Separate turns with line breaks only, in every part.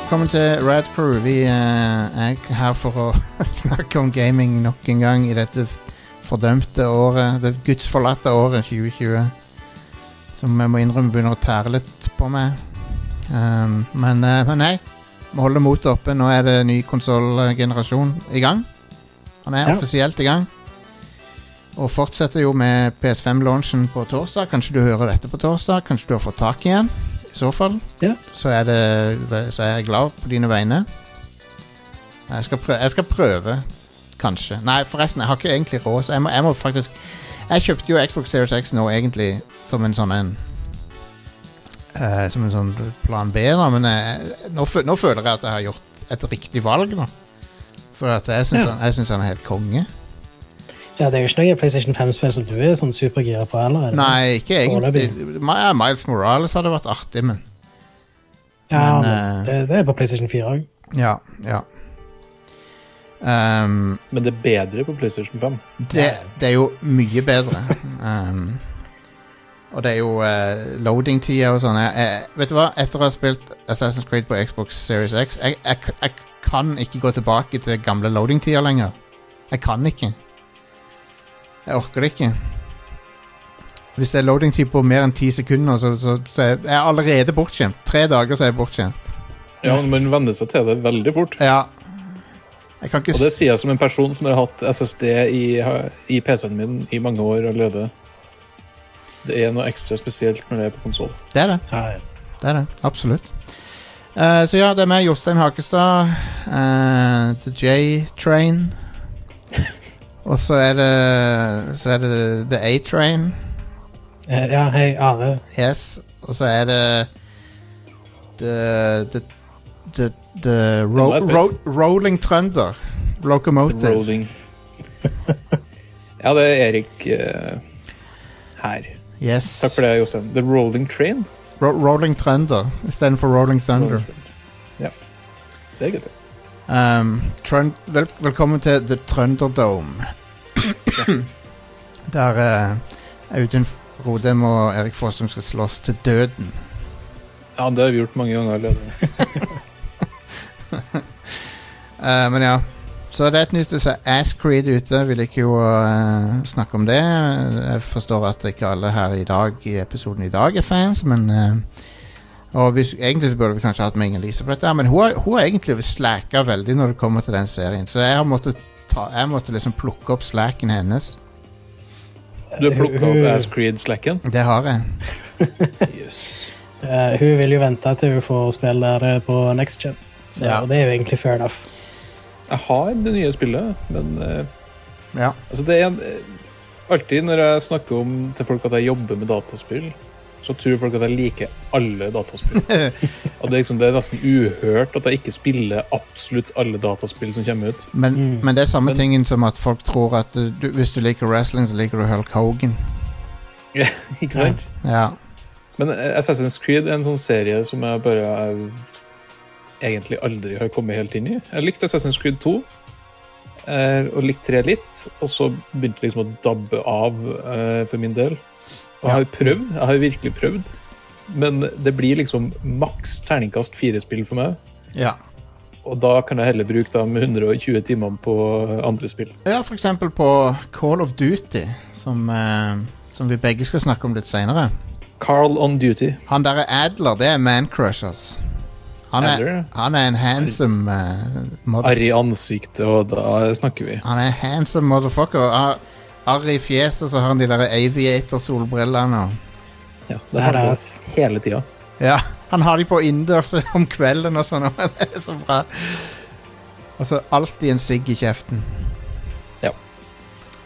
Velkommen til Rad Crew. Vi eh, er her for å snakke om gaming nok en gang i dette fordømte året. Det gudsforlatte året 2020. Som jeg må innrømme begynner å tære litt på meg. Um, men, eh, men nei. Må holde motet oppe. Nå er det ny konsollgenerasjon i gang. Han er
Ja.
offisielt i gang. Og fortsetter jo med PS5-launchen på torsdag. Kanskje du hører dette på torsdag? Kanskje du har fått tak i en? I så fall
Ja.
så, er det, så er jeg glad på dine vegne. Jeg skal prøve, jeg skal prøve kanskje. Nei, forresten, jeg har ikke egentlig råd, så jeg må, jeg må faktisk Jeg kjøpte jo Xbox Series X nå, egentlig, som en sånn en eh, Som en sånn plan B, da, men jeg, nå, fø- nå føler jeg at jeg har gjort et riktig valg, da. For at jeg syns
Ja.
han, jeg synes han er helt konge.
Ja, det er jo ikke noe PlayStation 5-spill som du er sånn supergira på heller. er det?
Nei, ikke egentlig. Ma- ja, Miles Morales hadde vært artig, men
ja,
men,
men,
eh,
det, det er på PlayStation 4 òg.
Ja. ja. Um,
Men det er bedre på PlayStation 5.
det, det er jo mye bedre. Um, og det er jo eh, loading-tida og sånn. Jeg- jeg- Vet du hva? Etter å ha spilt Assassin's Creed på Xbox Series X Jeg, jeg, k- jeg kan ikke gå tilbake til gamle loading-tider lenger. Jeg kan ikke. Jeg orker det ikke. Hvis det er loading-tid på mer enn ti sekunder, så, så, så er jeg allerede bortskjemt. Tre dager så er jeg bortskjemt.
Ja, men Man venner seg til det veldig fort.
Ja. Jeg kan ikke
Og det sier jeg som en person som har hatt SSD i, i PC-en min i mange år allerede. Det er noe ekstra spesielt når det er på konsoll.
s- Det er det.
Ja, ja.
Det er det. Absolutt. Eh, så ja, det er meg, Jostein Hakestad. eh, The J-Train. Og så er det Så er det The A-Train.
Eh, ja, hei, Are.
Yes. Og så er det The The The, the ro
Den må jeg
ro Rolling Trønder. Locomotive.
Rolling. Ja, det er Erik eh, her.
Yes.
Takk for det, Jostein. The Rolling Train.
Ro rolling Trønder istedenfor Rolling Thunder.
Ja. Det er greit.
Um, Trønd vel velkommen til The Trønderdome. Der eh, Audun Rodem og Erik Fossum skal slåss til døden.
Ja, det har vi gjort mange ganger allerede.
Eh, men ja. Så det er et nytt det er Ass Creed ute. Vi liker jo å eh, snakke om det. Jeg forstår at ikke alle her i dag i episoden i dag er fans, men eh, Og hvis, egentlig så burde vi kanskje hatt med Inger-Elisabeth der, men hun har, hun har egentlig slacka veldig når det kommer til den serien, så jeg har måttet ta, jeg måtte liksom plukke opp slacken hennes.
Du har plukka opp Ass Creed-slacken?
Det har jeg.
Yes.
Eh, hun vil jo vente til hun får spille det på next gen. Så
Ja.
og det er jo egentlig fair enough.
Jeg har det nye spillet, men eh,
Ja.
Altså det er en, eh, Alltid når jeg snakker om til folk at jeg jobber med dataspill, så tror folk at jeg liker alle dataspill. Og det er, liksom, det er nesten uhørt at jeg ikke spiller absolutt alle dataspill som kommer ut.
Men,
Mm.
men det er samme
Men-
tingen som at folk tror at uh, du, hvis du liker wrestling, så liker du Hulk Hogan.
ikke sant?
Ja.
Men eh, Assassin's Creed er en sånn serie som jeg bare eh, egentlig aldri har kommet helt inn i. Jeg likte Assassin's Creed 2 eh, og likte 3 litt, og så begynte det liksom å dabbe av eh, for min del. Og jeg har prøvd, jeg har virkelig prøvd, men det blir liksom maks terningkast 4-spill for meg.
Ja.
Og da kan jeg heller bruke de 120 timene på andre spill.
ja, for eksempel på Call of Duty, som, eh, som vi begge skal snakke om litt seinere.
Carl on duty.
Han derre Adler, det er Man Crushers. Han er,
Adler?
han er en handsome eh, mother-
Arr i ansiktet, og da snakker vi.
Han er en handsome motherfucker. Ar- Arr i fjeset, så har han de der aviator-solbrillene og
Ja, det har
Der,
jeg
ass.
hele tida.
Ja, han har de på innendørs om kvelden og sånn. og Det er så bra. Og så alltid en sigg i kjeften.
Ja.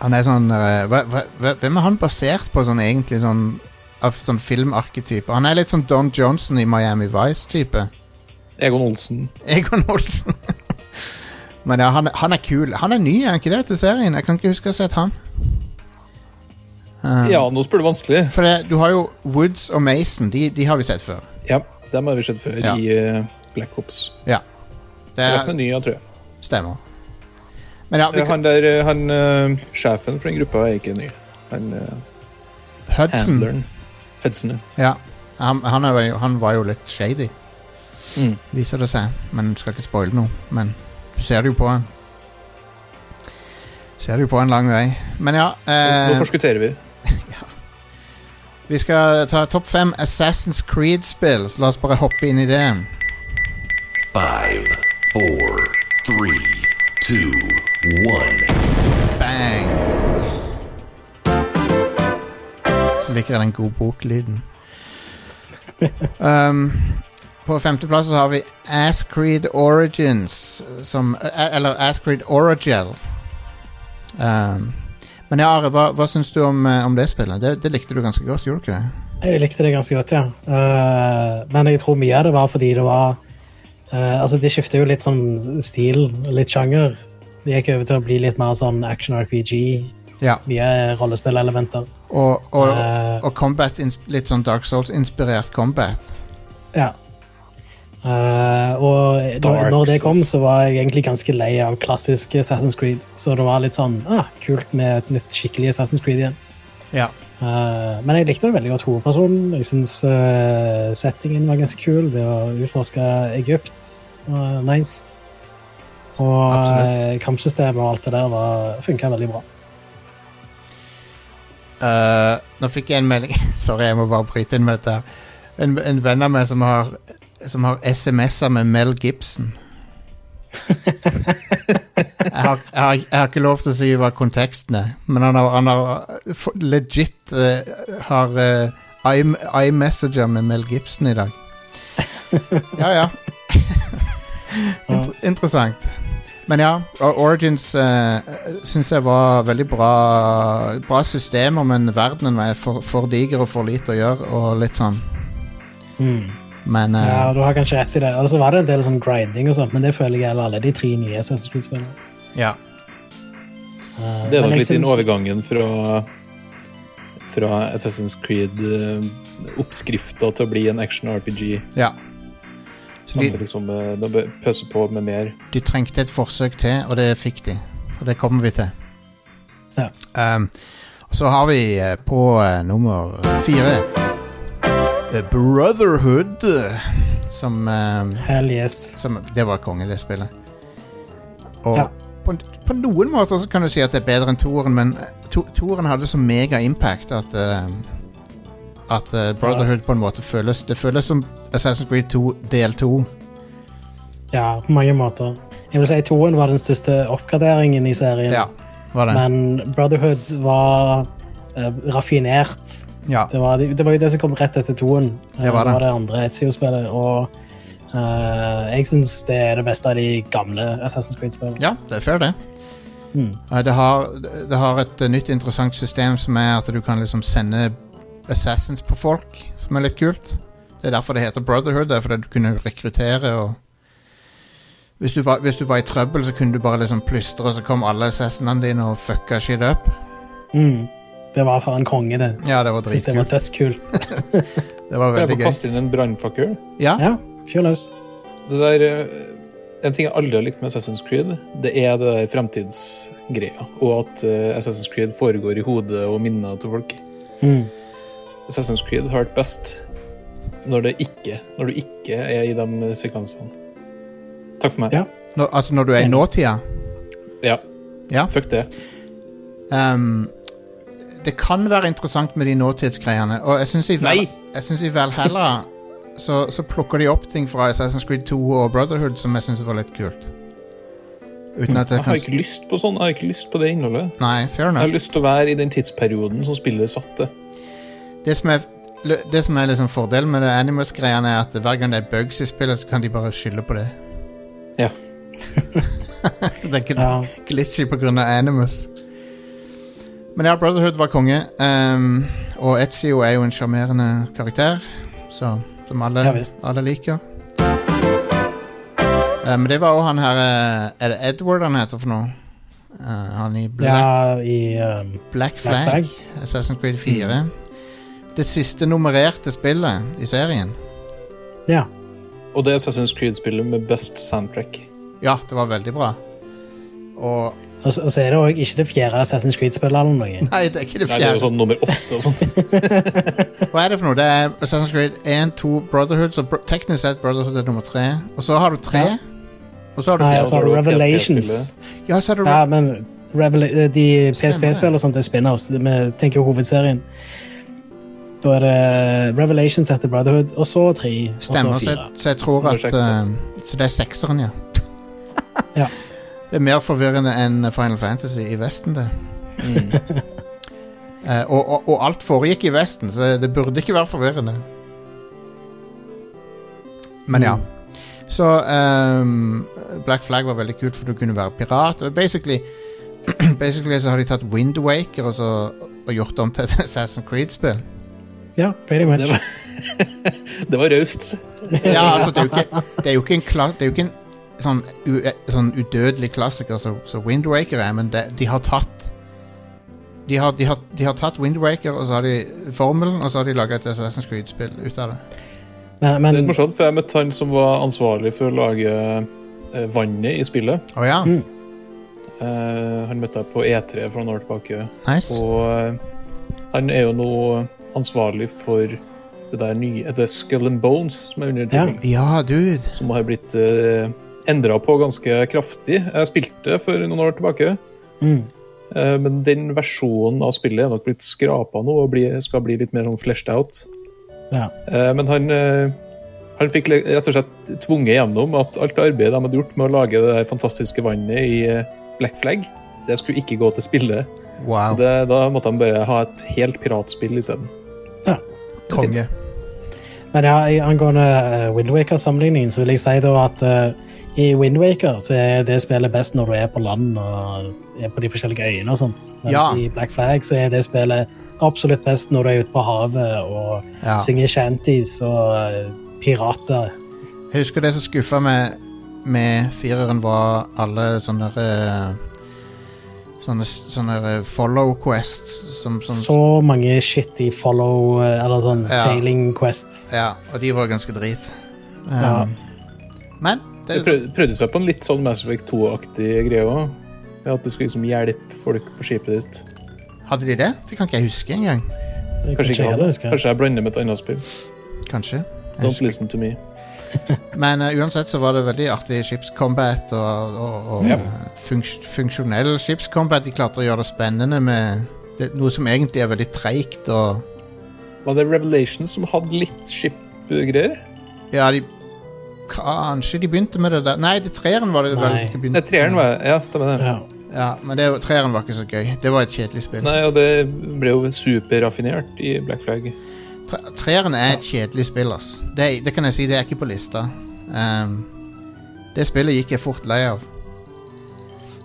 Han er sånn eh, hva, hva, hva- Hvem er han basert på sånn egentlig? Sånn, av sånn filmarketype. Han er litt sånn Don Johnson i Miami Vice-type.
Egon Olsen.
Egon Olsen. Men ja, han, han er kul. Han er ny, er han ikke det, til serien? Jeg kan ikke huske å ha sett han. Eh,
Ja, nå spør du vanskelig.
For det, du har jo Woods og Mason. De, de har vi sett før.
Ja, dem har vi sett før
Ja.
i eh, Black Ops.
Det
Resten er nye, tror jeg.
Stemmer. Men ja, vi
Ja,
kan,
han der, eh, han, eh, sjefen for den gruppa er ikke ny. Han eh,
Hudson
handleren. Hudson, ja.
ja. han, han, er jo, han var jo litt shady.
Mm.
viser det seg. Men du skal ikke spoile noe. Men du ser det jo på han. Ser det jo på en lang vei. Men ja
Nå
eh,
forskutterer vi.
Vi skal ta topp fem Assassin's Creed-spill. Så la oss bare hoppe inn i det.
Five, four, three, two, one.
Bang! Så liker jeg den god boklyden. Um, på femteplass så har vi Ascreed Origins, som eh, Eller Ascreed Origel. Um, men ja, Are, hva, hva syns du om, eh, om det spillet? Det, det likte du ganske godt, gjorde du ikke det?
Jeg likte det ganske godt, ja. Eh, men jeg tror mye av det var fordi det var eh, Altså, de skifter jo litt sånn stil, litt sjanger. De gikk over til å bli litt mer sånn action-RPG.
Ja.
Mye rollespillelementer.
Og, og,
Eh.
og combat, ins- litt sånn Dark Souls-inspirert combat.
Ja. Eh, og da,
Dark
når det kom,
Souls.
så var jeg egentlig ganske lei av klassisk Assassin's Creed. Så det var litt sånn ah, kult med et nytt skikkelig Assassin's Creed igjen.
Ja.
Eh, men jeg likte det veldig godt hovedpersonen. Jeg syns eh, settingen var ganske kul. Det å utforske Egypt var nice. Og
Absolutt.
eh, kampsystemet og alt det der funka veldig bra.
Eh, nå fikk jeg en melding Sorry, jeg må bare bryte inn med dette. her. En, en venn av meg som har, som har SMS-er med Mel Gibson. jeg, har, jeg, har, jeg har ikke lov til å si hva konteksten er, men han har, han har for- legit eh, har eh, i- iMessager med Mel Gibson i dag. Ja, ja. Inter interessant. Men ja, O- Origins uh, syns jeg var veldig bra Bra systemer, men verdenen er for, for diger og for lite å gjøre, og litt sånn.
Mm.
Men eh,
Ja, du har kanskje rett i det. Og så var det en del sånn grinding og sånt, men det føler jeg gjelder alle de tre nye Assassin's Creed-spillene.
ja.
Eh,
Det er
men
nok
jeg
litt den
syns-
overgangen fra, fra Assassin's Creed-oppskrifta til å bli en action-RPG.
ja. Så de,
Samtidig som eh, de bør pøse på med mer.
de trengte et forsøk til, og det fikk de. Og det kommer vi til.
Ja.
Ehm, og så har vi eh, på eh, nummer fire eh, Brotherhood, eh, som eh,
Hell yes.
som, Det var konge, det spillet. Og
Ja.
på, på noen måter så kan du si at det er bedre enn toeren, men eh, to, toeren hadde så mega impact at eh, At eh, Brotherhood på en måte føles Det føles som Assassin's Creed 2 del 2.
Ja, på mange måter. Jeg vil si toen var den største oppgraderingen i serien.
Ja, var det.
Men Brotherhood var eh, raffinert.
ja.
Det var, det var jo det som kom rett etter toen. Eh,
Det var det.
det andre Ezio-spillet. Og eh, jeg syns det er det beste av de gamle Assassin's Creed-spillene.
ja, det er fair, det.
Mm.
Eh, Det har, det har et eh, nytt interessant system som er at du kan liksom sende assassins på folk, som er litt kult. Det er derfor det heter Brotherhood, det er fordi du kunne rekruttere og hvis du, var, hvis du var i trøbbel, så kunne du bare liksom plystre, og så kom alle assassinene dine og fucka shit up.
Mm. Det var for en konge, det.
Ja, det var
Syns det var
dritkult.
dødskult.
Det var
Jeg
veldig
får
gøy.
kaste inn en brannfakkel.
Ja,
ja, fyr løs.
Det der eh, En ting jeg aldri har likt med Assassin's Creed, det er det der fremtidsgreia. Og at eh, Assassin's Creed foregår i hodet og minnet til folk.
Mm.
Assassin's Creed har vært best når, det ikke, når du ikke er i de sekvensene. Takk for meg.
Ja.
når, altså når du er i
Enig.
nåtida.
Ja.
Ja.
Fuck det.
Ehm, det kan være interessant med de nåtidsgreiene, og jeg syns i, Val
Nei!
jeg synes i Valhalla så, så plukker de opp ting fra Assassin's Creed 2 og Brotherhood som jeg syns var litt kult. Uten at jeg
Jeg har
kan
ikke lyst på sånn. Jeg har ikke lyst på det innholdet.
Nei, fair
Jeg har
enough.
lyst til å være i den tidsperioden som spillet satte.
Det som er, lø- det som er liksom fordelen med det Animus-greiene, er at hver gang det er bugs i spillet, så kan de bare skylde på det.
Ja.
det er ikke
Ja.
glitchy på grunn av Animus. Men ja, Brotherhood var konge. ehm, og Ezio er jo en sjarmerende karakter, så, som alle,
Ja, visst.
alle liker. Eh, Men det var òg han her eh, Er det Edward han heter for noe? Eh, han i Black,
Ja, i um,
Black
Black
Flag,
Flag. Mm.
Assassin's Creed 4. Det siste nummererte spillet i serien.
Ja.
Og det er Assassin's Creed-spillet med best soundtrack.
Ja, det var veldig bra. Og
Og, så- og så er det òg ikke det fjerde Assassin's Creed-spillet eller noe.
Nei, det er ikke det
Nei, det er jo
fjerde.
sånn nummer åtte og sånt.
Hva er det for noe? Det er Assassin's Creed 1, 2, Brotherhood, så br teknisk sett Brotherhood er nummer tre. Og så har du tre.
Ja.
Og så har du
Nei,
fjerde.
og så har du Revelations.
Ja, så er det
Ja, men Revela eh, de PSP-spillene
Stemmer.
og sånt er spin-offs. Vi tenker jo hovedserien. Da er det Revelations etter Brotherhood, og så tre, og
Stemmer, altså. så
så
jeg,
fire.
så jeg tror
Nummer
at
seks, ja.
eh, Så det er sekseren, ja.
Ja.
Det er mer forvirrende enn Final Fantasy i Vesten, det. Mm. Eh, og, og, og alt foregikk i Vesten, så det burde ikke være forvirrende. Men ja. Så ehm, Black Flag var veldig kult, for du kunne være pirat. Og basically, basically så har de tatt Windwaker og, så, og gjort det om til et Assassin's Creed-spill.
Ja, pretty much.
Det var, det var raust.
Ja, altså, det er jo ikke, det er jo ikke en, kla, det er jo ikke en sånn, u, sånn udødelig klassiker som som Wind Windwaker er, men det, de har tatt de har, de, har, de har tatt Windwaker, og så har de formelen, og så har de laga et Assassin's Creed-spill ut av det.
Men,
Det er
men
morsomt, for jeg møtte han som var ansvarlig for å lage eh, vannet i spillet.
Å ja?
Mm.
Eh, han møtte jeg på E3 for noen år tilbake.
Nice.
Og eh, han er jo nå ansvarlig for det der nye det Skull and Bones, som er under utvikling.
Ja, dude.
Som har blitt uh, endra på ganske kraftig. Jeg spilte for noen år tilbake.
mm,
eh, Men den versjonen av spillet er nok blitt skrapa nå og blir- skal bli litt mer sånn fleshed out.
ja.
Eh, Men han, eh, han fikk le- rett og slett tvunget gjennom at alt arbeidet de hadde gjort med å lage det her fantastiske vannet i eh, Black Flag, det skulle ikke gå til spillet. Så
Wow.
det, da måtte de bare ha et helt piratspill isteden.
Konge.
Men ja, i- angående Windwaker-sammenligningen, så vil jeg si da at eh, i Windwaker så er det spillet best når du er på land og er på de forskjellige øyene og sånt. Mens
Ja.
i Black Flag så er det spillet absolutt best når du er ute på havet og
Ja.
synger shanties og eh, pirater.
Jeg husker det som skuffa meg med fireren, var alle sånne der, eh, Sånne, sånne der follow quests som, som
Så mange shitty follow eh, eller sånn
Sånn- Ja.
tailing quests.
Ja, og de var ganske drit. Um,
Ja.
Men
Det
det,
prøvde, prøvde seg på en litt sånn Mass Effect 2-aktig greie òg. At du skulle liksom hjelpe folk på skipet ditt.
hadde de det? Det kan ikke jeg huske engang.
Det kan
Kanskje
jeg
ikke hadde.
heller huske.
Kanskje jeg blander med et annet spill.
Kanskje. Jeg
Don't
husker.
listen to me.
Men uh, uansett så var det veldig artig skipscombat og, og, og
Ja.
uh, funks funksjonell skipscombat. De klarte å gjøre det spennende med det, noe som egentlig er veldig treigt og
Var det Revelation som hadde litt skipgreier?
Ja, de Kanskje de begynte med det der Nei, det treeren var det vel
Nei.
de
Nei,
begynte
treeren var Ja, stemmer det.
Ja.
Ja, men det, treeren var ikke så gøy. Det var et kjedelig spill.
Nei, og det ble jo superraffinert i Black Flag.
Tre- Treeren er et kjedelig spill, ass. Det, er- det kan jeg si, det er ikke på lista. Ehm, det spillet gikk jeg fort lei av.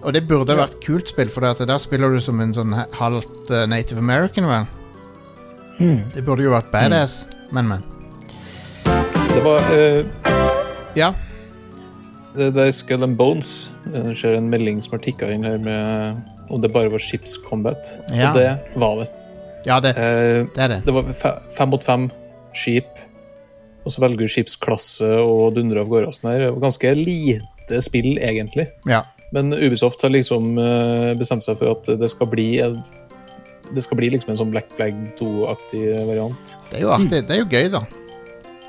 Og det burde vært et kult spill, for det at der spiller du som en sånn he- halvt eh, native american, vel.
Mm.
Det burde jo vært badass, men, men.
Det var eh,
Ja,
Det, det er Skull and Bones. Det skjer en melding som har tikka inn her med om det bare var Ships Combat.
Ja.
Og det var det.
ja det,
Eh,
det er det.
det var fe- fem mot fem skip, og så velger du skipsklasse og dundrer av gårde og sånn her. Det var Ganske lite spill, egentlig.
Ja.
Men Ubisoft har liksom eh, bestemt seg for at det skal bli en det skal bli liksom en sånn Black Flag 2-aktig variant.
Det er jo artig. Det er jo gøy, da.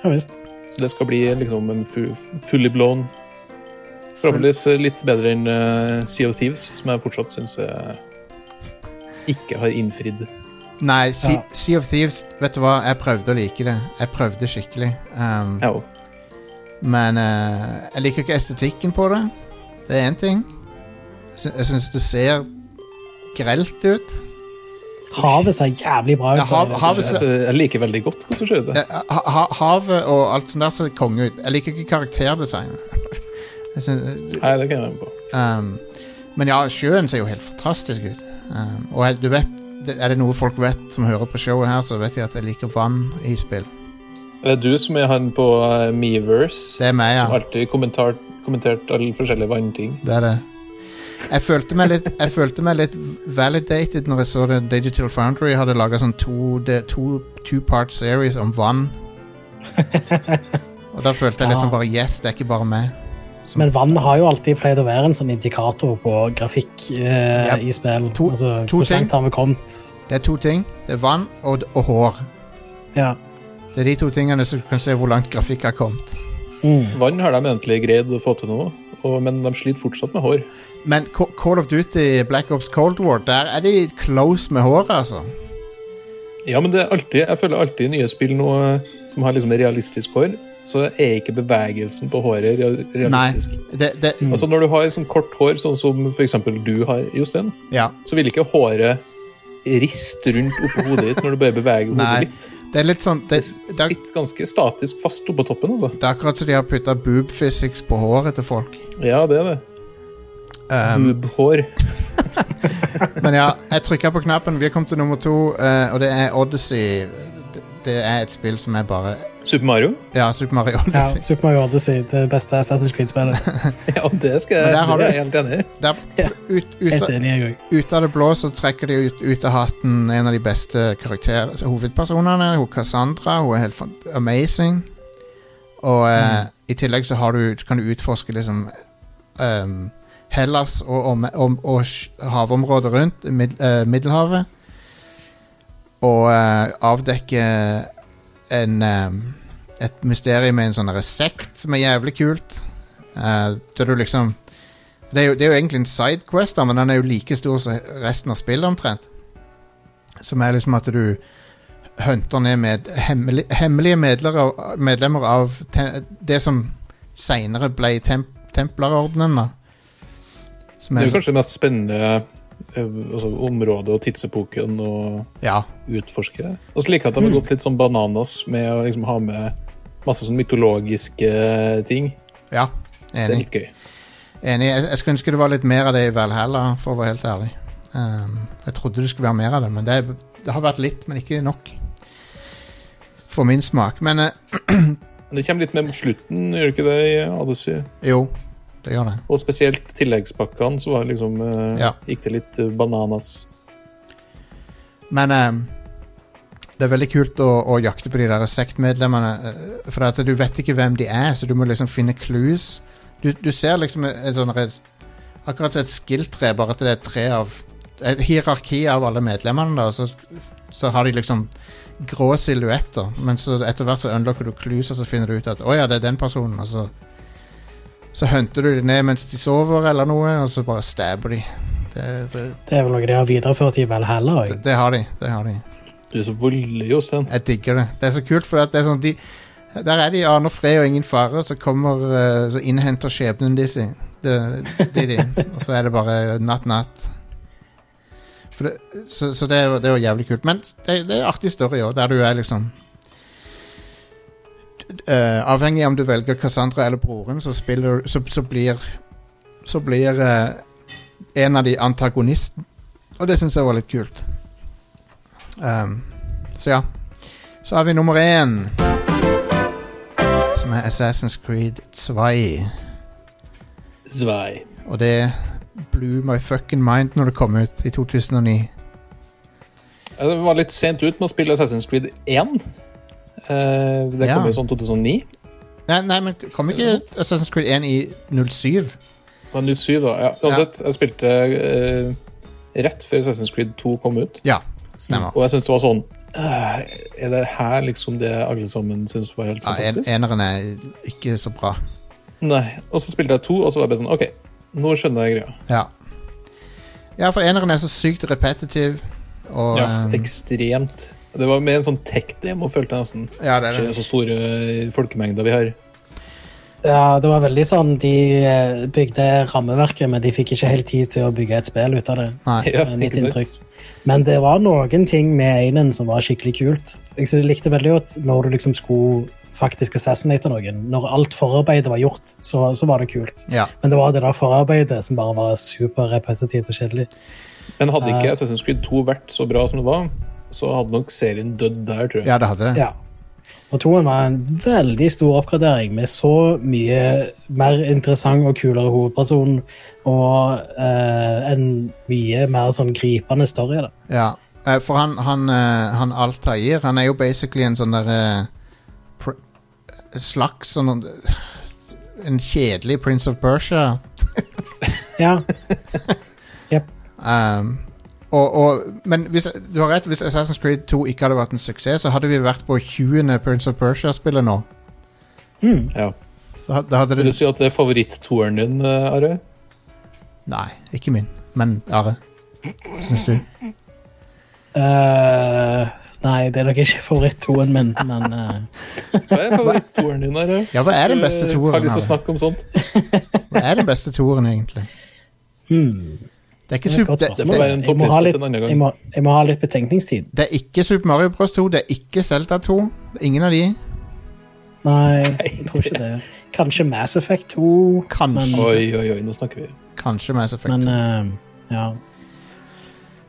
ja visst.
Så det skal bli liksom en fu- fully blown Forhåpentligvis litt bedre enn eh, Sea of Thieves, som jeg fortsatt syns ikke har innfridd.
Nei, sea,
Ja.
sea of Thieves Vet du hva, jeg prøvde å like det. Jeg prøvde skikkelig. Ehm,
Jeg òg.
Men eh, jeg liker ikke estetikken på det. Det er én ting. Jeg sy- Jeg syns det ser grelt ut.
Havet ser jævlig bra ut.
Ja, hav-
jeg vet
havet
ikke.
ser-
Altså, jeg liker veldig godt hvordan skjer det.
Eh, ha, ha, havet og alt sånt der ser konge ut. Jeg liker ikke karakterdesignet. Jeg syns-
Nei, det kan jeg være med på.
Um, men ja, sjøen ser jo helt fantastisk ut. Um, og jeg, du vet, det- er det noe folk vet som hører på showet her, så vet de at jeg liker vann i spill.
Det er du som er han på eh, Meverse,
Det er meg,
som
ja.
alltid kommentar, kommentert alle forskjellige vannting.
Det er det. Jeg følte meg litt, jeg følte meg litt validated når jeg så det Digital Foundry hadde laga sånn to, det- to, two part series om vann. Og da følte jeg liksom bare Yes, det er ikke bare meg. Som-
Men vann har jo alltid pleid å være en sånn indikator på grafikk eh,
Yep.
i spill.
To-
altså,
to
hvor
ting.
langt har vi kommet?
Det er to ting. Det er vann og, og hår.
Ja.
Det er de to tingene som kan se hvor langt grafikk har kommet.
Mm.
Vann har de egentlig greid å få til nå, og, men de sliter fortsatt med hår.
Men Ca- Call of Duty Black Ops Cold War, der er de close med håret, altså.
Ja, men det er alltid, jeg føler alltid i nye spill nå eh, som har liksom realistisk hår, så er ikke bevegelsen på håret rea-
Nei.
realistisk.
Det, det,
Altså Når du har sånn kort hår, sånn som f.eks. du har, Jostein,
ja.
så vil ikke håret riste rundt oppå hodet ditt når du bare beveger
Nei.
hodet litt.
det er litt sånn Det,
Det
det, er,
sitter ganske statisk fast oppå toppen, altså.
det er akkurat som de har putta boob physics på håret til folk.
Ja, det er det.
Um,
Boobhår.
men ja, jeg trykka på knappen. Vi har kommet til nummer to, eh, og det er Odyssey. Det, det er et spill som er bare
Super Mario?
Ja, Super Mario
Ja,
Odyssey.
Super Mario Odyssey, det beste Assassin's Creed-spillet.
Ja, det skal
Men
jeg,
der har
det
du-
er jeg helt enig i.
Der,
Ja.
ut, ut,
Helt
av-
enig, jeg òg.
ut av det blå så trekker de ut, ut av hatten en av de beste karakter hovedpersonene. Hun Cassandra. Hun er helt fan- amazing. Og eh,
Mm.
i tillegg så har du, kan du utforske liksom ehm, Hellas og, om, om, og sj- havområdet rundt mid, eh, Middelhavet. Og eh, avdekke en ehm, et mysterium med en sånn derre sekt som er jævlig kult. Eh, der du liksom det er, jo, det er jo egentlig en sidequest, da, men den er jo like stor som resten av spillet omtrent. Som er liksom at du hunter ned med hemmelig, hemmelige medlemmer, medlemmer av te, det som seinere ble temp, Templerordenen, da. Som
Det
er
er jo kanskje det mest spennende eh, altså, området og tidsepoken å
Ja.
utforske. Og så liker jeg at de
Hmm.
har gått litt sånn bananas med å liksom ha med masse sånn mytologiske ting.
ja
Det er
enig.
litt gøy.
enig. Jeg, jeg skulle ønske det var litt mer av det i Valhalla, for å være helt ærlig. Ehm, jeg trodde det skulle være mer av det, men det, er- det har vært litt, men ikke nok. For min smak. Men eh,
Men det kommer litt med mot slutten, gjør det ikke det, i Odyssey?
jo, det gjør det.
Og spesielt tilleggspakkene, så var det liksom, eh,
Ja.
gikk det litt eh, bananas.
Men ehm, det er veldig kult å, å jakte på de der sektmedlemmene, eh, for at du vet ikke hvem de er, så du må liksom finne clues. Du, du ser liksom et, et sånn red- Akkurat som et skill-tre, bare at det er tre av Et hierarki av alle medlemmene, da, og så, så har de liksom grå silhuetter, men så etter hvert så unlocker du clues, og så finner du ut at å ja, det er den personen, og så så hunter du dem ned mens de sover eller noe, og så bare stabber de. Det, det,
Det er vel noe de har videreført i Valhalla
det,
òg.
det har de. Det har de.
Du er så voldelig, Jostein.
Jeg digger det. Det er så kult, for at det er sånn de, Der er de aner fred og ingen fare, så kommer eh, Så innhenter skjebnen de si. Det, det er de. Og så er det bare natt-natt. For det, så, så det er jo det er jo jævlig kult. Men det, det er artig story òg, der du er liksom eh, Avhengig av om du velger Cassandra eller broren, så, spiller, så, så blir Så blir eh, en av de antagonisten. Og det syns jeg var litt kult. Um, så ja. Så har vi nummer én. Som er Assassin's Creed 2.
Zwei.
Og det blew my fucking mind når det kom ut i 2009.
Jeg var litt sent ut med å spille Assassin's Creed 1. Eh, det
Ja.
kom jo sånn 2009.
Nei, nei, men kom ikke Assassin's Creed 1 i 07?
Men du syv, da. Ja, uansett, jeg spilte eh, rett før Assassin's Creed 2 kom ut.
Ja, stemmer.
Og jeg syns det var sånn eh, Er det her liksom det alle sammen syns var helt
Ja, en,
fantastisk?
eneren er ikke så bra.
Nei. Og så spilte jeg to, og så var jeg bare sånn OK, nå skjønner jeg greia.
Ja. ja, for eneren er så sykt repetitiv. Og
Ja,
eh,
ekstremt. Det var med en sånn tech-demo, følte jeg nesten.
ja, det er
Ikke
det.
så store eh, folkemengder vi har.
Ja, det var veldig sånn De eh, bygde rammeverket, men de fikk ikke helt tid til å bygge et spill ut av det.
Nei.
Ja,
er Eh, mitt
ikke sant?
inntrykk. Men det var noen ting med einen som var skikkelig kult. Jeg synes jeg likte veldig godt når du liksom skulle faktisk assassinate noen. Når alt forarbeidet var gjort, så, så var det kult.
Ja.
Men det var det der forarbeidet som bare var superrepetitivt og kjedelig.
Men hadde
Ja.
ikke Assassin's Creed 2 vært så bra som det var, så hadde nok serien dødd der, tror jeg.
ja, det hadde det.
Ja. Og toen var en veldig stor oppgradering med så mye mer interessant og kulere hovedperson og eh, en mye mer sånn gripende story. da.
Ja, eh, for han, han, eh, han Altair, han er jo basically en sånn der eh, pr- slags sånn en kjedelig Prince of Persia.
Ja.
Um, og, og, men hvis, du har rett, hvis Assassin's Creed 2 ikke hadde vært en suksess, så hadde vi vært på 20. Prince of Persia-spillet nå.
Mm.
Ja.
Så ha- da hadde
Vil
det
du si at det er favoritt-toeren din, eh, Are?
Nei, ikke min, men Are. Syns du?
Eh, nei, det er nok ikke favoritt-toen min, men eh,
Hva er favoritt-toeren din, Are?
Ja, hva er den beste
Eh, Har
toeren?
lyst til å
Are?
snakke om sånt.
Hva er den beste toeren, egentlig?
hmm.
Det er ikke,
Det er et
super,
godt
det,
spørsmål.
Det får
det,
være en
Jeg må ha
toppliste
litt-
til en annen gang.
jeg, må, jeg må ha litt betenkningstid.
det er ikke Super Mario Bros. 2, det er ikke Zelda 2. Det er Ingen av de.
Nei, jeg tror ikke det. Kanskje Mass Effect 2,
Kanskje,
Oi, oi, oi, nå snakker vi.
kanskje Mass Effect 2.
men eh, ja.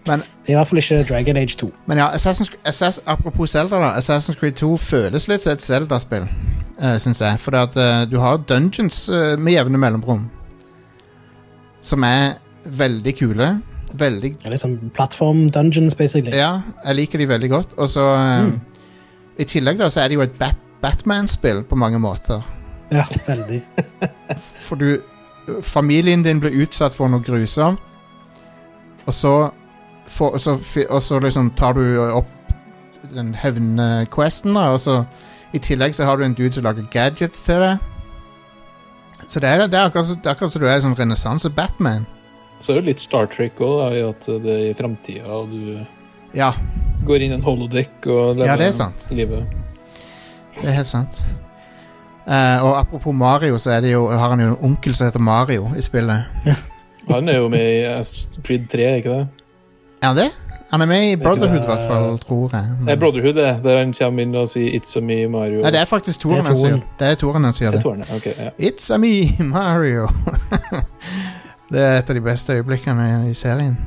Men-
det er i hvert fall ikke Dragon Age 2.
Men ja, Assassin's, Assass, apropos Zelda, da. Assassin's Creed 2 føles litt som et Zelda-spill, uh, syns jeg. For at, eh, du har dungeons eh, med jevne mellomrom. Som er veldig kule. Veldig
Det er liksom plattform dungeons, basically.
Ja, jeg liker de veldig godt. Og så eh,
Mm.
I tillegg da, så er det jo et Bat Batman-spill på mange måter.
Ja, veldig.
For du Familien din blir utsatt for noe grusomt, og så får- og så, fi- og så liksom tar du opp den hevnquesten, da, og så i tillegg så har du en dude som lager gadgets til deg. Så det er, det er akkurat som- det er akkurat som du er en sånn renessanse-Batman.
Så er det jo litt Star Trek òg, i at det er i framtida, og du
Ja,
går inn i en holodeck og
Ja, det er sant.
livet.
det er helt sant. Eh, og apropos Mario, så er det jo, har han jo en onkel som heter Mario i spillet.
Han er jo med i Assassin's Creed 3, ikke det?
Er han det? Han er med i Brotherhood, i
det-
hvert fall, tror jeg.
Det er
Men,
Brotherhood, det, der han kommer inn og sier 'It's a me, Mario'.
nei, Mm. det er faktisk
Det
Toren
er
han sier
toeren.
det. er Toren han sier
Det
det.
er toeren, ja. ok, ja.
It's a me, Mario. det er et av de beste øyeblikkene i serien.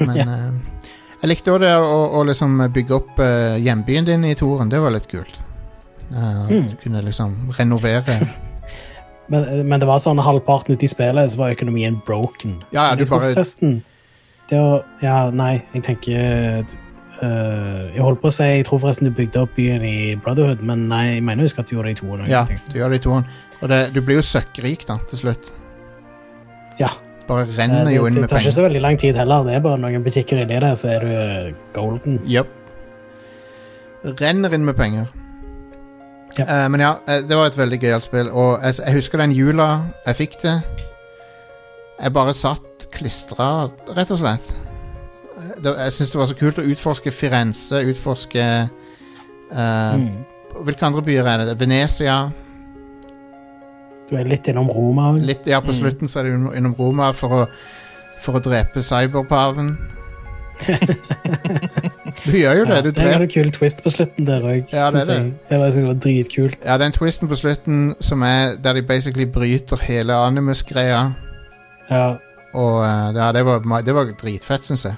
Men
Ja.
eh, jeg likte òg det å, å liksom bygge opp eh, hjembyen din i Toren. Det var litt kult. Eh, at
Mm.
Du kunne liksom renovere
Men, men det var sånn halvparten ute i spillet, så var økonomien broken.
Ja, ja,
Men
du
jeg tror
bare-
Forresten, det å Ja, nei, jeg tenker øh, Jeg holdt på å si Jeg tror forresten du bygde opp byen i Brotherhood, men nei, jeg mener jeg husker at du gjorde det i to år.
Ja, du gjør det i Toren. Og det, du blir jo søkkrik, da, til slutt.
Ja.
Bare
Det,
renner
det,
jo inn med
tar ikke
penger.
så veldig lang tid heller. Det er bare noen butikker inni det, så er du øh, golden.
Jepp. Renner inn med penger.
Ja.
Eh, men ja, eh, det var et veldig gøyalt spill, og jeg, jeg husker den jula jeg fikk det. Jeg bare satt klistra, rett og slett. Eh, Det, jeg syns det var så kult å utforske Firenze, utforske eh,
Mm.
Hvilke andre byer er det? Venezia.
Du er litt innom Roma òg.
Litt, ja, på
Mm.
slutten så er det jo innom Roma for å, for å drepe cyberpaven. du gjør jo det. Du
det er
dreper
en kul twist på slutten der òg.
Ja, det er det.
det var, jeg synes det var dritkult.
Ja, den twisten på slutten som er der de basically bryter hele animus-greia.
Ja.
Og eh, ja, det var, ma- det var dritfett, syns jeg.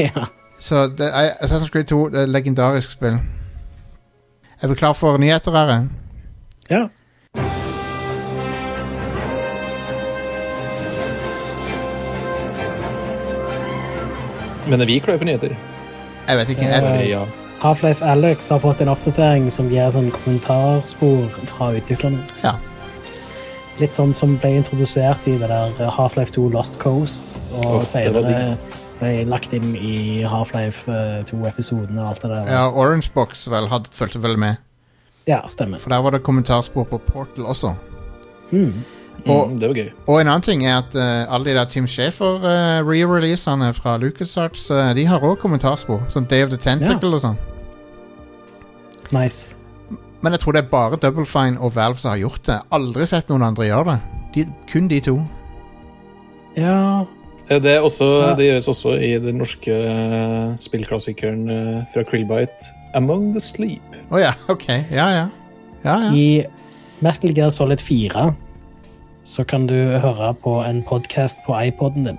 ja.
Så det, er- Assassin's Creed 2 det er et legendarisk spill. Er vi klar for nyheter, Are?
ja.
Men er vi klare for nyheter?
Jeg vet ikke.
Eh,
Jeg,
Sier ja.
Half-Life Alex har fått en oppdatering som gir sånn kommentarspor fra utviklerne.
ja.
Litt sånn som ble introdusert i det der Half-Life 2 Lost Coast, og
Åh, det var
senere ble lagt inn i Half-Life 2-episoden og alt det der.
ja, Orange Box vel, hadde, fulgte vel med.
Ja, stemmer.
For der var det kommentarspor på Portal også.
Mm.
Og,
Mm, det var gøy.
og en annen ting er at eh, alle de der Tim Shafer-re-releasene fra LucasArts, eh, de har òg kommentarspor. Sånn Day of the Tentacle og sånn.
Nice.
Men jeg tror det er bare Double Fine og Valve som har gjort det. Aldri sett noen andre gjøre det. De, kun de to.
Ja,
Eh, Det, er også,
Ja.
det gjøres også i den norske eh, spillklassikeren eh, fra Krillbite, 'Among the Sleep'.
Å ja, ok. Ja, ja. Ja, ja.
i Metal Gear Solid 4 så kan du høre på en podcast på iPodden din.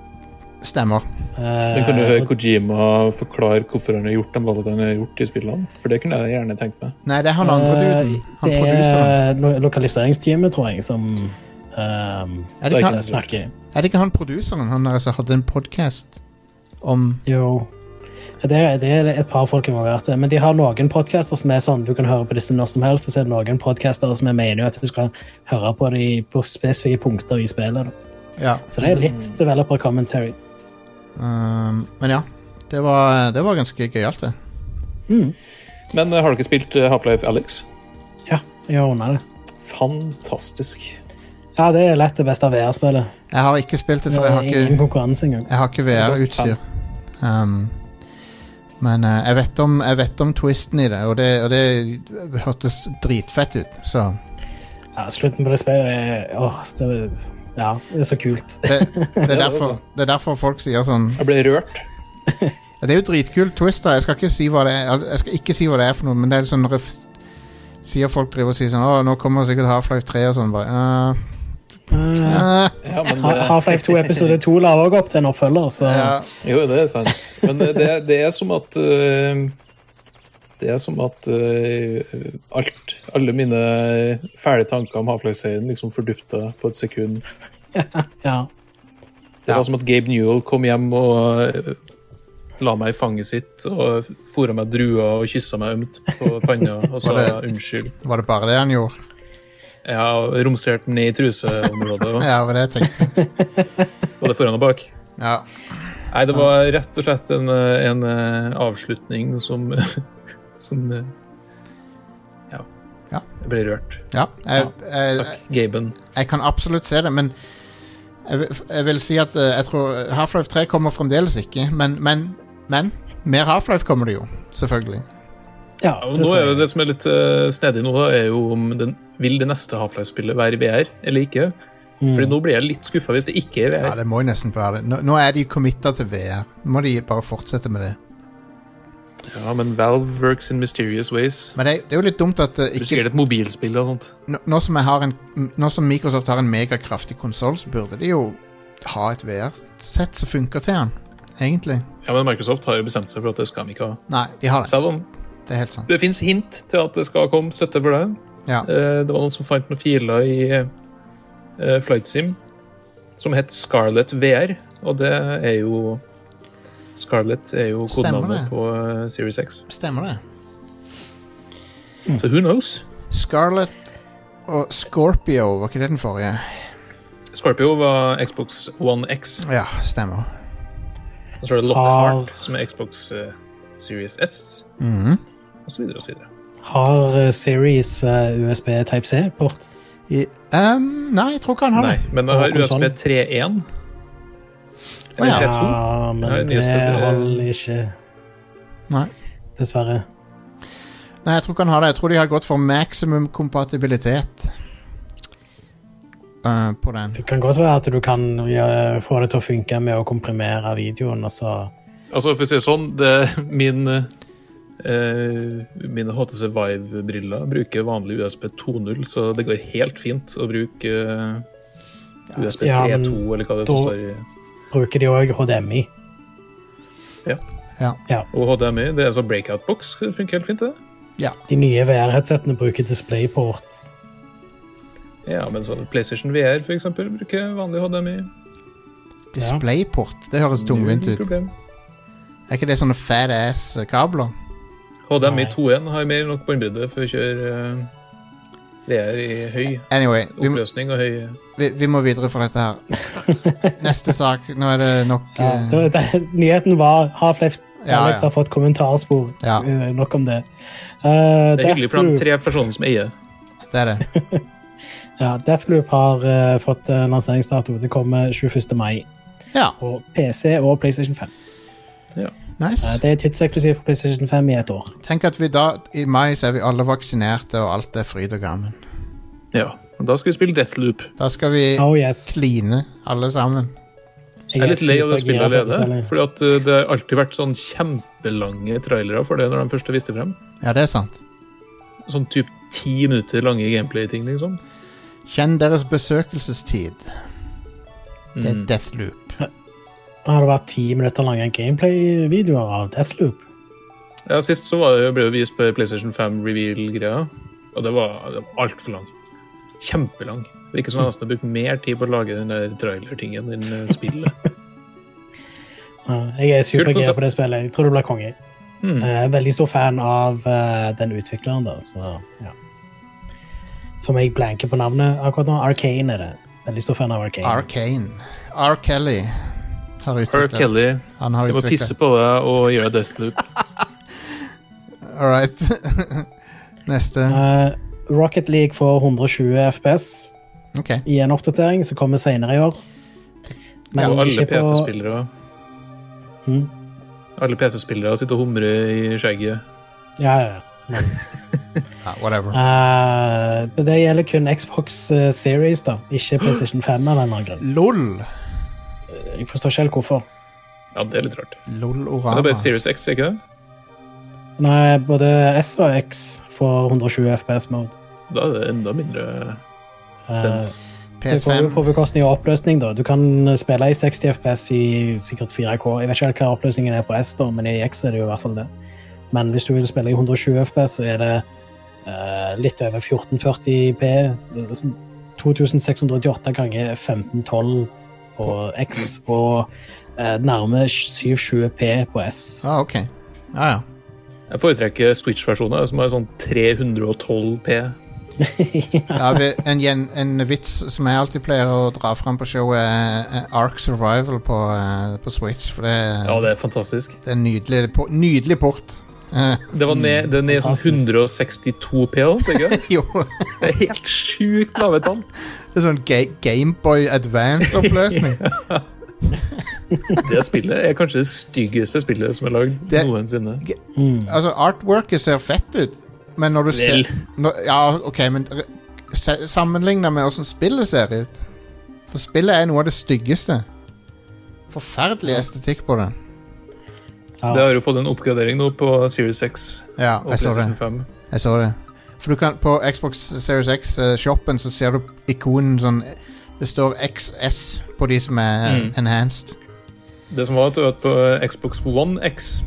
Stemmer.
Den kan du
Eh,
høre
og-
Kojima forklare hvorfor han har gjort de valgene han har gjort i spillene. For det kunne jeg gjerne tenkt meg.
Nei, det er han andre duden.
Eh,
Han
Det
produseren.
er lo- lokaliseringsteamet, tror jeg, som ehm,
Er det, ikke han,
snakker.
er det ikke han produseren? Han der som hadde en podkast om
Jo. Det, er- det er et par folk jeg må være til. Men de har noen podcaster som er sånn, du kan høre på disse når som helst, og så er det noen podcastere som jeg mener jo at du skal høre på de på spesifikke punkter i spillet. Da.
Ja.
Så det er litt developer commentary.
Um, men ja. Det var, det var ganske gøyalt, det.
Men eh, har du ikke spilt eh, Half-Life Alex?
Ja, jeg har unna det.
Fantastisk.
Ja, det er lett det beste av VR-spillet.
Jeg har ikke spilt det,
Det
for jeg
er
har
ingen
ikke,
konkurranse engang.
jeg har ikke VR-utstyr. Um, men eh, jeg, vet om, jeg vet om twisten i det, og det, og det hørtes dritfett ut, så
Ja, slutten på det spillet er Åh, det er Ja, det er så kult.
det, det, er
var
derfor,
bra.
det er derfor folk sier sånn
Jeg ble rørt.
Ja, Det er jo dritkult twist, da. Jeg skal ikke si hva det er, jeg skal ikke si hva det er for noe, men det er sånn røff Sier folk driver og sier sånn Å, nå kommer sikkert Half-Life 3 og sånn. Bare, «Eh,
Uh,
eh,
Ja, men det,
Half-Life 2 episode 2 la også opp til en oppfølger, så
ja,
jo, det er sant. Men det, det, det er som at eh, Det er som at eh, alt Alle mine eh, fæle tanker om Half-Life-serien liksom fordufta på et sekund.
ja.
Det
Ja.
var som at Gabe Newell kom hjem og eh, la meg i fanget sitt og fôra meg druer og kyssa meg ømt på panna og sa
Var det-
unnskyld.
Var det bare det han gjorde?
Ja, og romstrerte den ned i truseområdet, og
Ja, det var det jeg tenkte.
både foran og bak.
Ja.
Nei, det var rett og slett en, eh, en eh, avslutning som Som eh, ja.
Ja.
Jeg ble rørt.
ja jeg, jeg,
Takk, Gaben.
jeg kan absolutt se det, men jeg, vil- jeg vil si at eh, jeg tror Half-Life 3 kommer fremdeles ikke, men, men, men mer Half-Life kommer det jo, selvfølgelig.
ja
Og nå
tror
er jo
jeg.
Det som er litt eh, snedig nå, da, er jo om den, vil det neste Half-Life-spillet være i VR eller ikke. Fordi nå blir jeg litt skuffa hvis det ikke er i VR.
Ja, det må jo nesten være det. Nå, nå er de committa til VR. Nå må de bare fortsette med det.
Ja, men Valve works in mysterious ways.
Men det, det er jo litt dumt at eh,
Du
ikke
sier det er et mobilspill og sånt.
nå, nå, som jeg har en, nå som Microsoft har en megakraftig konsoll, så burde de jo ha et VR-sett som funker til den, egentlig.
Ja, men Microsoft har jo bestemt seg for at det skal de ikke ha.
Nei, de har det.
Selv om
Det er helt sant.
det fins hint til at det skal komme støtte for det.
Ja.
Eh, Det var noen som fant noen filer i eh, Flight Sim som het Scarlet VR, og det er jo Scarlet er jo
Stemmer
kodenavnet
det.
på eh, Series X.
Stemmer det.
Så who knows?
Scarlett og Scorpio, var ikke det den forrige?
Scorpio var Xbox One X,
Ja, stemmer.
og så er det Lockhart som er Xbox eh, Series S,
Mhm.
og så videre og så videre.
Har eh, Series eh, USB Type C-port?
I, ehm, nei, jeg tror ikke han har
Nei,
det.
men jeg har
Og konsolen.
USB 3.1.
Å ja.
Eller
Ja,
3.2. Ja, det eh,
men det
nyeste til-
holder ikke,
Nei.
dessverre.
nei, jeg tror ikke han har det. Jeg tror de har gått for maximum kompatibilitet Eh, på den.
Det kan godt være at du kan eh, få det til å funke med å komprimere videoen, og så
Altså, for å si det sånn, det, min eh, mine HTC Vive-briller bruker vanlig USB 2.0, så det går helt fint å bruke eh, USB
Ja, men
3.2, eller hva det er som
da-
står i.
bruker de òg HDMI.
Ja.
Og HDMI, det er altså breakout box. Det funker helt fint, det.
De nye VR-headsetene bruker DisplayPort.
Ja, men sånn PlayStation VR, for eksempel, bruker vanlig HDMI.
Displayport, det høres tungvint
Null
ut.
problem.
Er ikke det sånne fat ass-kabler?
HDMI
Nei.
2.1 har mer enn nok båndbredde for å kjøre eh, VR i høy
Anyway, vi, må-
oppløsning og høy
vi, vi må videre fra dette her. Neste sak. Nå er det nok
Ja,
eh,
det, det, nyheten var Half-Life
Ja,
Alex
ja.
har fått kommentarspor.
Ja.
Eh, Nok om det. Eh,
Det er hyggelig for de
Deathloop-
tre personene som eier.
Det er det.
Ja, Deathloop har eh, fått eh, lanseringsdato. Det kommer 21. mai
Ja,
på PC og PlayStation 5. Eh,
nice.
det er tidseklusivt på PlayStation 5 i et år.
Tenk at vi da, i mai, så er vi alle vaksinerte, og alt er fryd og gammen.
Ja, og Da skal vi spille Deathloop.
Da skal vi
Oh yes.
kline, alle sammen.
Jeg er litt lei av det spillet
supergira på dette
allerede.
spillet.
fordi at uh, det har alltid vært sånn kjempelange trailere for det når de først er viste frem.
Ja, det er sant.
Sånn typ ti minutter lange gameplay-ting, liksom.
Kjenn deres besøkelsestid. Det
Mm.
er Deathloop.
Nå har det vært ti minutter lange gameplay-videoer av Deathloop.
Ja, Sist så var det, ble det vist på PlayStation 5 Reveal-greia, og det var, det var altfor lang. Kjempelang. Det eh, virker som de nesten har brukt mer tid på å lage den der trailer-tingen enn uh, spillet.
Ja, Jeg er supergira
konsept.
på det spillet. Jeg tror det blir konge.
Mm.
Eh, veldig stor fan av eh, den utvikleren, da. Så, ja. Som jeg blanker på navnet akkurat nå. Arcane er det. Veldig stor fan av Arcane.
Arcane. R. Kelly har
R.
utviklet
Kelly,
Han har
jeg må
utviklet
pisse på deg og gjøre Deathloop.
All right. Neste.
Eh, Rocket League får 120 FPS
OK.
i en oppdatering som kommer senere i år. Men
Og alle
ikke på-
PC-spillere
Mm.
Alle PC-spillere sitter og humrer i skjegget.
Ja, ja, ja. Men,
Ah,
Ja, whatever.
eh, men det gjelder kun Xbox eh, Series, da. Ikke PlayStation 5 av en eller annen grunn.
LOL.
Jeg forstår ikke helt hvorfor.
Ja, det er litt rart. Men det er bare
LOL-orama.
Series X, er ikke det?
Nei, både S og X får 120 FPS mode.
Da er det enda mindre
Eh,
sens.
Det går jo
PS5.
på bekostning av oppløsning, da. Du kan eh, spille i 60 FPS i sikkert 4K. Jeg vet ikke helt hva oppløsningen er på S, da, men i X er det jo i hvert fall det. Men hvis du vil spille i 120 FPS, så er det eh, litt over 1440P. Det er sånn 2688 ganger 1512 på X og eh, nærme 720P på S.
Ah, OK. Ja, ja.
Jeg foretrekker Switch-versjoner som har sånn 312P.
ja vi, en, gjen- en vits som jeg alltid pleier å dra fram på showet, er er Ark Survival på, eh, på Switch. For det,
Ja, det er fantastisk.
det er en nydelig, po- nydelig port. Eh,
Det var ned, det er ned sånn
Fantastisk.
162P òg, tenker jeg.
jo.
Det er helt sjukt lave tall.
Det er sånn ga Gameboy Advance-oppløsning.
Det spillet er kanskje det styggeste spillet som er lagd
Det-
noensinne.
Altså, artworket ser fett ut, men når du
Vel.
ser når, Ja, OK, men re- se- sammenligna med åssen spillet ser ut For spillet er noe av det styggeste. Forferdelig estetikk på det.
Ja.
Det har jo fått en oppgradering nå på Series X
Ja,
og
jeg så det.
PlayStation 5.
Jeg så det. For du kan, på Xbox Series X-shoppen så ser du ikonen sånn Det står XS på de som er
Mm.
enhanced.
Det som var at du vet, på eh, Xbox One X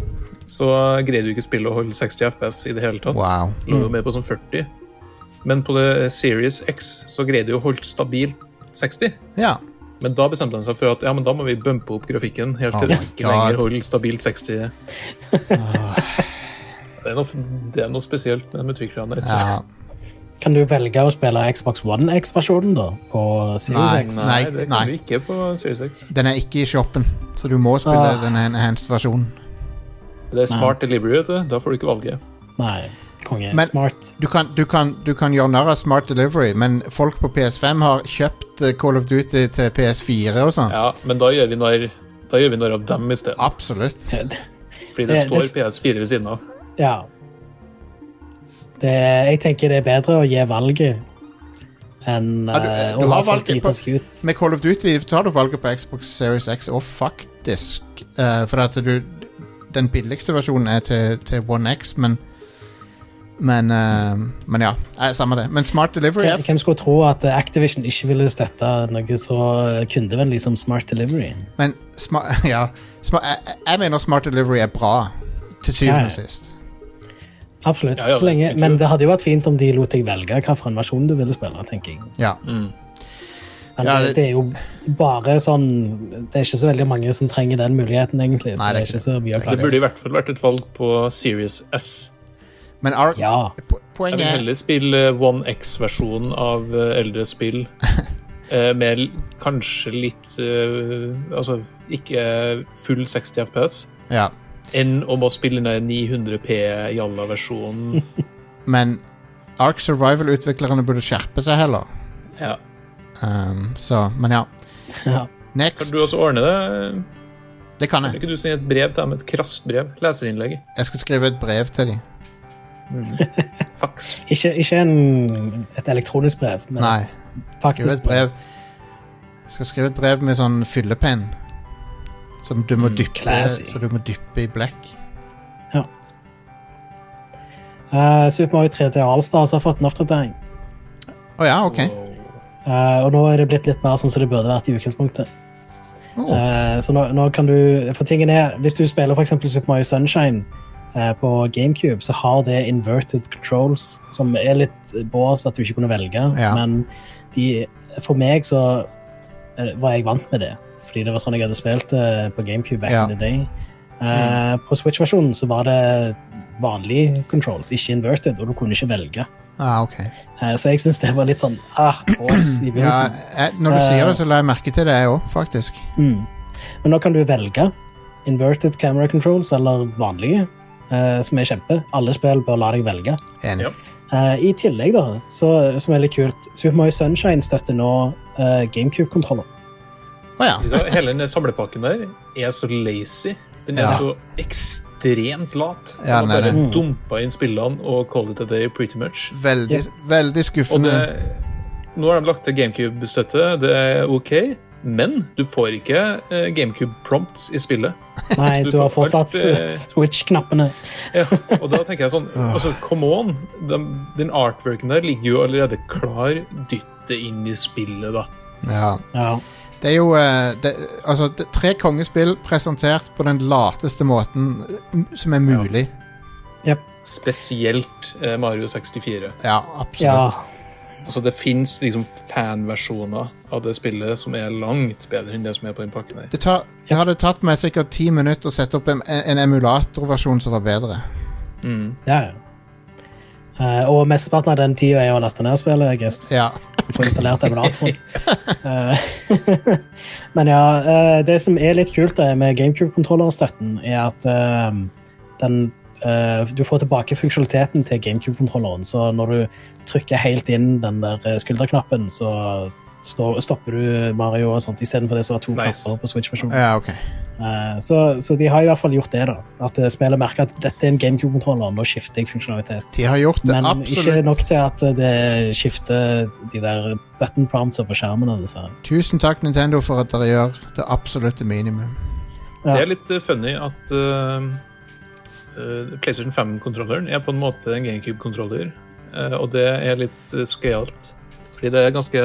så eh, greide du ikke spillet å holde 60 FPS i det hele tatt.
Wow.
Lå jo mer på sånn 40. Men på det Series X så greide du å holde stabilt 60.
Ja.
Men da bestemte han seg for at ja, men da må vi bumpe opp grafikken helt
Oh
til det
my
ikke
God.
lenger holder stabilt 60. Det er, noe, det er noe spesielt med de utviklerne.
ja.
Kan du velge å spille Xbox One X-versjonen, da? På Series
Nei.
X?
Nei, det
nei.
kan du ikke på Series X.
Den er ikke i shoppen, så du må spille
Ah.
den enhanced versjonen.
Det er smart delivery, vet du. Da får du ikke valget.
Nei. Konge.
Men-
Smart.
Du kan, du, kan, du kan gjøre narr av smart delivery, men folk på PS5 har kjøpt eh, Call of Duty til PS4 og sånn.
Ja, men da gjør vi narr da gjør vi narr av dem i stedet.
Absolutt.
Fordi det
Det-
står
det-
PS4 ved siden av.
Ja. Det, jeg tenker det er bedre å gi valget enn
du-
eh,
du
å la
har
folk
valget
drite
på-
seg ut.
Med Call of Duty tar du valget på Xbox Series X, og faktisk eh, For at du Den billigste versjonen er til, til One X, men Men, eh, men ja. Eh, samme det. Men Smart Delivery er
Hvem hvem skulle tro at eh, Activision ikke ville støtte noe så kundevennlig som Smart Delivery?
f- Men sma, ja, sma, jeg, jeg- jeg mener Smart Delivery er bra, til syvende
Ja,
og
ja.
sist.
Absolutt.
Ja, ja,
så lenge,
tenker
men
du.
det hadde jo vært fint om de lot deg velge hvilken versjon du ville spille. tenker jeg.
Ja.
Men
Ja,
det,
det-
det er jo bare sånn Det er ikke så veldig mange som trenger den muligheten, egentlig. Så
Nei, det
det er
er
ikke så mye å
Det
klage
burde i hvert fall vært et valg på Series S.
Men Ar
Ja.
po-
Jeg
poenget
vil
er
heller spille One X-versjonen av eh, eldre spill. Eh, Med l- kanskje litt eh, Altså ikke full 60 FPS.
ja,
Enn om å spille den 900P Jalla-versjonen.
Men Ark Survival-utviklerne burde skjerpe seg heller.
Ja.
Um, så, men ja.
Ja.
Next.
Kan du også ordne det?
Det kan
Kan
jeg.
ikke du sende et brev til dem? Et krast brev? Leserinnlegg? Mm.
Jeg skal skrive et brev til dem.
Fax?
Ikke, ikke en, et elektronisk brev, men
Nei.
et
Skriv
faktisk
et brev. Jeg skal skrive et brev med sånn fyllepenn. Som du må dyppe
Mm, classy.
Så du må dyppe i blekk.
Eh, Super Mario 3D Allstars har fått en oppdatering.
Å ja, OK.
Eh, og nå er det blitt litt mer sånn som det burde vært i utgangspunktet.
Å,
Eh, så nå, nå kan du For tingen er, hvis du spiller for eksempel Super Mario Sunshine eh, på GameCube, så har det inverted controls, som er litt bås at du ikke kunne velge,
Ja.
men de, for meg så eh, var jeg vant med det. fordi det var sånn jeg hadde spilt det på GameCube back
Ja. Mm.
in the day. Eh, På Switch-versjonen så var det vanlige controls, ikke inverted, og du kunne ikke velge.
Ah, ok.
Eh, Så jeg syns det var litt sånn ah, pause i
Ja,
begynnelsen.
jeg, når du
Eh,
sier det, så la jeg merke til det, jeg òg, faktisk.
Mm. Men nå kan du velge inverted camera controls eller vanlige, eh, som er kjempe. Alle spill bør la deg velge.
Enig.
Ja.
Eh, I tillegg, da, så, som er litt kult, Super Mario Sunshine støtter nå eh, GameCube-kontroller.
Å ja.
Da, hele den samlepakken der er så lazy. Den er
Ja.
så ekstremt lat.
Ja,
Den
den er
har bare
det.
dumpa inn spillene og call it a day pretty much.
Veldig, veldig
Og
skuffende.
det, nå har de lagt til GameCube-støtte. Det er OK. Men du får ikke eh, GameCube-prompts i spillet.
Nei,
Du
du har
får
fortsatt
alt, eh,
Switch-knappene.
Ja, og da tenker jeg sånn
Ah.
altså, Come on! Den, den artworken der ligger jo allerede klar. Dytt det inn i spillet, da.
Ja.
Ja.
Det er jo eh, det, Altså, det, tre kongespill presentert på den lateste måten eh, som er mulig.
Spesielt eh, Mario 64.
Ja,
ja.
absolutt.
Altså, det fins liksom fanversjoner av det spillet som er langt bedre enn det som er på den pakken her.
Det, tar, det hadde tatt meg sikkert ti minutter å sette opp en, en emulatorversjon som var bedre.
ja, ja. Eh, og mesteparten av den tida er å laste ned spillet. jeg guess.
Ja.
få installert emulatoren. Eh, Men ja, eh, det som er litt kult eh, med GameCube-kontrollerstøtten, er at eh, den eh, Du får tilbake funksjonaliteten til GameCube-kontrolleren, så når du trykker helt inn den der eh, skulderknappen, så står- stopper du Mario og sånt, istedenfor det som var to
Nice.
knapper på Switch-versjonen.
ja, ok.
Eh, Så, så de har i hvert fall gjort det, da. At eh, spillet merker at dette er en GameCube-kontroller, nå skifter jeg funksjonalitet.
De har gjort det
Men ikke
absolutt.
nok til at det skifter de der button prompter på skjermene, dessverre.
Tusen takk, Nintendo, for at dere gjør det absolutte minimum.
Ja.
Det er litt eh, funny at eh, eh, PlayStation 5-kontrolleren er på en måte en GameCube-kontroller, eh, og det er litt uh, skøyalt. Fordi det er ganske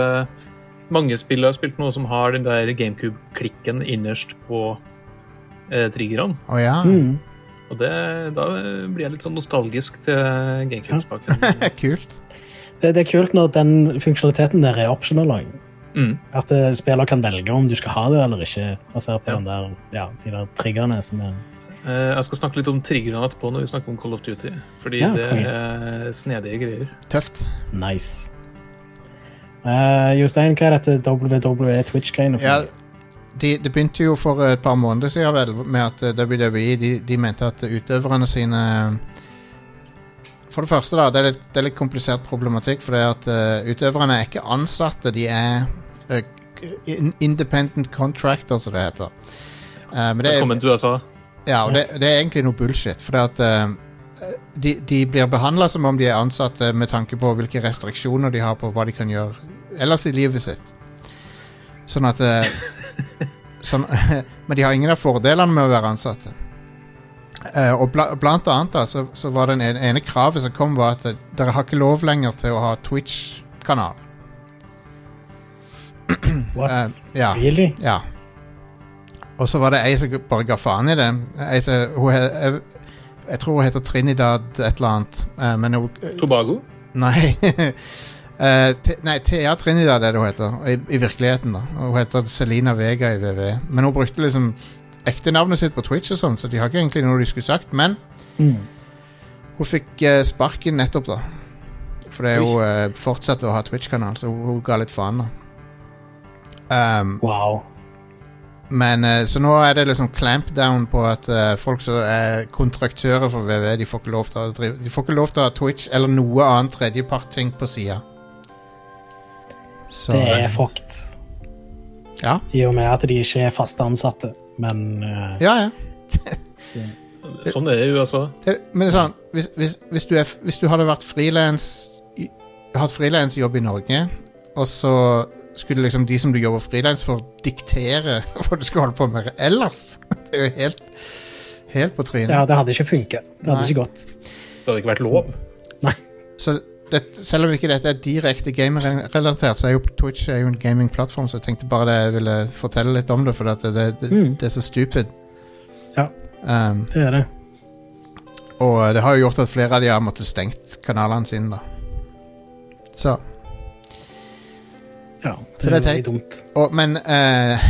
mange spill jeg har spilt nå som har den der GameCube-klikken innerst på uh, triggerne,
Å ja.
Mm.
og det, da blir jeg litt sånn nostalgisk til GameCube-spaken.
Det er kult.
Det, det er kult når den funksjonaliteten der er optional. også.
Mm.
At eh, spiller kan velge om du skal ha det eller ikke, basert på
Ja.
den der, ja, de der triggerne som er
Eh, jeg skal snakke litt om triggerne etterpå når vi snakker om Call of Duty, fordi
Ja,
det
konge.
er snedige greier.
Tøft.
nice. Eh, Jostein, hva er dette WWE Twitch-greiene for?
Ja, de, det begynte jo for et par måneder siden vel, med at eh, WWE de, de mente at utøverne sine For det første, da, det er litt, det er litt komplisert problematikk, for det er at eh, utøverne er ikke ansatte, de er eh, in- independent contractor, som det heter. Eh, men det er,
Velkommen til USA.
ja, og det, det er egentlig noe bullshit, for det at eh, de, de blir behandla som om de er ansatte med tanke på hvilke restriksjoner de har på hva de kan gjøre ellers i livet sitt. Sånn at eh, sånn, Men de har ingen av fordelene med å være ansatte. Eh, og bla, blant annet da, så, så var det en- ene kravet som kom, var at eh, dere har ikke lov lenger til å ha Twitch-kanal.
What?
eh, ja.
Really?
Ja. Og så var det ei som bare ga faen i det. Ei som, hun, he- jeg, jeg tror hun heter Trinidad et eller annet, eh, men hun
Tobago.
Nei. Eh, T- nei, Thea Trinidad er det hun heter i, i virkeligheten. da Og Hun heter Selina Vega i VV. Men hun brukte liksom ekte navnet sitt på Twitch, og sånn så de har ikke egentlig noe de skulle sagt. Men
Mm.
hun fikk eh, sparken nettopp, da. Fordi hun eh, fortsatte å ha Twitch-kanal, så hun, hun ga litt faen, da. Um,
Wow.
Men eh, så nå er det liksom clampdown på at eh, folk som er kontraktører for VV, de får ikke lov til å drive De får ikke lov til å ha Twitch eller noe annet tredjepartting på sida. Så eh,
Det er fucked.
Ja.
I og med at de ikke er fast ansatte, men eh,
Ja, ja.
Sånn er det i USA.
Det, men det er sånn, hvis, hvis, hvis, du er, f- hvis du hadde vært frilans i- Hatt frilansjobb i Norge, og så skulle liksom de som du jobber frilans for, diktere hva du skal holde på med ellers Det er jo helt, helt på trynet.
ja, det hadde ikke funket. Det hadde
Nei.
ikke gått.
Det hadde ikke vært lov.
Så det, selv om ikke dette er direkte gamerelatert, så er jo Twitch er jo en gamingplattform, så jeg tenkte bare det, jeg ville fortelle litt om det, for at det, det, det,
Mm.
det er så stupid.
Ja.
Um,
Det er det.
og det har jo gjort at flere av de har måttet stengt kanalene sine, da. Så,
Ja, det,
Så det er
er veldig
teit.
dumt.
og, Men eh,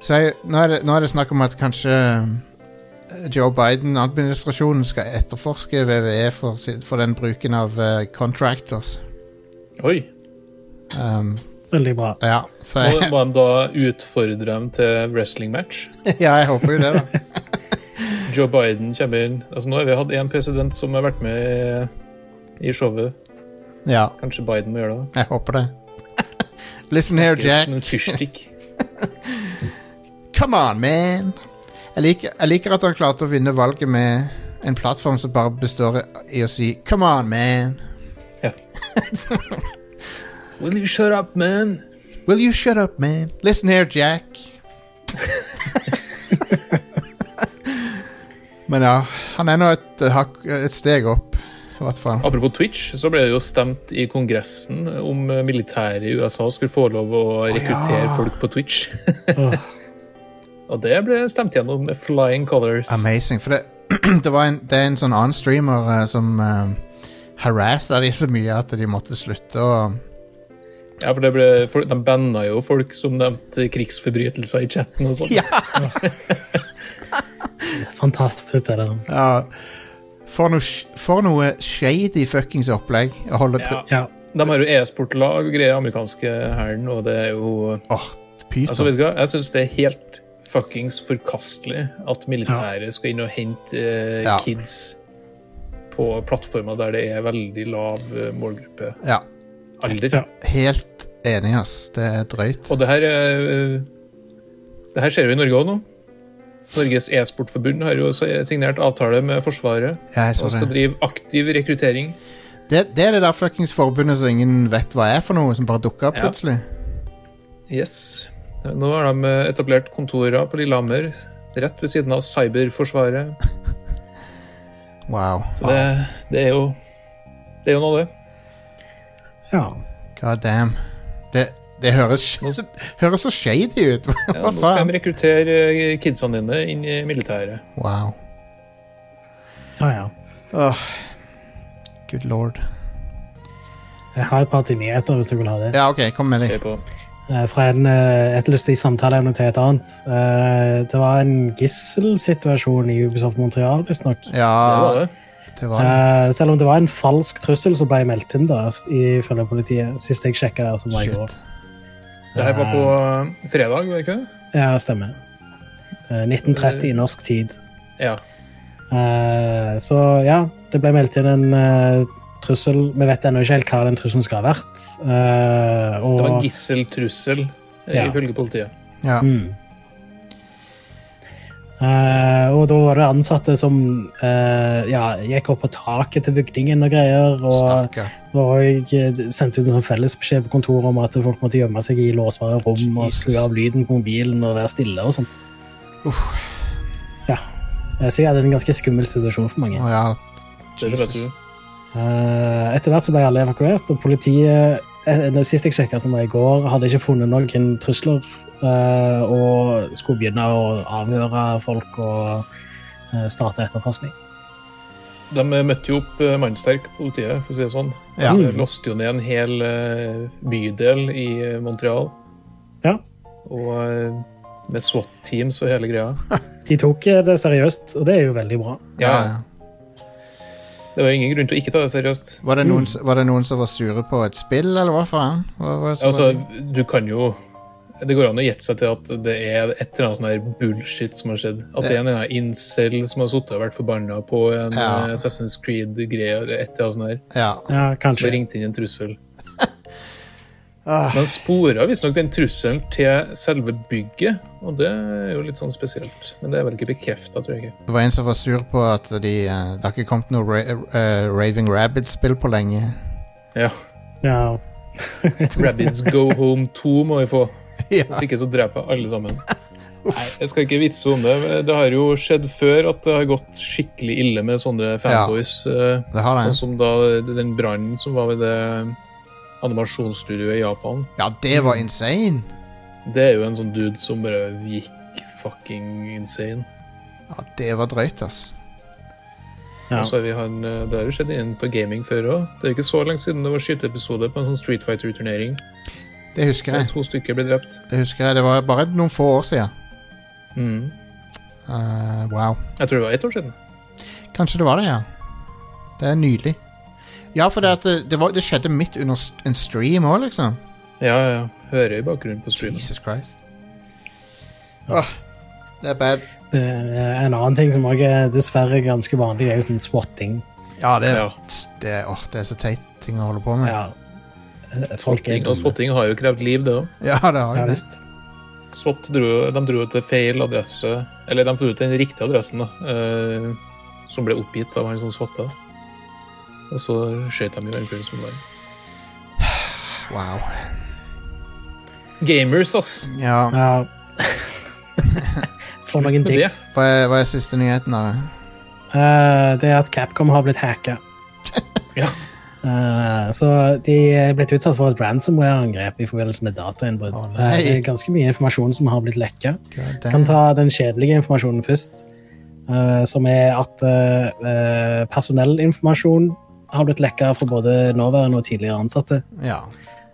Så jeg, nå, er det, nå er det snakk om at kanskje eh, Joe Biden-administrasjonen skal etterforske VVE for, sin- for den bruken av eh, contractors.
Oi.
Um,
Veldig bra.
ja, så
Må,
jeg,
må de da utfordre dem til wrestling-match?
ja, jeg håper jo det, da.
Joe Biden kommer inn Altså Nå har vi hatt én president som har vært med i, i showet.
Ja,
Kanskje Biden må gjøre det?
jeg håper det. Listen here,
Ikke
Jack.
som en fyrstikk.
Come on, man! Jeg liker, jeg liker at han klarte å vinne valget med en plattform som bare består i å si Come on, man!
Will you shut up, man?
Will you shut up, man? Listen here, Jack. Men ja, han er nå et, eh, hakk- et steg opp, i hvert fall.
Apropos Twitch, så ble det jo stemt i Kongressen om eh, militæret i USA skulle få lov å rekruttere
ja.
folk på Twitch.
Åh,
Og det ble stemt gjennom med flying colors.
Amazing. For det, det, var en, det er en sånn annen streamer eh, som uh, harassa de så mye at de måtte slutte å
Ja, for det ble, folk- De banna jo folk som nevnte krigsforbrytelser i chatten og sånn.
Ja.
fantastisk, det der.
ja, For noe, sh- for noe shady fuckings opplegg å holde til.
Ja.
Ja.
De har jo e-sportlag og greier, amerikanske hæren, og det er jo
Åh, pyton.
Altså, vet du hva? Jeg syns det er helt fuckings forkastelig at militæret skal inn og hente eh,
Ja.
kids på plattformer der det er veldig lav eh, målgruppe
ja,
alder.
Ja.
helt enig, ass. Det er drøyt.
Og det her er, eh, Det her skjer jo i Norge òg nå. Norges e-sportforbund har jo også signert avtale med Forsvaret
Ja, jeg så
og skal
det.
drive aktiv rekruttering.
Det, det er det der fuckings forbundet som ingen vet hva er for noe, som bare dukker opp
Ja.
plutselig.
Yes. Nå har de eh, etablert kontorer på Lillehammer, rett ved siden av Cyberforsvaret.
Wow.
Så det, det er jo Det er jo noe, det.
ja.
God damn. Det, det høres, høres så shady ut.
Ja,
Hva
nå skal
faen?
de rekruttere eh, kidsene dine inn i militæret.
Wow.
Ja, ja.
Åh. Good lord.
Jeg har et par til nyheter, hvis du vil ha det.
Ja, OK, kom med
Se
deg.
på.
Eh, Fra en, eh, et lystig samtaleevne til et annet. Eh, Det var en gisselsituasjon i Ubisoft Montreal, visstnok.
Det var
Ja,
det.
det var det.
Eh, selv om det var en falsk trussel som ble meldt inn, da, ifølge politiet. Sist jeg sjekka der, som var i går.
Shit.
Det her var på eh, fredag, var det ikke det?
Ja, stemmer. Eh, 1930 i norsk tid.
Ja.
Eh, så ja, det ble meldt inn en eh, trussel. Vi vet ennå ikke helt hva den trusselen skal ha vært. Eh, og,
Det var en gisseltrussel, eh,
Ja.
ifølge politiet.
Ja.
Mm. Eh, og da var det ansatte som eh, ja, gikk opp på taket til bygningen og greier. Og,
Stakkar.
og eh, sendte ut en sånn fellesbeskjed på kontoret om at folk måtte gjemme seg i låsbare rom og
Jesus.
skru av lyden på mobilen og være stille og sånt. Ja. Jeg sier at det er en ganske skummel situasjon for mange.
Å ja.
Det vet du.
Jesus.
Eh, Etter hvert så ble alle evakuert, og politiet eh, det Sist jeg sjekka, som var i går, hadde ikke funnet noen trusler. eh, Og skulle begynne å avhøre folk og eh, starte etterforskning.
De eh, møtte jo opp eh, mannsterk politiet, for å si det sånn.
Ja.
De låste jo ned en hel eh, bydel i eh, Montreal.
Ja.
Og eh, med SWAT-teams og hele greia.
De tok eh, det seriøst, og det er jo veldig bra.
Ja,
Ja,
ja.
Det var ingen grunn til å ikke ta det seriøst.
Var, det noen, s- var det noen som var sure på et spill, eller hva faen? Hva var det som
Altså,
var-
du kan jo Det går an å gjette seg til at det er et eller annet sånn her bullshit som har skjedd. At det er en eller annen incel som har sittet og vært forbanna på en
Ja.
eh, Assassin's Creed-greie eller et eller annet sånt her.
ja.
Ja,
Som har
kanskje.
ringt inn en trussel.
Ah.
Man spora visstnok den trusselen til selve bygget, og det er jo litt sånn spesielt. Men det er vel ikke bekrefta, tror jeg ikke.
Det var en som var sur på at de, eh, det har ikke kommet noe ra eh, Raving Rabbids-spill på lenge.
Ja.
Ja.
Rabbids Go Home 2 må vi få.
ja.
Hvis ikke så dreper jeg alle sammen. Nei, jeg skal ikke vitse om det. Det har jo skjedd før at det har gått skikkelig ille med sånne fanboys. eh,
Det har
Sånn
det.
som da den brannen som var ved det animasjonsstudioet i Japan.
Ja, det var insane!
Det er jo en sånn dude som bare gikk fucking insane.
Ja, det var drøyt, ass.
ja.
Og så har vi han, eh, Det har jo skjedd innenfor gaming før òg. Det er ikke så lenge siden det var skyteepisode på en sånn Street Fighter-turnering.
Det husker
der
jeg.
To stykker ble drept.
Det husker jeg, det var bare noen få år siden.
Mm.
Eh, wow.
Jeg tror det var ett år siden.
Kanskje det var det, ja. Det er nylig. Ja, for det, at det, det, var, det skjedde midt under st- en stream òg, liksom.
Ja, ja, ja. Hører i bakgrunnen på streamen.
Jesus Christ. Åh, det er bad.
Det er en annen ting som også er dessverre ganske vanlig, det er jo sånn swatting.
Ja, det,
Ja.
Det, er- åh, det er så teit ting å holde på med. Ja,
Ja. Eh, Folk er
Swatting og
dumme.
swatting har jo krevd liv, det òg.
det har
Ja,
jeg. det.
visst.
Swat dro, de dro til feil adresse, eller de dro til den riktige adressen, da, eh, som ble oppgitt av han som swatta. Og så skjøt de jo den fyren som var
Wow.
Gamers, ass!
Ja,
Ja. Får noen
Med
dicks.
hva er, hva er siste nyheten av det?
Eh, det er at Capcom har blitt hacka.
Ja.
Eh, så de er blitt utsatt for et ransomware-angrep i forbindelse med datainnbrudd.
Å, nei.
Eh, det er ganske mye informasjon som har blitt lekka.
God
kan
damn.
ta den kjedelige informasjonen først, eh, som er at eh, eh, personellinformasjon har blitt lekka fra både nåværende og tidligere ansatte.
Ja.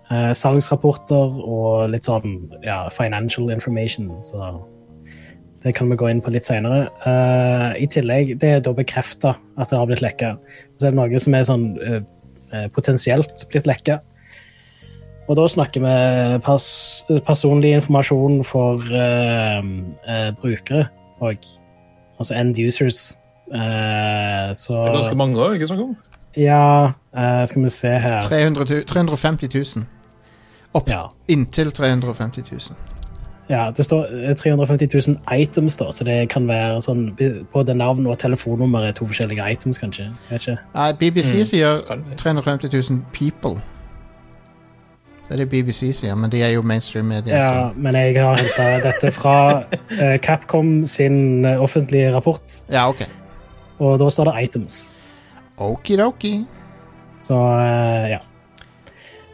Eh, salgsrapporter og litt sånn ja, financial information. Så det kan vi gå inn på litt seinere. I tillegg, det er da bekrefta at det har blitt lekka. Så er det noe som er sånn eh, eh, potensielt blitt lekka. Og da snakker vi pers personlig informasjon for eh, eh, brukere og altså end users. Eh, så
Det er ganske mange òg, ikke sant? Kom?
Ja, eh, skal vi se her.
300, tu- 350 000. Opp
Ja.
inntil 350 000.
Ja, det står eh, 350 000 items, da, så det kan være sånn Både navn og telefonnummer er to forskjellige items, kanskje. Jeg Vet ikke.
Nei, BBC sier
Mm. Kan det.
350 000 people. Det er det BBC sier, men de er jo mainstream media.
Ja,
så-
men jeg har henta dette fra eh, Capcom sin eh, offentlige rapport,
Ja, ok.
og da står det items.
Okidoki.
Så eh, ja.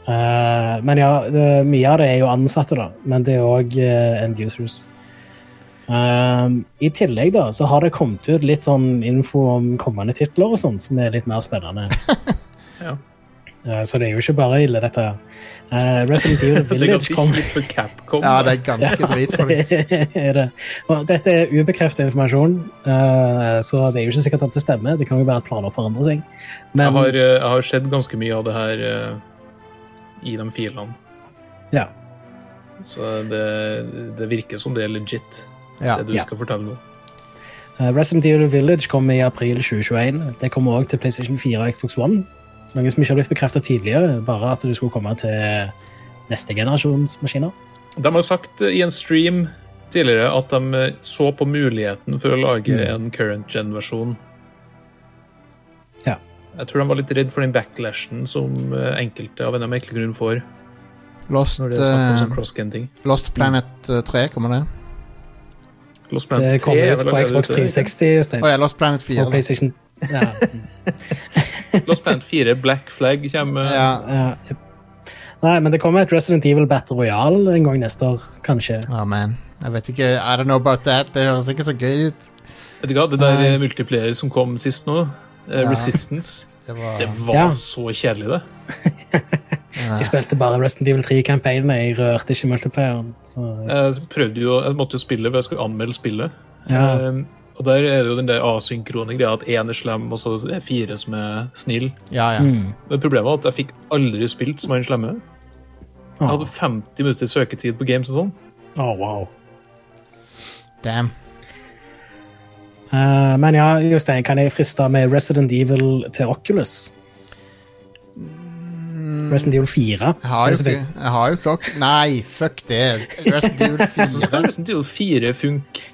Eh, men ja, det, mye av det er jo ansatte, da. Men det er òg end users. Ehm, I tillegg da, så har det kommet ut litt sånn info om kommende titler og sånn, som er litt mer spennende.
Ja.
Eh, Så det er jo ikke bare ille, dette. her. Eh, Resident Evil
Det er
Village
ganske
kom.
kjipt for Capcom.
Ja, det er ganske drit for dem.
er det. Og dette er ubekreftet informasjon, eh, så det er jo ikke sikkert at det stemmer. Det kan jo være at planer forandrer seg.
jeg,
Men
har, eh, jeg har sett ganske mye av det her eh, i de filene,
ja,
så det, det virker som det er legit,
Ja.
det du
Ja.
skal fortelle nå.
Eh, Resident Evil Village kom i april 2021. Det kommer også til PlayStation 4 og Xbox One. Noe som ikke har blitt bekreftet tidligere, bare at det skulle komme til neste generasjons maskiner.
De har sagt eh, i en stream tidligere at de eh, så på muligheten for å lage
Mm.
en current gen-versjon.
Ja.
Jeg tror de var litt redd for den backlashen som eh, enkelte av en merkelig grunn får.
Lost,
når det er snakk om
eh,
sånn cross-genting.
Lost Planet eh, 3, kommer det?
Lost
Det
Planet 3
kommer
er
ut
vel
på
allerede
Xbox
ute.
360 Stein,
Å ja, Lost Planet 4.
og
da.
PlayStation ja.
Lost Planet 4, Black Flag, kommer
Ja,
Ja, jep. Nei, men det kommer et Resident Evil Battle Royale en gang neste år, kanskje.
Ja, man. Jeg vet ikke. I don't know about that. Det høres ikke så gøy ut.
Vet du hva, det der
Nei.
multiplayer som kom sist nå, eh,
Ja.
Resistance,
Det var
det var
Ja.
så kjedelig, det.
Jeg spilte bare Resident Evil 3-campaignene, jeg rørte ikke multiplayeren. Så,
Jeg Eh, prøvde jo, jeg måtte jo spille, for jeg skulle anmelde spillet.
Ja.
Eh, og der er det jo den der asynkrone greia at én er slem, og så er fire som er snill.
Ja, ja.
Mm.
Men problemet var at jeg fikk aldri spilt som han slemme. Jeg
Åh,
hadde 50 minutter søketid på games og sånn.
åh, wow.
Damn.
Eh, men ja, Jostein, kan jeg friste med Resident Evil til Oculus?
Mm.
Resident Evil 4,
Jeg har jo ikke,
spesifikt.
jeg har jo ikke ok- Nei, fuck det. Resident Evil
Så skal
4.
Resident Evil 4 funke.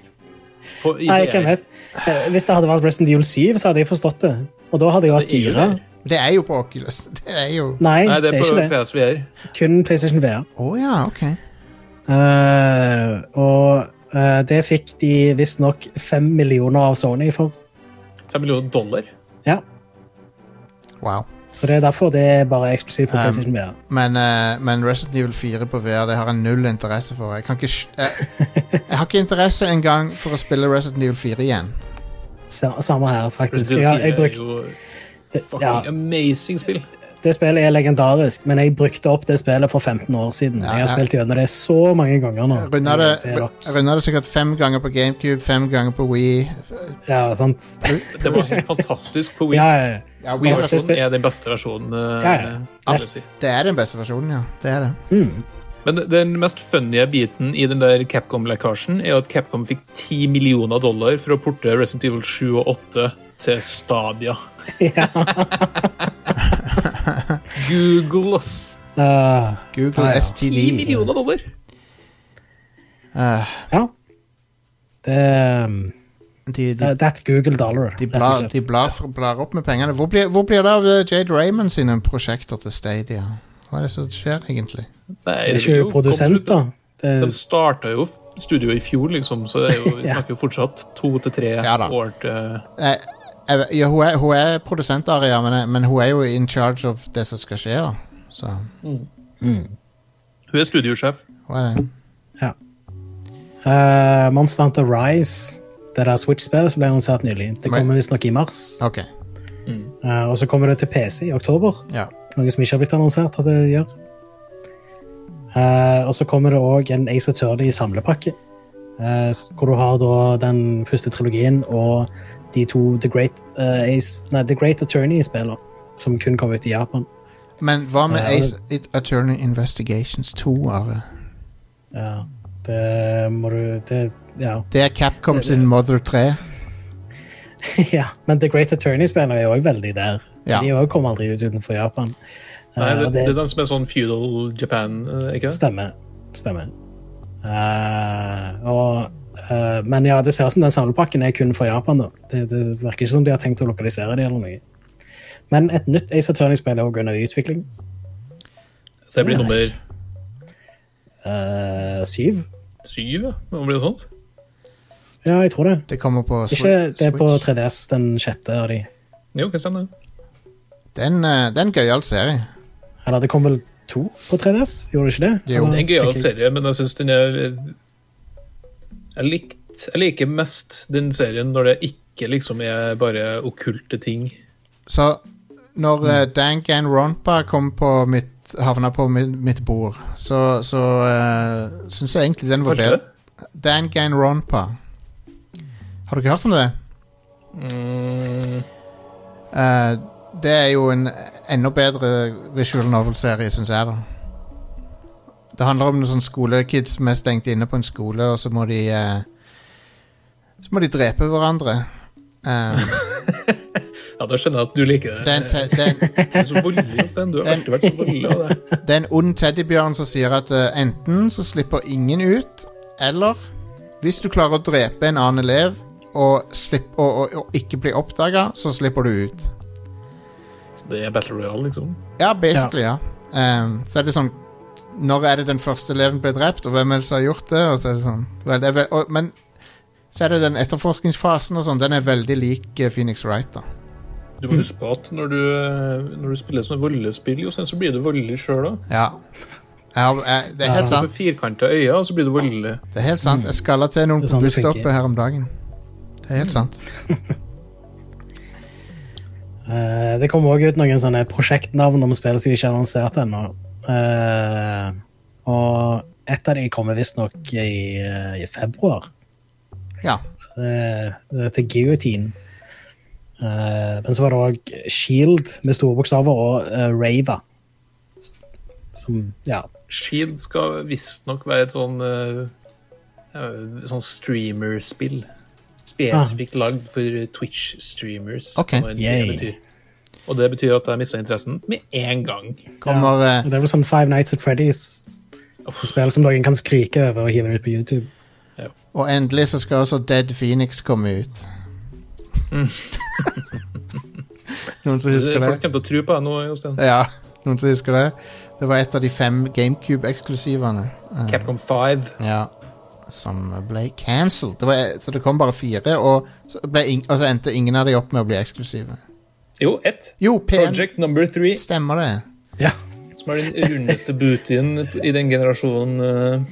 på- i
Nei,
VR.
hvem vet. Eh, Hvis det hadde vært Resident Evil 7, så hadde jeg forstått det. Og da hadde jeg hatt
Det er jo
4.
der.
Det er jo på Oculus. Det er jo Å
Nei,
Nei, det er
ikke
på
det.
PSVR.
Kun PlayStation VR.
ja, ok.
Eh, og eh, det fikk de visstnok fem millioner av Sony for.
5 millioner dollar.
Ja,
Wow.
Så det er derfor det er bare eksklusivt på
Um,
PlayStation E VR.
Men, eh, men Resident Evil 4 på VR det har jeg null interesse for. Jeg, kan ikke, sj- jeg, jeg har ikke interesse engang for å spille Resident Evil 4 igjen.
Sa- Samme her, faktisk.
Resident
Jeg, har-
Evil
jeg
4 er
brukte
jo
det-
fucking
ja,
amazing spill.
det spillet er legendarisk, men jeg brukte opp det spillet for 15 år siden.
Ja,
jeg har
ja.
spilt gjennom det så mange ganger nå.
Jeg Runda
Det
det,
er nok-
runda det sikkert fem ganger på GameCube, fem ganger på Wii.
Ja, sant.
Det var helt fantastisk på Wii.
Ja, ja, ja.
Ja, Wii
Ja,
versjonen
Wii-versjonen er den beste versjonen. eh,
Ja, ja.
vil jeg
Lett.
si.
Det er den beste versjonen, ja. Det er det.
Mm.
Men den mest funny biten i den der Capcom-lekkasjen er at Capcom fikk 10 millioner dollar for å porte Resident Evil 7 og 8 til Stadia.
ja.
Google, ass!
Uh,
Google
Ja, ja.
10
STD.
millioner dollar!
Eh,
ja. Det um,
de, de,
uh, That Google dollar,
de,
rett og
blar,
slett.
de blar, f- blar opp med pengene. Hvor blir, hvor blir det av eh, Jade Raymond sine prosjekter til Stadia? Hva er det som skjer, egentlig?
Nei,
Det er
er
ikke
jo-
produsenter. Det,
De starta jo studioet i fjor, liksom, så det er jo, vi
Ja.
snakker jo fortsatt to til tre
Ja da.
år til
Eh, jeg vet- ja, hun, er, hun er produsent, Aria, men, jeg- men hun er jo in charge of det som skal skje, da. Så
Hun er studiosjef.
hva er det?
ja. uh, Monster Hunter Rise, det der Switch-spillet som ble annonsert nylig, det
Men-
kommer visstnok i mars.
OK.
Uh, og så kommer det til PC i oktober.
Ja.
Noe som ikke har blitt annonsert at det gjør. Eh, og så kommer det òg en Ace Attorney samlepakke. eh, s- hvor du har da den første trilogien og de to The Great, eh, Ace, nei, The Great Attorney-spillene. Som kun kom ut i Japan.
Men hva med
Ja, det-
Ace It- Attorney Investigations 2? Are?
Ja, det må du det, ja.
Det er Capcom sin Mother 3.
ja. Men The Great Attorney-spillene er jo òg veldig der.
Ja.
De òg kom aldri ut utenfor Japan. Eh,
Nei, det,
og
det er de som er sånn feudal Japan, eh, ikke det?
Stemmer. Stemmer. Eh, og, eh, men ja, det ser ut som den samlepakken er kun for Japan. da. Det, det virker ikke som de har tenkt å lokalisere det eller noe. Men et nytt Ace Attorney-spill er også under utvikling.
Så det blir nummer
Nice. Eh, syv?
syv, ja. Hva blir det sånt?
Ja, jeg tror det.
Det kommer på Swi-
Ikke, det er på
Switch.
3DS, den sjette av de.
Jo, kan stemme det.
Det er en, eh, det er en gøyal serie.
Eller det kom vel to på 3DS? Gjorde det ikke det?
Jo.
Det er en
tenker
gøyal
jeg-
serie, men jeg syns den er jeg, likt, jeg liker mest den serien når det ikke liksom er bare okkulte ting.
Så når eh, Dank and Ronpa kom på mitt havna på mitt, mitt bord, så, så eh, syns jeg egentlig den var
Kanskje
bedre. Dank and Ronpa. Har du ikke hørt om det?
Mm,
Eh, det er jo en enda bedre visual novel-serie, syns jeg, da. Det handler om noen sånne skolekids som er stengt inne på en skole, og så må de eh, Så må de drepe hverandre. Eh,
ja, da skjønner jeg at du liker
det, er
det.
en te det, er en,
Du er så voldelig, Sten. Du har
Den-
alltid vært så voldelig av det.
det er en ond teddybjørn som sier at eh, enten så slipper ingen ut, eller hvis du klarer å drepe en annen elev og, slipp, og, og, og ikke bli oppdaga, så slipper du ut.
Det er Battle Royale, liksom.
Ja, basically, ja. Ehm, så er det sånn Når er det den første eleven ble drept, og hvem er det som har gjort det? Og så er det sånn vel, det er vel, og, Men så er det den etterforskningsfasen og sånn, den er veldig lik eh, Phoenix Wright, da.
Du må huske på at når du, når du spiller sånne voldespill, Jostein, så blir du voldelig sjøl òg.
Ja. Jeg har, jeg, det er helt
Du får
sant.
firkanta øyne, og så blir du voldelig.
Det er helt sant. Jeg skalla til noen
Det er
på
sånn det
busstoppet
funker.
her om dagen. Det er helt sant.
Eh, det kommer også ut noen sånne prosjektnavn om spill som de ikke har annonsert ennå. Eh, og et av de kommer visstnok i, eh, i februar.
Ja.
Eh, det er til Guillotine. Eh, men så var det òg Shield med store bokstaver og eh, Rava. S- Som Ja.
Shield skal visstnok være et sånn eh, eh, sånn streamerspill. Spesifikt lagd for Twitch-streamers.
Ok.
hva enn
Yay.
det betyr. Og det betyr at jeg mista interessen med en gang.
Kommer
ja.
eh,
Og Det er vel sånn Five Nights at Freddy's. Spill som noen kan skrike over og hive ut på YouTube.
Og endelig så skal også Dead Phoenix komme ut.
Mm.
Noen som husker det?
Folk kommer til å tro på deg nå, Jostein.
Ja, noen som husker det? Det var et av de fem GameCube-eksklusivene. Eh,
Capcom 5.
ja, som ble cancelled. Det var, så det kom bare fire, og så, ble ing, og så endte ingen av de opp med å bli eksklusive.
Jo, ett.
Jo, PN
Project number three.
stemmer det.
Ja.
Som er den rundeste bootyen i den generasjonen. eh,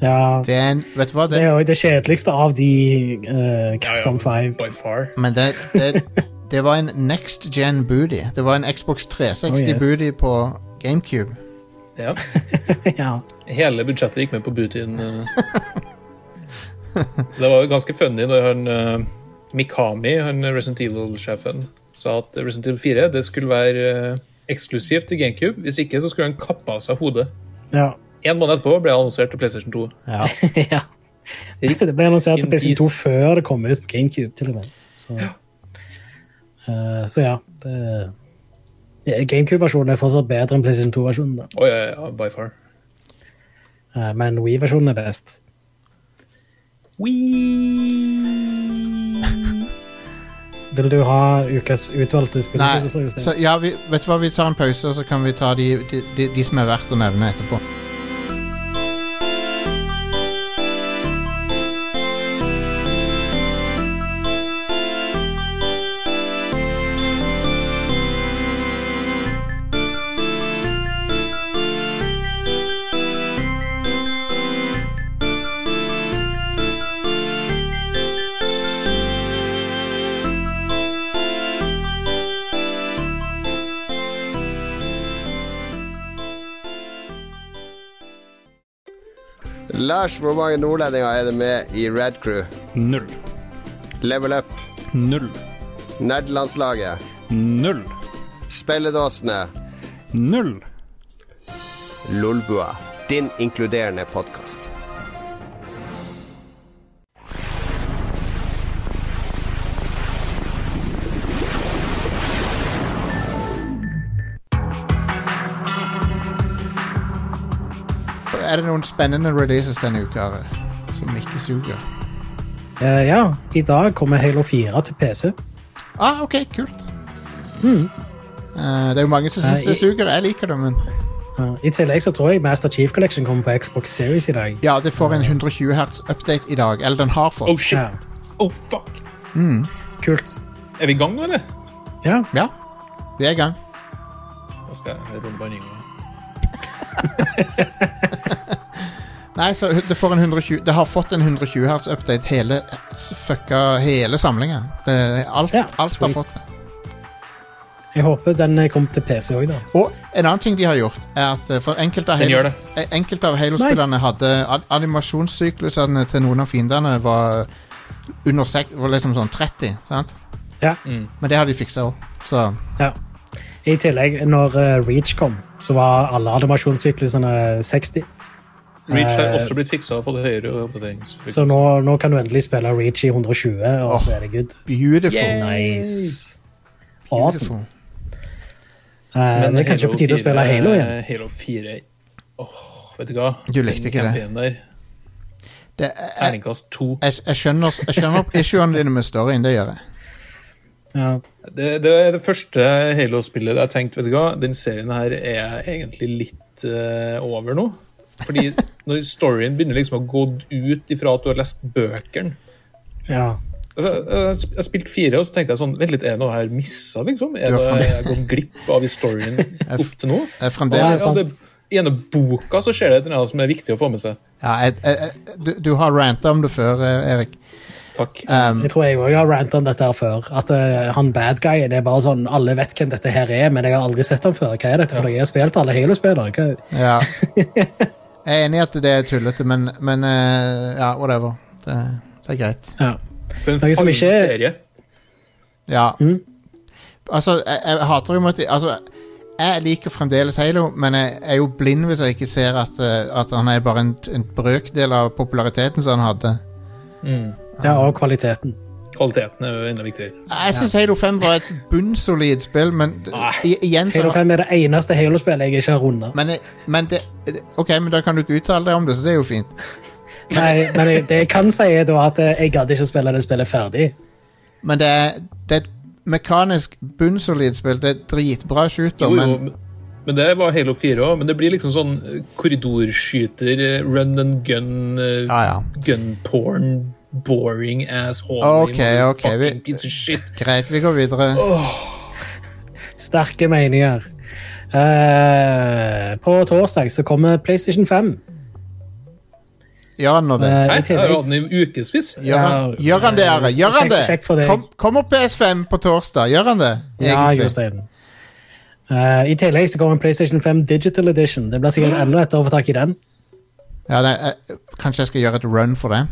ja.
det er en, vet du hva,
Det
det,
er jo det kjedeligste av de eh, Capcom 5.
by far.
men det, det, Det var en next gen booty. Det var en Xbox 360
Oh, yes.
booty på GameCube.
Ja.
ja.
Hele budsjettet gikk med på bootyen. eh. Det var jo ganske funny når han eh, Mikami, han Resident Evil-sjefen, sa at Resident Evil 4 det skulle være eh, eksklusivt til GameCube. Hvis ikke så skulle han kappe av seg hodet.
Ja.
En måned etterpå ble det annonsert til PlayStation 2.
Ja.
ja. Det ble annonsert til
Indies.
PC2 før det kom ut på GameCube, til og med. Så ja. så ja det... Ja, GameCube-versjonen er fortsatt bedre enn PlayStation 2-versjonen, da.
Oi, ja, ja, by far.
Eh, men Wii-versjonen er best. Vil du ha ukas utvalgte
Nei,
spillere?
så ja, vi, vet du hva, vi tar en pause, og så kan vi ta de, de, de, de som er verdt å nevne etterpå.
Lars, hvor mange nordlendinger er det med i Red Crew?
Null.
Level Up,
Null.
Nerdelandslaget,
Null.
Spelledåsene,
Null.
Lolbua. Din inkluderende podkast.
Er det noen spennende releases denne uka Are, som ikke suger?
Eh, ja, i dag kommer Halo 4 til PC.
Ah, OK, kult. Eh, det er jo mange som syns
Hmm. Eh,
det
i-
suger. Jeg liker det, men
Eh, I tillegg så tror jeg Master Chief Collection kommer på Xbox Series i dag.
Ja, det får en 120 hertz update i dag. Eller den har
Oh
fått.
shit!
Ja.
Oh fuck!
Kult.
Er vi i gang nå, eller?
Ja,
Ja, vi er i gang.
Nå skal jeg rulle bare en gang.
Nei, så det får en 120 Det har fått en 120 hertz update hele eh, fucka hele samlinga. Det- Alt,
Ja,
alt har
sweet.
fått det.
jeg håper den eh, kommer til PC òg, da.
Og en annen ting de har gjort, er at eh, for enkelte av
Den gjør
Halo- eh, enkelte av Halo-spillerne hadde ad- animasjonssyklusene til noen av fiendene var under sek var liksom sånn 30, sant?
Ja.
Mm.
Men det har de fiksa òg, så
Ja. I tillegg, når eh, Reach kom, så var alle animasjonssyklusene 60.
Reach har
Eh,
også blitt fiksa og fått høyere oppdateringsfrekvens.
Så nå, nå kan du endelig spille Reach i 120, og
Åh.
så er det good.
beautiful.
Nice. Awesome.
beautiful.
Eh, det er kanskje
Halo
på tide å
4,
spille Halo igjen.
eh, Halo 4 Åh, vet du hva?
Du likte
Den
ikke det.
campaignen Der,
Det, jeg,
terningkast 2.
jeg, jeg skjønner, jeg skjønner issuene dine med storyen, det gjør jeg.
Ja.
Det, det er det første Halo-spillet jeg tenkte, vet du hva, den serien her er egentlig litt eh, over nå. Fordi når storyen begynner liksom å gå ut ifra at du har lest bøkene
ja.
altså, Jeg jeg spilte fire, og så tenkte jeg sånn Vent litt, er noe her missa, liksom? Er
Du har
det,
faen-
jeg går glipp av i storyen opp til nå?
jeg
Ja,
fremdeles
ja, det, I denne boka så skjer det et eller annet som er viktig å få med seg.
ja, jeg, jeg, jeg, du, du har ranta om det før, eh, Erik.
Takk.
Um,
Jeg tror jeg òg har ranta om dette her før. At eh, han bad guyen er bare sånn Alle vet hvem dette her er, men jeg har aldri sett ham før. Hva er dette? For jeg har spilt alle Halo-spillere. Hva-
Ja. Jeg er enig i at det er tullete, men, men eh, ja, whatever. Det, det er greit.
Ja.
For en
Noe som
fangen
ikke er-
serie.
Ja.
Mm.
Altså, jeg, jeg hater jo at de- Altså, jeg liker fremdeles Halo, men jeg er jo blind hvis jeg ikke ser at, eh, at han er bare en, en brøkdel av populariteten som han hadde.
Ja, og kvaliteten.
Kvaliteten er jo enda viktigere.
Jeg syns Halo 5 var et bunnsolid spill, men d-
Ah.
i, igjen så
Halo 5 er det eneste Halo-spillet jeg ikke har runda.
Men, jeg- men det OK, men da kan du ikke uttale deg om det, så det er jo fint.
Nei, men jeg, det jeg kan si, er da at eh, jeg gadd ikke spille det spillet ferdig.
Men det er, det er et mekanisk bunnsolid spill. Det er et dritbra shooter,
Jo,
men
jo, men, men det var Halo 4 òg. Men det blir liksom sånn eh, korridorskyter, eh, run and gun, eh,
Ja, ja.
gun porn, boring ass holy
Ah, Ok, ok,
motherfucking
vi-
piece of shit.
Greit, vi går videre.
Sterke meninger. Eh, på torsdag så kommer PlayStation 5.
Gjør han nå det?
Eh, i
Nei, jeg har
tillegg-
hatt den i ukevis.
Gjør han, gjør han det, Are? Gjør han
Sjekk-
det?
sjekk for deg.
Kom, kommer PS5 på torsdag? Gjør han det?
Ja,
Egentlig.
Jostein. Eh, I tillegg så kommer PlayStation 5 Digital Edition. Det blir sikkert enda lettere å få tak i den.
Ja, nei, jeg, kanskje jeg skal gjøre et run for den?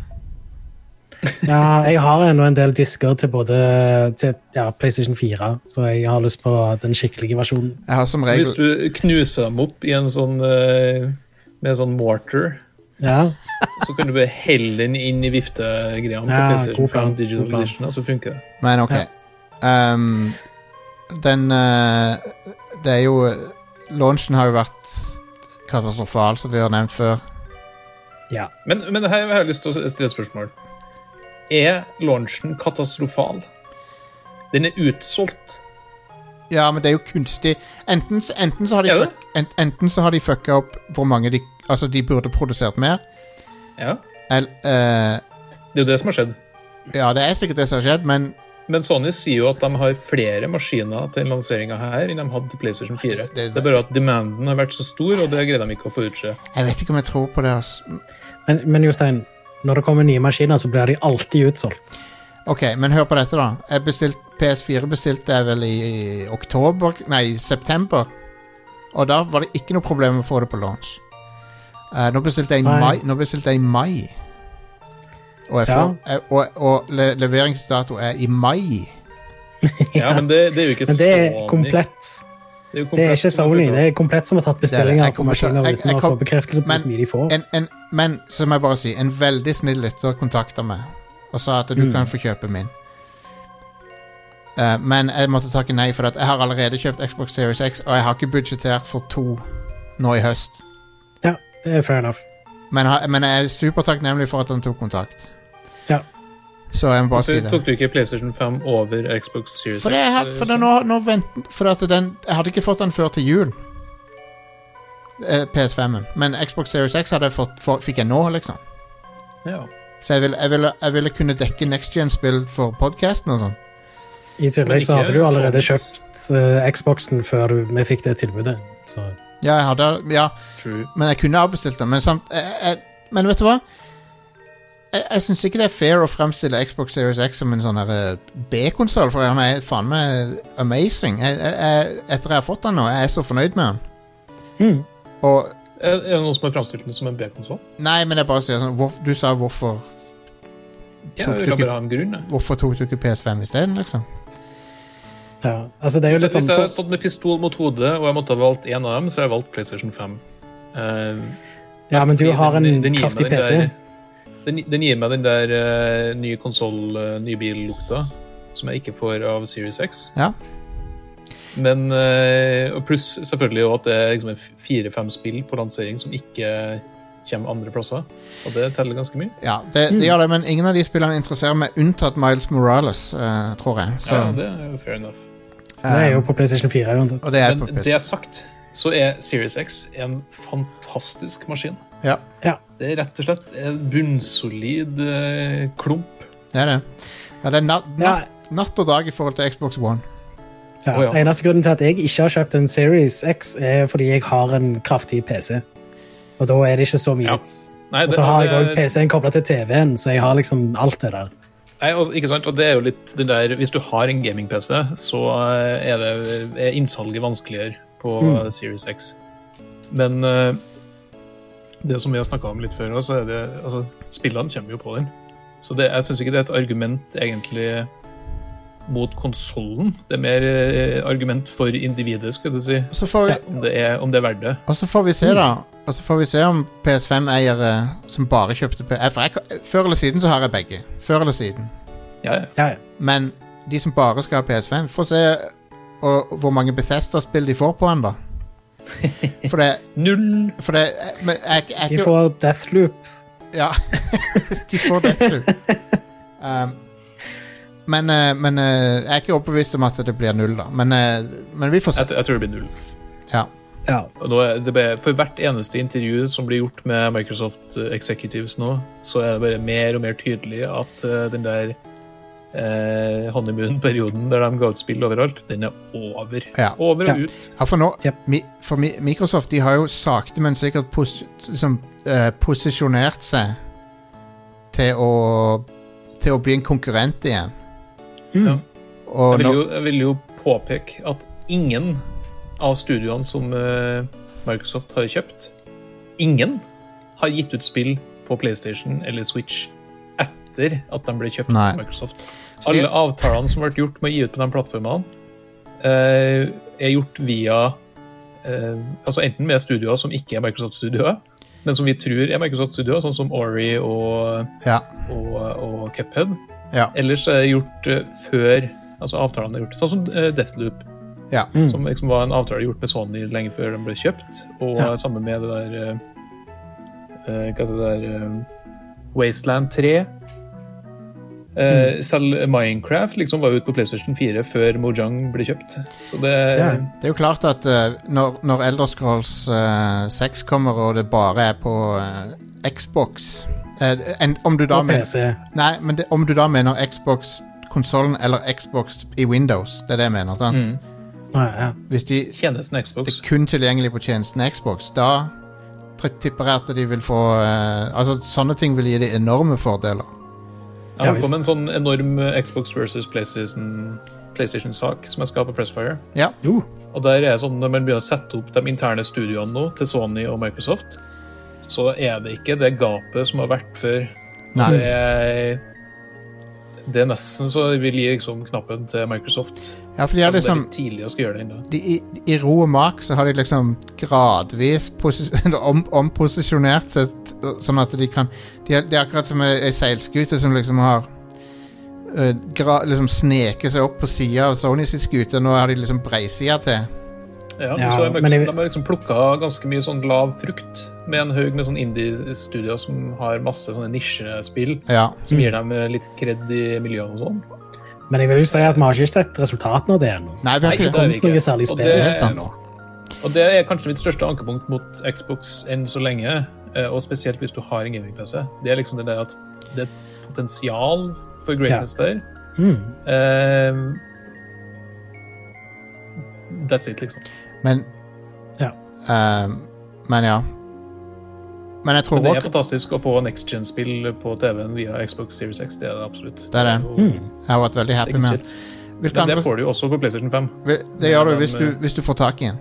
Ja, jeg har ennå en del disker til både til, ja, PlayStation 4, så jeg har lyst på den skikkelige versjonen.
Jeg har som regel
Hvis du knuser dem opp i en sånn eh, med en sånn mortar,
Ja,
så kan du bare helle den inn i viftegreia på
Ja,
PlayStation
god plan,
5 Digital
god plan.
Edition, og så funker det.
Men ok. Ehm, den eh, Det er jo Launchen har jo vært katastrofal, som vi har nevnt før.
ja.
Men, men her har jeg lyst til å stille et spørsmål. Er launchen katastrofal? Den er utsolgt.
Ja, men det er jo kunstig. Enten, s- enten, så, har de
Er det?
fuck, en, enten så har de fucka opp hvor mange de Altså, de burde produsert mer.
Ja,
El, eh,
det er jo det som har skjedd.
ja, det er sikkert det som har skjedd, men
Men Sony sier jo at de har flere maskiner til lanseringa her enn de hadde til PlayStation 4.
det-
Det er bare at demanden har vært så stor, og det greide de ikke å forutse.
jeg vet ikke om jeg tror på det. ass.
Men, men Jostein, når det kommer nye maskiner, så blir de alltid utsolgt.
Ok, men hør på dette, da. Jeg bestilt, PS4 bestilte jeg vel i oktober Nei, september. Og da var det ikke noe problem med å få det på launch. Eh, nå bestilte jeg i
Nei.
mai. Nå bestilte jeg i mai. Og, jeg får, eh, og, og le, leveringsdato er i mai.
Ja, Men det, det er jo ikke
Men det er
Sony.
komplett.
Det er, jo
Det er
komplett
ikke
som har
Sony,
fulgt
det er komplett som har tatt
Det er
bestillinger
det. Jeg
på
kommer til-
maskiner
jeg- jeg
uten å få
kom-
bekreftelse på
Men-
hvor mye de får.
En, en, men så må jeg bare si, en veldig snill lytter kontakta meg og sa at du kan få kjøpe min. Eh, men jeg måtte takke nei, for at jeg har allerede kjøpt Xbox Series X, og jeg har ikke budsjettert for to nå i høst.
Ja, det er fair enough.
Men, ha- men jeg er supertakknemlig for at han tok kontakt.
Ja.
Så jeg må bare si
Hvorfor
det.
tok du ikke PlayStation 5 over Xbox Series
For, det er, helt-
X?
for det er nå, nå vent, for at den, jeg hadde ikke fått den før til jul. Eh, PS5-en. Men Xbox Series X hadde jeg fått, for, fikk jeg nå, liksom.
Ja.
Så jeg ville, jeg ville, jeg ville kunne dekke next gen-spill for podkasten og sånn.
I
Men
tillegg
ikke sånn-
så hadde du allerede
Sonys.
kjøpt eh, Xboxen før du- vi fikk det tilbudet. Så
Ja, jeg hadde, ja,
True.
men jeg kunne ha bestilt den. Men, samt, jeg, jeg, men vet du hva? Jeg, jeg syns ikke det er fair å fremstille Xbox Series X som en sånn B-konsoll, for han er faen meg amazing. Jeg, jeg, jeg, etter jeg har fått den nå, jeg er så fornøyd med den.
Mhm.
Og
Er er det noen som har framstilt den som en B-konsoll?
Nei, men jeg bare sier sånn hvor, Du sa hvorfor,
Ja,
Tok
vi
du
kan
ikke-
bare ha en grunn. jeg.
hvorfor tok du ikke PS5 isteden, liksom?
ja, altså det er jo
Så
litt
Hvis
sånn
jeg hadde stått med pistol mot hodet og jeg måtte ha valgt én av dem, så hadde jeg valgt PlayStation 5. Eh,
Ja, men du
fordi
har en
den- den gir
kraftig
meg den
PC.
der- Den, den gir meg den der eh, nye konsoll, uh, nye billukta, som jeg ikke får av Series X.
Ja.
Men, eh, og pluss selvfølgelig også at det er liksom en f- fire-fem spill på lansering som ikke kommer andre plasser. Og det teller ganske mye.
Ja, det, det gjør det, men ingen av de spillene interesserer meg, unntatt Miles Morales, eh, tror jeg. Så,
Ja, det er jo fair enough.
Det er jo på PlayStation 4 uansett.
Um, og det er på
Men
PS5.
det sagt, så er Series X en fantastisk maskin.
Ja,
Ja.
Det er rett og slett en bunnsolid eh, klump.
det er det. Ja, det er natt,
Ja.
natt, natt og dag i forhold til Xbox One.
Ja.
Å, ja.
Eneste grunnen til at jeg ikke har kjøpt en Series X, er fordi jeg har en kraftig PC. Og da er det ikke så mye
Ja.
vits.
Nei,
Og
det-
så har jeg
det-
òg PC-en kobla til TV-en, så jeg har liksom alt det der.
Nei, og, ikke sant? Og det er jo litt det der Hvis du har en gaming-PC, så eh, er, det, er innsalget vanskeligere på eh, Series X. Men eh, det som vi har snakka om litt før, også, er det, altså, spillene kommer jo på den. Så det, jeg syns ikke det er et argument egentlig mot konsollen. Det er mer eh, argument for individet, skal jeg si.
Og så får vi,
Om det er, om det er verdt det.
og så får vi
Mm.
se, da. Og så får vi se om PS5-eiere som bare kjøpte PS... For jeg, før eller siden så har jeg begge. Før eller siden.
Ja, ja.
Ja, ja.
Men de som bare skal ha PS5, får se og, hvor mange Bethesda-spill de får på den, da. For det,
Null
for det Men jeg, jeg, jeg,
De
jeg
får Deathloop.
Ja, de får Deathloop. Um, men eh, men eh, jeg er ikke overbevist om at det blir null, da. Men, eh, men vi får se.
Jeg, jeg tror det blir null.
Ja.
Ja.
Og nå er det bare, for hvert eneste intervju som blir gjort med Microsoft eh, Executives nå, så er det bare mer og mer tydelig at eh, den der eh, honeymoon-perioden der de ga ut spill overalt, den er over.
Ja.
Over og
Ja.
ut.
Ja, for nå
Yep.
mi, For mi, Microsoft de har jo sakte, men sikkert pos, liksom, eh, uh, posisjonert seg til å, til å bli en konkurrent igjen.
Ja.
Og
Jeg vil,
nå-
jo, jeg vil jo påpeke at ingen av studioene som eh, Microsoft har kjøpt, ingen har gitt ut spill på PlayStation eller Switch etter at de ble kjøpt
Nei.
av Microsoft.
de-
Alle avtalene som ble gjort med å gi ut på de plattformene, eh, er gjort via eh, Altså enten med studioer som ikke er Microsoft-studioer, men som vi tror er Microsoft-studioer, sånn som Ori og
ja,
og, og Cuphead.
Ja.
Ellers er det gjort eh, før altså avtalene er gjort. Sånn som eh, Deathloop,
ja.
som liksom var en avtale gjort med Sony lenge før den ble kjøpt. Og
Ja.
eh, samme med det der eh, eh, Hva heter det der eh, Wasteland 3. Eh, Selv Minecraft liksom var ute på PlayStation 4 før Mojang ble kjøpt. Så det,
Ja.
Det er jo klart at eh, når, når Elder Scrolls eh, 6 kommer, og det bare er på eh, Xbox eh, en, om, du da
Og
mener,
PC.
nei, men det, om du da mener Xbox-konsollen eller Xbox i Windows, det er det jeg mener. Sant?
mm,
Ja, ja.
Hvis de
tjenesten
det
Xbox.
er kun tilgjengelig på tjenesten Xbox, da tri- tipper jeg at de vil få eh, Altså, sånne ting vil gi de enorme fordeler.
Jeg
Ja,
har
visst.
på med en sånn enorm eh, Xbox versus PlayStation- PlayStation-sak som jeg skal ha på Pressfire.
Ja.
Jo.
Og der er sånn, Når man begynner å sette opp de interne studioene nå til Sony og Microsoft, så er det ikke det gapet som har vært før.
Nei.
Det er, det er nesten så vi gir liksom knappen til Microsoft.
Ja, for de har
det er
liksom
litt tidlig å skulle gjøre det ennå.
de, i, I ro og mak så har de liksom gradvis posi- eller om, omposisjonert seg t- sånn at de kan de er, Det er akkurat som ei ei seilskute som liksom har eh, gra, liksom sneket seg opp på sida av Sonys skute. Nå har de liksom breisida til.
Ja,
Ja,
så er
men
Microsoft,
jeg-
De har liksom plukka ganske mye sånn lav frukt med en haug med sånn indie-studier som har masse sånne nisjespill
Ja.
som gir dem eh, litt kred i miljøene og sånn.
Men jeg vil jo si at vi har ikke sett resultatene av det ennå.
Nei, vi har
Nei,
ikke
det
det.
er vi
Noe særlig
Og
spill.
Det er
det-
helt sant.
Og det er kanskje mitt største ankepunkt mot Xbox enn så lenge, eh, og spesielt hvis du har en gaming-PC. Det er liksom det der at det er et potensial for greatness der.
Mm.
Eh, that's it, liksom.
Men
Ja.
eh, Men ja. Men jeg tror
Men det er
også
fantastisk å få next gen-spill på TV-en via Xbox Series X. Det er det absolutt.
Det er det. Mm.
jo-
jeg har vært veldig
det er
happy
ikke
med den.
shit.
Hvilke
Men det
andre
får du jo også på PlayStation 5.
Det gjør du
Men,
hvis du,
eh,
hvis du får tak i den.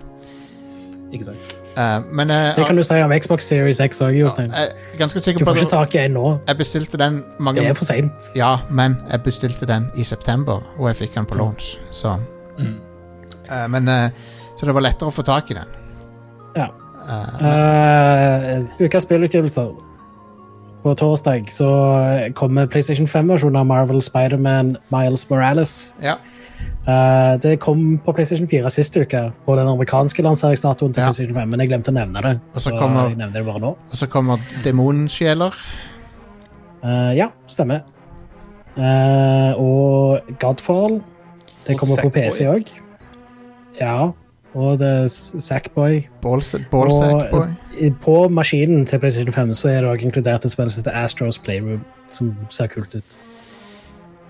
Ikke sant?
Eh, men eh,
Det kan du si om Xbox Series X òg, Jostein.
jeg er ganske sikker
Du
på
får
at
ikke tak i en nå.
Jeg bestilte den mange
Det er for seint.
Ja, men jeg bestilte den i september, og jeg fikk den
Mm.
på launch, så Eh, Men eh, Så det var lettere å få tak i den.
Ja.
Eh,
Uh, Ukas spillutgivelser. På torsdag så kommer PlayStation 5-versjonen av Marvel Spiderman Miles Morales.
ja.
Eh, det kom på PlayStation 4 sist uke, på den amerikanske lanseringsdatoen til
Ja.
PlayStation 5, men jeg glemte å nevne det.
Og så kommer-
jeg nevner det bare nå.
Og så kommer demonsjeler.
Eh, ja, stemmer. Eh, og Godfall. Det
Og
kommer på
Sackboy.
PC òg. Ja. Og The Sackboy.
Ballsack
Og-
boy.
I- På maskinen til PlayStation 5 så er det også inkludert et spill som heter Astros Playroom, som ser kult ut.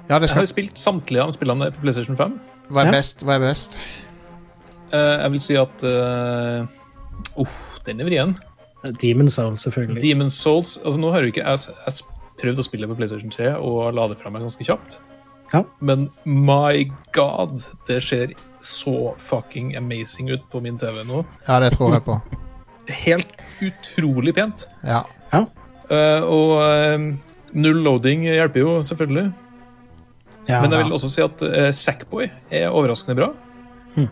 Ja, det
Jeg har
skal,
jo spilt samtlige av spillene på PlayStation 5.
hva er
Ja.
best? Hva er best?
Eh, jeg vil si at eh, Uff, den er vrien.
Demon Soul, selvfølgelig.
Demon's Souls altså Nå har jo ikke jeg, jeg s- prøvd å spille på PlayStation 3 og la det fra meg ganske kjapt.
Ja.
Men my god, det ser så fucking amazing ut på min TV nå.
Ja, det tror jeg på.
Helt utrolig pent.
Ja.
Eh, og eh, null loading hjelper jo, selvfølgelig.
ja,
Men jeg
ja.
vil også si at eh, Sackboy er overraskende bra.
Hm.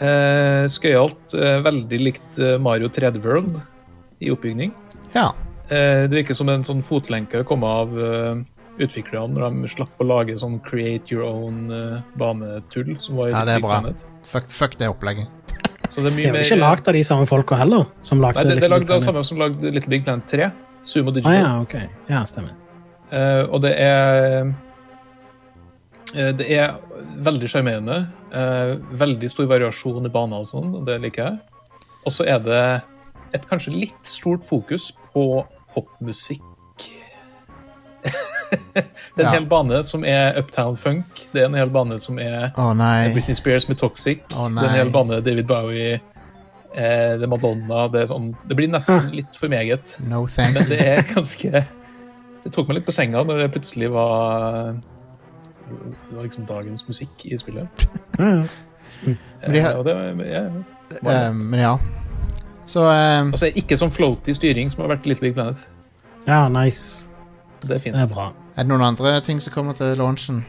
Eh, Skøyalt. eh, veldig likt eh, Mario 3D World i oppbygning.
ja.
Eh, Det virker som en sånn fotlenke å komme av eh, utviklerne når de slapp å lage sånn create your own eh, banetull. som var i
Ja, det er
Big
bra.
Planet.
Fuck, fuck det opplegget.
Så det
Det
er mye
er jo
mer eh,
ikke lagd av de samme folka heller, som lagde
Nei, det, det er
Little
lagd av
Big
samme
Planet.
som lagde Little Big Planet 3, Sumo
Ah,
Digital.
ja, ok. Ja, stemmer.
Eh, og det er eh, Det er veldig sjarmerende. eh, veldig stor variasjon i baner og sånn, og det liker jeg. Og så er det et kanskje litt stort fokus på popmusikk. det er en
Ja.
hel bane som er Uptown Funk. Det er en hel bane som er
Å nei.
Britney Spears med Toxic.
Å,
det er en
nei.
hel bane David Bowie. eh,
Hm.
det er Madonna. Det, er sånn, det blir nesten litt for meget.
No thank
Men
you.
det er ganske Det tok meg litt på senga når det plutselig var Det var liksom dagens musikk i spillet.
Men de har-
Eh, og det, ja.
Eh, men ja. Så eh,
Altså, ikke sånn floaty styring som har vært litt Big Planet.
Ja, nice.
Det er fint.
Det er bra.
er det noen andre ting som kommer til launchen?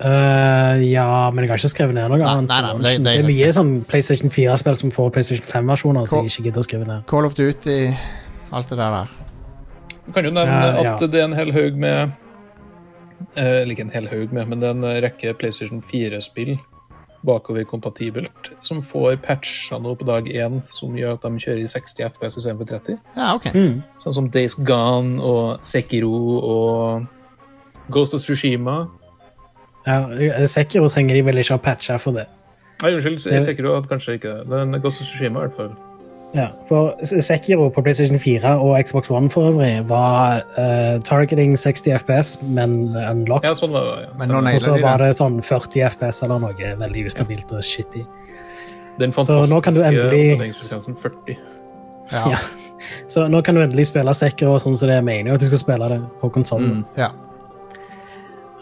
Eh, ja, men jeg har ikke skrevet ned noe
Nei,
annet.
nei, nei, men det- det-
det er mye sånn PlayStation 4-spill som får PlayStation 5-versjoner, så jeg ikke gidder å skrive ned.
Call of Duty, alt det der der.
Du kan jo nevne
Ja, ja.
at det er en hel haug med eh, Eller ikke en hel haug med, men det er en rekke PlayStation 4-spill bakover-kompatibelt som får patcha noe på dag én som gjør at de kjører i 60 FPS istedenfor 30.
Ja, OK.
Mm.
Sånn som Days Gone og Sekiro og Ghost of Tsushima.
Ja, Sekiro trenger de vel ikke å patche for det.
Nei, unnskyld,
Det-
Sekiro hadde kanskje ikke det. Men Ghost of Tsushima i hvert fall.
Ja, for S- Sekiro på PlayStation 4 og Xbox One for øvrig var eh, targeting 60 FPS, men unlocked.
Ja, sånn var det. Ja.
Men nå
Og så
nailer de
var
det.
det sånn 40 FPS eller noe veldig ustabilt og shitty.
Den
Så nå kan du
fantastiske
endelig-
oppdateringsfrekvensen 40.
Ja.
Ja. Så nå kan du endelig spille Sekiro sånn som det er meningen at du skal spille det på konsollen.
ja.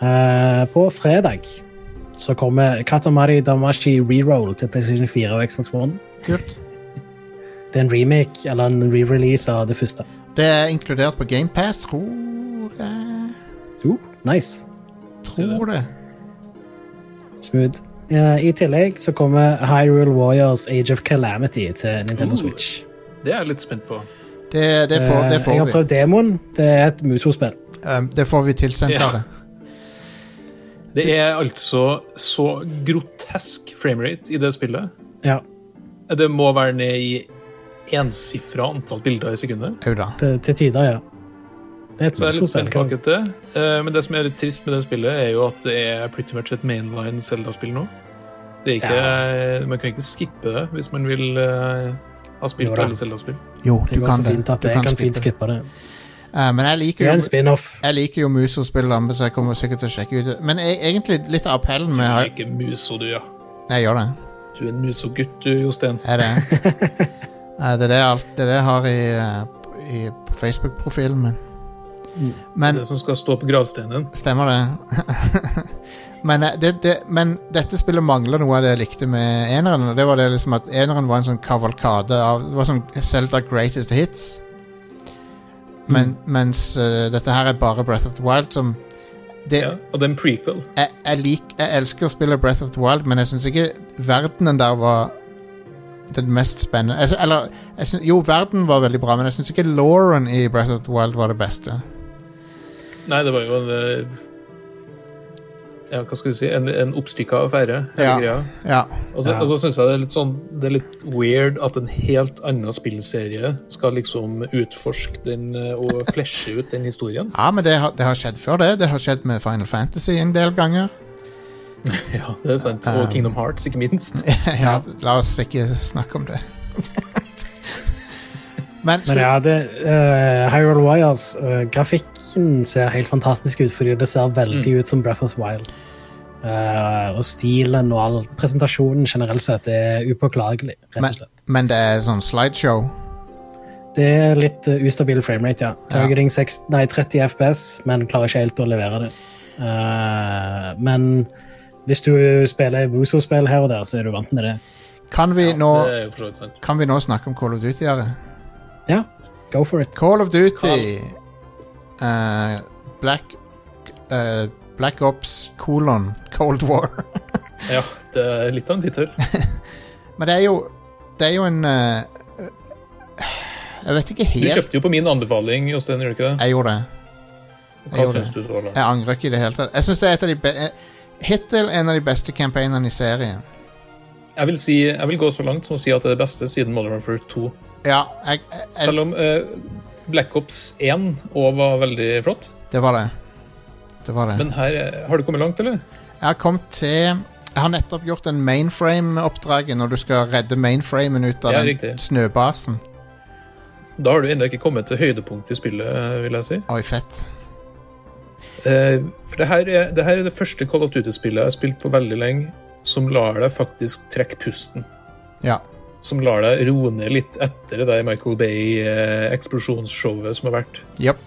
Eh, på fredag så kommer Katamari Damashi Reroll til PlayStation 4 og Xbox One.
Kult.
Det er en remake eller en re-release av det første.
Det er inkludert på GamePass, tror jeg.
Jo,
Uh.
nice.
Tror det.
Smooth. Eh, I tillegg så kommer Hyrule Warriors Age of Calamity til Nintendo
Ooh.
Switch.
Det er jeg litt spent på.
Uh. Det, det, får, det,
Eh, jeg
får
har
vi.
prøvd demoen. Det er et musospill.
Um, det får vi tilsendt
Ja.
av det.
Det er altså så grotesk framerate i det spillet.
Ja,
Det må være ned i ensifra antall bilder i sekundet.
Au da.
til, til tider, ja. Det er et
Så jeg er litt
musospill.
spent på akkurat det. Eh, Men det som er litt trist med det spillet, er jo at det er pretty much et mainline Zelda-spill nå. Det er ikke, Man kan ikke skippe det hvis man vil eh, ha spilt
Jo da.
alle Zelda-spill.
Jo,
Det
du
går så
kan det.
fint at
Du
jeg
kan
kan fint
skippe.
skippe det.
Eh, men jeg liker
Det er en
jo
spin-off.
jeg liker jo Muso-spill, så jeg kommer sikkert til å sjekke ut det. Men e- egentlig litt av appellen med
Du er
Hy-
ikke muso, du, ja.
Jeg gjør det.
Du er en musogutt, du, Jostein.
Er det. Eh, det er det, alt, det er det jeg har i, eh, i på Facebook-profilen min. Men
Mm.
Det som skal stå på gravsteinen.
Stemmer det. men, eh, det, det. men dette spillet mangler noe av det jeg likte med eneren. Og det var det liksom at eneren var en sånn kavalkade av Det var sånn Zelda greatest hits. Men, Mens eh, dette her er bare Breath of the Wild som det,
Ja, og det er en prequel.
jeg, jeg, lik, jeg elsker å spille Breath of the Wild, men jeg syns ikke verdenen der var den mest spennende jeg, sy- Eller jeg syns- Jo, verden var veldig bra, men jeg syns ikke Lauren i Breath of the Wild var det beste.
Nei, det var jo en eh, Ja, hva skal du si? En, en oppstykka affære. hele
Ja.
greia.
Ja,
Og så,
Ja.
og så synes jeg det er litt sånn Det er litt weird at en helt annen spillserie skal liksom utforske den eh, og fleshe ut den historien.
ja men det har, det har skjedd før, det. Det har skjedd med Final Fantasy en del ganger.
Ja, det er sant. Og Kingdom Hearts, ikke minst.
ja, la oss ikke snakke om det. men
Men ja, det, eh, Hyrule Wires, grafikken ser helt fantastisk ut, fordi det ser veldig ut som Breath of the Wild. Eh, og stilen og all presentasjonen generelt sett er upåklagelig, rett og
men,
slett.
men det er sånn slideshow.
Det er litt eh, ustabil framerate, ja. Targeting 6, nei, 30 FPS, men klarer ikke helt å levere det. Eh, men hvis du spiller Wuzo-spill her og der, så er du vant med det.
Kan vi, nå,
Det er jo for så vidt sant.
kan vi nå snakke om Call of Duty? Are?
Ja, go for it.
Call of Duty eh, Black eh, Black Ops kolon Cold War.
Ja, det er litt av en tittel.
Men det er jo Det er jo en eh, eh, Jeg vet ikke
Du
helt
kjøpte jo på min anbefaling, Jostein, gjorde du ikke det?
Jeg gjorde det.
Hva
gjorde
syns du så langt?
Jeg angrer ikke i det hele tatt. Jeg syns det er et av de be eh, hittil en av de beste campaignene i serien.
Jeg vil, si, jeg vil gå så langt som å si at det er det beste siden Modern Warfare 2.
Ja, jeg, jeg, jeg,
Selv om eh, Black Ops 1 òg var veldig flott.
det var det. Det var det.
Men her eh, Har du kommet langt, eller?
Jeg har kommet til Jeg har nettopp gjort en mainframe-oppdraget når du skal redde mainframen ut av
Ja,
den
riktig.
snøbasen.
Da har du ennå ikke kommet til høydepunktet i spillet, eh, vil jeg si.
Oi, fett.
Eh, For det her, er, det her er det første Call of Duty-spillet jeg har spilt på veldig lenge, som lar deg faktisk trekke pusten.
Ja.
Som lar deg roe ned eh, litt etter det der Michael Bay-eksplosjonsshowet som har vært.
Jepp.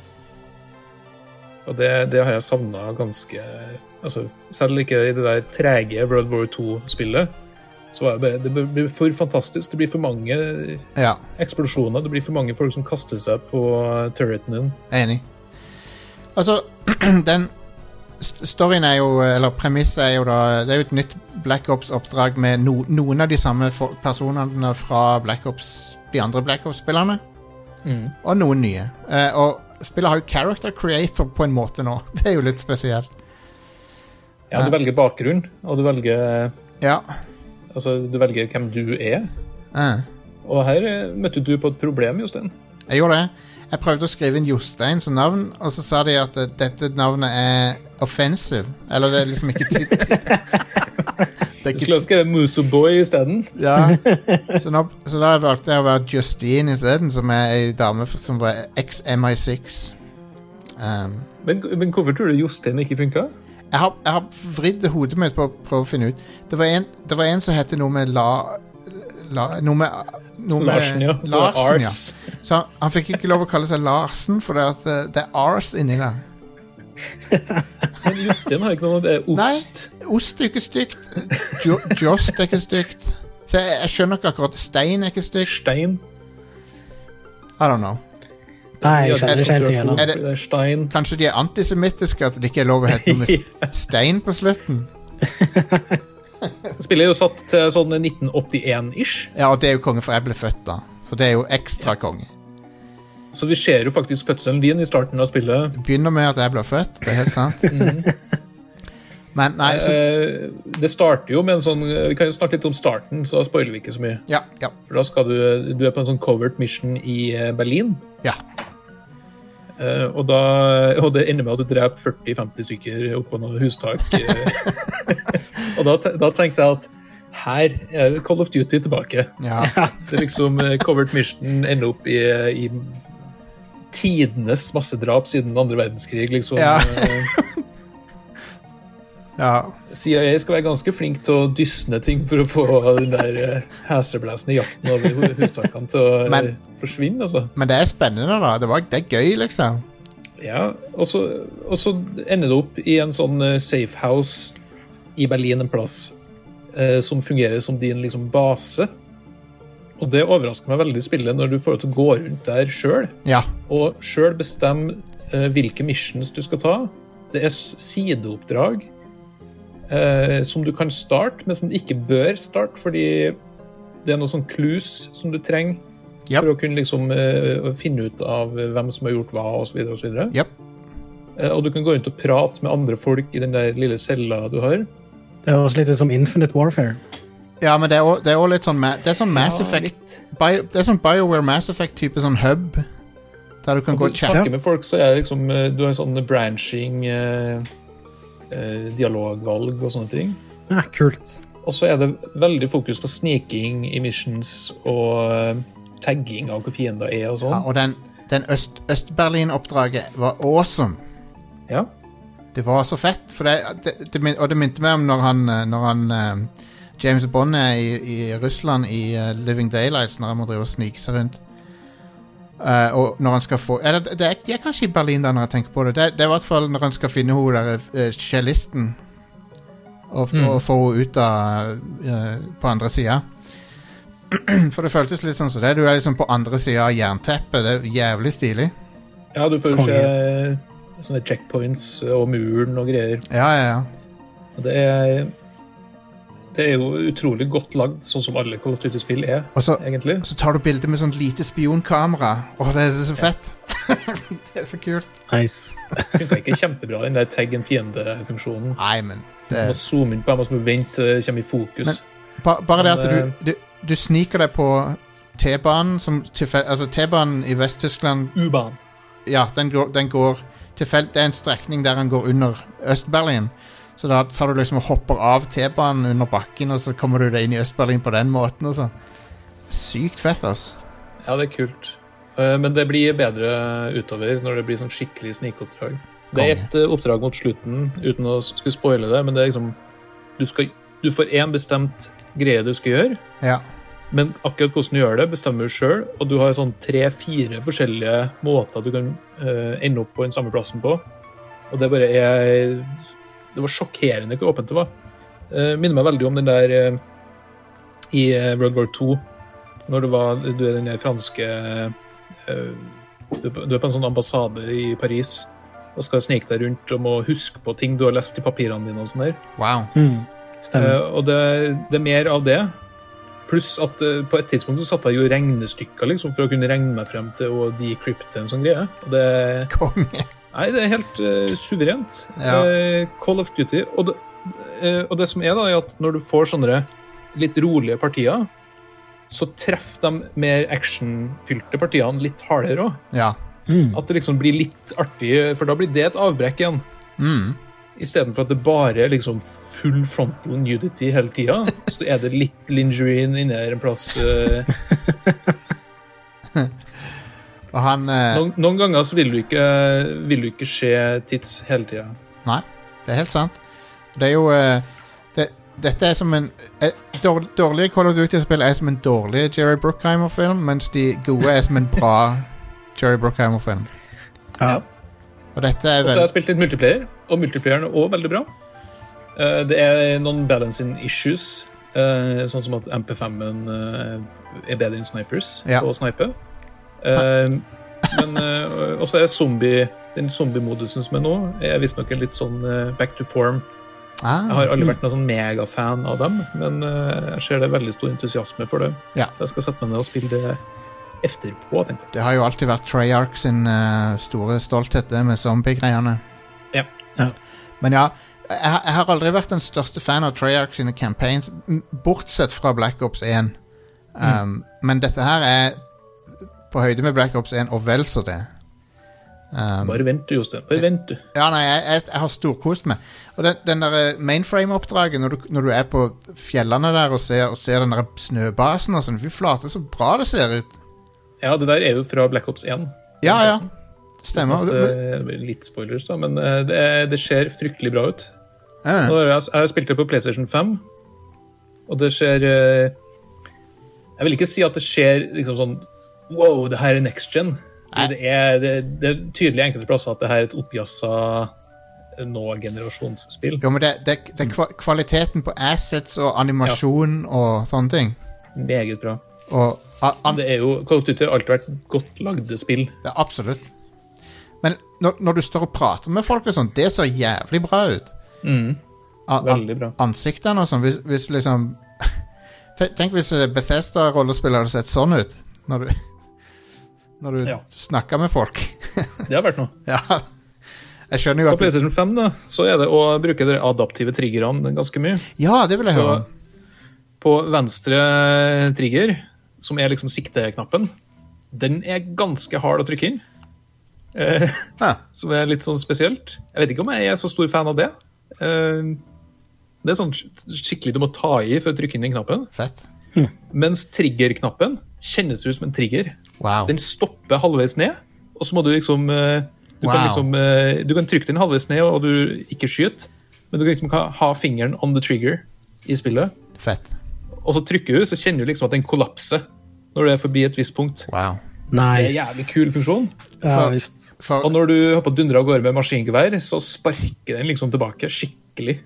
Og det, det har jeg savna ganske altså, Selv ikke i det der trege World War 2-spillet, så var det bare Det blir for fantastisk. Det blir for mange
Ja,
eksplosjoner. Det blir for mange folk som kaster seg på turreten din.
enig. Altså, den st- storyen er jo Eller premisset er jo da Det er jo et nytt Black Ops-oppdrag med no, noen av de samme fo- personene fra Black Ops, de andre Black Ops-spillerne. Og noen nye. Eh, og spillet har jo character creator på en måte nå. Det er jo litt spesielt.
Ja, du velger bakgrunn, og du velger,
Ja.
altså, du velger hvem du er.
eh.
Og her eh, møtte du på et problem, Jostein.
Jeg gjorde det. Jeg prøvde å skrive inn Jostein som navn, og så sa de at eh, dette navnet er offensive. Eller det er liksom ikke tid til Det er
Du
ikke
skulle ha skrevet Musoboy isteden.
ti- ja. så, nå, så da valgte jeg å være Justine isteden, som er ei dame f- som var ex-MI6. Um,
Men, men hvorfor tror du Jostein ikke funka?
jeg, har, jeg har vridd hodet mitt på å prøve å finne ut. Det var en, det var en som het noe med La... La noe med, noe med
Larsen, ja.
Larsen, ja.
Ars.
Så han, han fikk ikke lov å kalle seg Larsen, for det, at, eh, det er Ars inni der.
Men Jostein har ikke noe det er ost.
Ost er ikke stygt. Jo, Jost er ikke stygt. Så jeg, jeg skjønner ikke akkurat. Stein er ikke stygt.
Stein.
I don't know.
Nei, jeg skjønner ikke helt
igjen.
igjennom.
Er det-
Det er stein.
Kanskje de er antisemittiske, at det ikke er lov å hete noe med s- stein på slutten.
Spillet er jo satt til sånn 1981-ish,
Ja, og det er jo konge, for jeg ble født da. Så det er jo ekstra konge.
så vi ser jo faktisk fødselen din i starten av spillet.
Det begynner med at jeg ble født, det er helt sant. Men nei, så
Mhm. Eh, Det starter jo med en sånn Vi kan jo snakke litt om starten, så da spoiler vi ikke så mye.
Ja, ja,
For da skal du Du er på en sånn covert mission i eh, Berlin,
ja.
eh, og da Og det ender med at du dreper 40-50 stykker oppå noe hustak. eh. og da, te- da tenkte jeg at her er Call of Duty tilbake.
ja.
Det er liksom eh, Covert Mission ender opp i, eh, i tidenes massedrap siden andre verdenskrig, liksom.
Ja.
Eh,
ja.
CIA skal være ganske flink til å dysne ting for å få den der eh, heseblesende jakten over hu- hustakene til å eh,
Men-
forsvinne, altså.
Men det er spennende, da. Det, var, det er gøy, liksom.
Ja, og så, og så ender det opp i en sånn eh, safe house i Berlin en plass eh, som fungerer som din liksom base. Og det overrasker meg veldig i spillet når du får lov til å gå rundt der sjøl.
Ja.
Og sjøl bestemme eh, hvilke missions du skal ta. Det er s- sideoppdrag eh, som du kan starte, men som du ikke bør starte, fordi det er noen sånn clues som du trenger
Japp.
for å kunne liksom eh, finne ut av hvem som har gjort hva, osv. Og, så videre.
Japp.
Eh, og du kan gå rundt og prate med andre folk i den der lille cella du har.
Det høres litt ut som Infinite Warfare.
Ja, men det er òg- det er òg litt sånn ma- Det er sånn Mass
Ja,
Effect
litt.
Bio, det er sånn BioWare Mass Effect-type sånn hub. Der du kan gå
Når
og
du
chatte.
snakker med folk, så er det liksom eh, Du har sånn branching, eh, eh, dialogvalg og sånne ting.
Ja, Ah, kult.
Og så er det veldig fokus på sniking i missions og eh, tagging av hvor fiender er
Ja,
og sånn.
og den, den Øst- Øst-Berlin-oppdraget var awesome.
Ja.
Det var så fett. For det, det, det, min- og det minte meg om når han, eh, når han eh, James Bond er i, i Russland i eh, Living Daylights, når han må drive og snike seg rundt. Eh, og når han skal få Eller det, det, er, de er kanskje i Berlin, da, når jeg tenker på det. Det, det er i hvert fall når han skal finne hun der eh, cellisten. Og, f- og få henne ut av eh, på andre sida. For det føltes litt sånn som det. Du er liksom på andre sida av jernteppet. Det er jævlig stilig.
ja, du får jo
Konge.
se eh, sånne checkpoints og muren og greier.
Ja, ja, ja.
Og det er det er jo utrolig godt lagd, sånn som alle Call of Duty-spill er,
Og så,
egentlig.
Og så tar du bilde med sånn lite spionkamera. Åh, det er så fett! det er så kult.
Nice.
Funka ikke kjempebra, den der tag en fiende-funksjonen.
Nei, men
Du
det,
må zoome inn på dem, og så må du vente til det kommer i fokus.
ba, Bare det at
Men,
du, du, du sniker deg på T-banen som tilfell- Altså, T-banen i Vest-Tyskland
U-banen.
Ja, den går, den går tilfell- Det er en strekning der den går under Øst-Berlin. Så da tar du liksom og hopper av T-banen under bakken, og så kommer du deg inn i Øst-Berlin på den måten. og sånn. Sykt fett, altså.
Ja, det er kult. Eh, Men det blir bedre utover når det blir sånn skikkelig snikoppdrag. Det er
Konge.
ett eh, oppdrag mot slutten, uten å s- skulle spoile det, men det er liksom Du, skal, du får én bestemt greie du skal gjøre,
Ja.
men akkurat hvordan du gjør det, bestemmer du sjøl, og du har sånn tre-fire forskjellige måter du kan eh, ende opp på den samme plassen på. Og det bare er Det var sjokkerende hvor åpent det var. Eh, minner meg veldig om den der eh, i eh, World War II, når du, var, du er den der franske eh, du, du er på en sånn ambassade i Paris og skal snike deg rundt og må huske på ting du har lest i papirene dine. og sånn der.
Wow.
Mm, stemmer.
Eh, og det, det er mer av det. Pluss at eh, på et tidspunkt så satte jeg jo regnestykker liksom, for å kunne regne meg frem til å decrypte en sånn greie. Og det,
Konge.
nei, det er helt eh, suverent.
Ja.
Eh, Call of Duty. Og det, eh, og det som er, da, er at når du får sånne litt rolige partier, så treffer de mer actionfylte partiene litt hardere òg.
Ja.
Mm,
At det liksom blir litt artig, for da blir det et avbrekk igjen.
Mm.
Istedenfor at det bare er liksom full frontal nudity hele tida, så er det litt lingerien inne her en plass. eh.
Og han eh,
Noen, noen ganger så vil du ikke, vil du ikke se tits hele tida.
Nei, det er helt sant. Det er jo eh, det, Dette er som en eh, dår- Dårlige Call of Duty-spill er som en dårlig Jerry Brookheimer-film, mens de gode er som en bra Jerry Brookheimer-film.
ja.
Og dette er
Og så har
vel
jeg spilt litt multiplayer, og multiplayeren er òg veldig bra. Eh, Det er noen balancing issues, eh, sånn som at MP5-en eh, er bedre enn snipers
Ja.
på å snipe. Eh, Men eh, også er zombie, den zombie-modusen som er nå, er visstnok en litt sånn eh, back to form. Jeg
ah,
har aldri vært noen sånn megafan av dem, men eh, jeg ser det er veldig stor entusiasme for det.
Ja.
Så jeg skal sette meg ned og spille det etterpå, tenkte jeg.
Det har jo alltid vært Treyarch sin eh, store stolthet, det med zombie-greiene.
Ja.
Ja.
Men ja, jeg, jeg har aldri vært den største fan av Treyarch sine campaigns, m- bortsett fra Black Ops 1. Um,
Mm.
Men dette her er på høyde med Black Ops 1, og vel så det. Um,
Bare vent du, Jostein. Bare vent du.
ja, nei, jeg, jeg, jeg har storkost meg. Og den, den der eh, mainframe-oppdraget, når, du- når du er på fjellene der og ser, og ser den der snøbasen og sånn, fy flate, så bra det ser ut.
Ja, det der er jo fra Black Ops 1.
Ja, ja. Stemmer.
At,
Du, du,
eh, det blir litt spoilers, da, men eh, det, er- det ser fryktelig bra ut.
eh,
Nå har jeg, jeg har spilt det på PlayStation 5, og det ser eh, Jeg vil ikke si at det ser liksom sånn Wow, det her er next gen.
Nei.
For Det er, det, det er tydelig enkelte plasser at det her er et oppjassa eh, nå-generasjonsspill.
jo, men det, det, det er kva- kvaliteten på assets og animasjon og sånne ting.
Meget bra.
Og a- an,
Det er jo, Call of Duty har alltid vært godt lagde spill.
Ja, absolutt. Men når, når du står og prater med folk og sånn, det ser jævlig bra ut. An- an-
Mm. Veldig bra.
Ansiktene og sånn, hvis, hvis liksom Ten- Tenk hvis eh, Bethesda-rollespiller hadde sett sånn ut. Når du, når du
Ja.
snakker med folk.
Det har vært noe.
ja. Jeg skjønner jo
På
at det,
PlayStation 5 da, så er det å bruke de adaptive triggerne ganske mye.
Ja, det vil jeg
Så
høre om.
på venstre trigger, som er liksom sikteknappen, den er ganske hard å trykke inn. Eh,
Ja.
Som er litt sånn spesielt. Jeg vet ikke om jeg er så stor fan av det. Eh, det er sånn sk- skikkelig du må ta i for å trykke inn den knappen.
Fett.
Mens trigger-knappen kjennes ut som en trigger.
Wow.
Den stopper halvveis ned, og så må du liksom eh, Du,
Wow.
kan, liksom, eh, du kan trykke den halvveis ned, og du ikke skyter, men du kan liksom ha ha fingeren on the trigger i spillet.
Fett.
Og så trykker du, så kjenner du liksom at den kollapser når du er forbi et visst punkt.
Wow.
Det er en jævlig
Nice.
kul funksjon.
Ja, visst.
For,
Og når du holder på å dundre av gårde med maskingevær, så sparker den liksom tilbake skikkelig.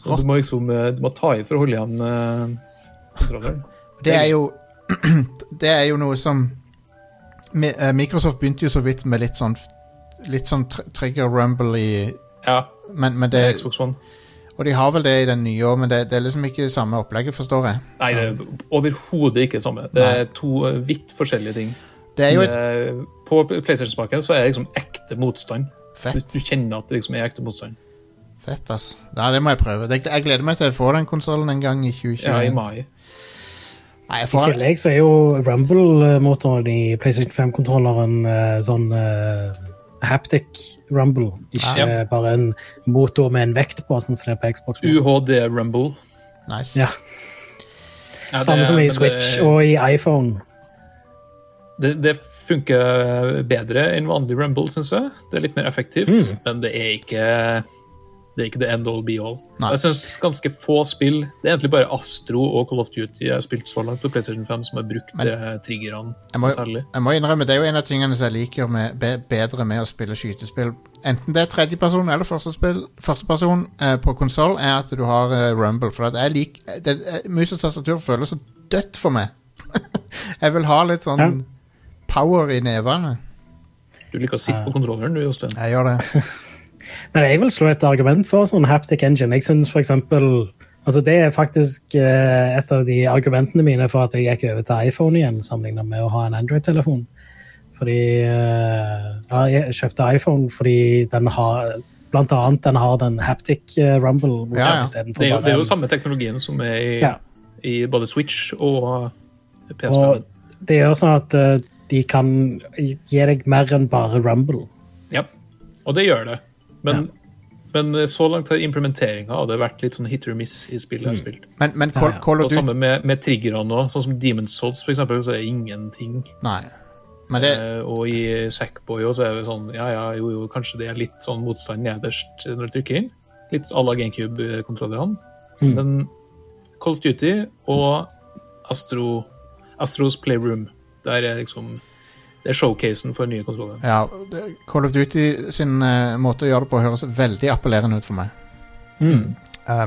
Så du må liksom eh, du må ta i for å holde igjen eh, kontrolleren.
Det er jo Det er jo noe som Mi- eh, Microsoft begynte jo så vidt med litt sånn Litt sånn tr trigger rumble i
Ja,
men, men
det
det,
er Xbox One.
Og de har vel det i den nye òg, men det, det er liksom ikke det samme opplegget, forstår jeg.
Nei, det er overhodet ikke det samme. Det
Nei.
er to eh, vidt forskjellige ting.
Det er jo et
Eh, På PlayStation-spaken så er det liksom ekte motstand. Du,
fett,
du kjenner at det liksom er ekte motstand.
fett ass. Ja, det må jeg prøve. Det, jeg gleder meg til jeg får den konsollen en gang i 2021.
Ja, i mai.
Nei, jeg
I
får den.
tillegg så er jo Rumble-motoren i PlayStation 5-kontrolleren eh, sånn eh, haptic rumble, ikke
Ja.
eh, bare en motor med en vekt på, sånn som det er på Xbox. One.
UHD Rumble.
Nice.
Ja,
Ja,
Samme
det-
som i
men
Switch
det,
og i iPhone.
det, det
Mm.
funker bedre enn vanlig Rumble, syns jeg. Det er litt mer effektivt, men det er ikke Det er ikke the end all be all.
Nei.
Jeg synes ganske få spill Det er egentlig bare Astro og Call of Duty jeg har spilt så langt på PlayStation 5 som har brukt
Men-
de her triggerne
Jeg må,
særlig.
jeg må innrømme, det er jo en av tingene som jeg liker med, be, bedre med å spille skytespill. Enten det er tredjeperson eller førstespill, førsteperson eh, på konsoll, er at du har eh, Rumble. For at jeg lik, det, eh, mus og tastatur føles så dødt for meg. jeg vil ha litt sånn power i nevene.
Du liker å sitte på kontrolleren, du, Jostein.
Jeg gjør det.
Men jeg vil slå et argument for sånn haptic engine. Jeg synes for eksempel, altså Det er faktisk eh, et av de argumentene mine for at jeg gikk over til iPhone igjen, sammenlignet med å ha en Android-telefon. Fordi eh, ja, Jeg kjøpte iPhone fordi den har blant annet den har den haptic eh, rumble.
Ja, ja.
Det er, jo, det er jo
bare en-
samme teknologien som er i,
Ja.
i både Switch og PS5.
Og det gjør sånn at eh, de kan gi deg mer enn bare rumble.
Ja, og det gjør det. Men, men så langt har implementeringa av det vært litt sånn hit or miss i spillet jeg har spilt.
Men, men Call, Call
Og
of Duty
samme med, med triggerne òg. Sånn som Demon's Souls, for eksempel, så er det ingenting.
Nei. Men det,
Eh, og i Sackboy også er det sånn ja, ja, jo, jo, kanskje det er litt sånn motstand nederst når du trykker inn. Litt à la GameCube-kontrollerne. Men Call of Duty og Astro, Astros Playroom, der er liksom Det er showcasen for nye kontroller.
ja, det- Call of Duty sin eh, måte å gjøre det på høres veldig appellerende ut for meg. Um,
Mm.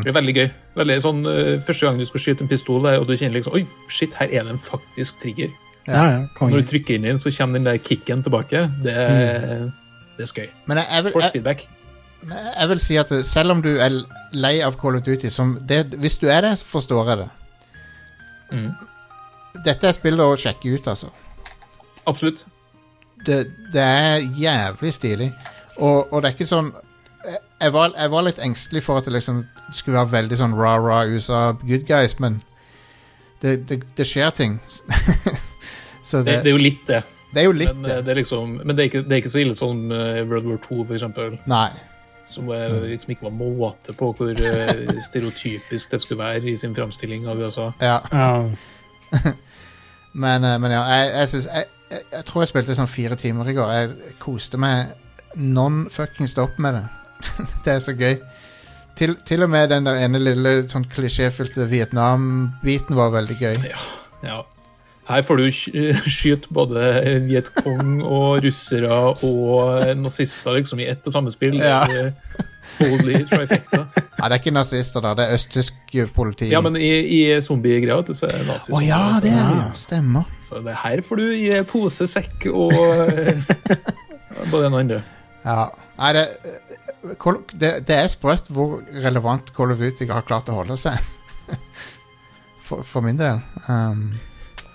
Det er veldig gøy. Veldig sånn, eh, første gang du skal skyte en pistol, der, og du kjenner liksom Oi, shit, her er det en faktisk trigger.
Ja.
Ja, ja, konge.
Når du trykker inn i den, så kommer den der kicken tilbake. Det er,
Mm.
det er skøy.
men jeg, jeg, vil,
Force
jeg,
feedback.
jeg vil si at eh, selv om du er lei av Call of Duty som det, Hvis du er det, så forstår jeg det.
Mm.
Dette er spill å sjekke ut, altså.
Absolutt.
Det, det er jævlig stilig. Og, og det er ikke sånn jeg- jeg var, jeg var litt engstelig for at det liksom skulle være veldig sånn ra-ra USA good guys, men det, det, det skjer ting. så det,
Det, det er jo litt det.
det er jo litt
men, eh,
det.
det er liksom, men det er, ikke, det er ikke så ille som eh, World War 2, for eksempel.
Nei.
Som eh,
Mm.
liksom ikke var måte på hvor eh, stereotypisk det skulle være i sin framstilling av USA.
Ja.
Ja.
Men, eh, men ja, jeg, jeg, synes, jeg, jeg, jeg tror jeg spilte sånn fire timer i går. Jeg koste meg non-fucking stopp med det. det er så gøy. Til, til og med den der ene lille sånn klisjéfylte Vietnam-biten var veldig gøy.
Ja. Her får du sky- skyte både Viet Cong og russere og nazister liksom i ett og samme spill.
Ja.
Det er, eh, Holy trifecta.
Ja, det er ikke nazister, da. Det er østtysk politi.
Ja, men i, i zombiegreia vet du, så er det nazister.
Å ja, det er det! ja. Stemmer.
Så det her får du i pose, sekk og eh, både en og andre.
Ja. Nei, det, eh, Call- det, det er sprøtt hvor relevant Call of Duty har klart å holde seg. for, for min del. Um,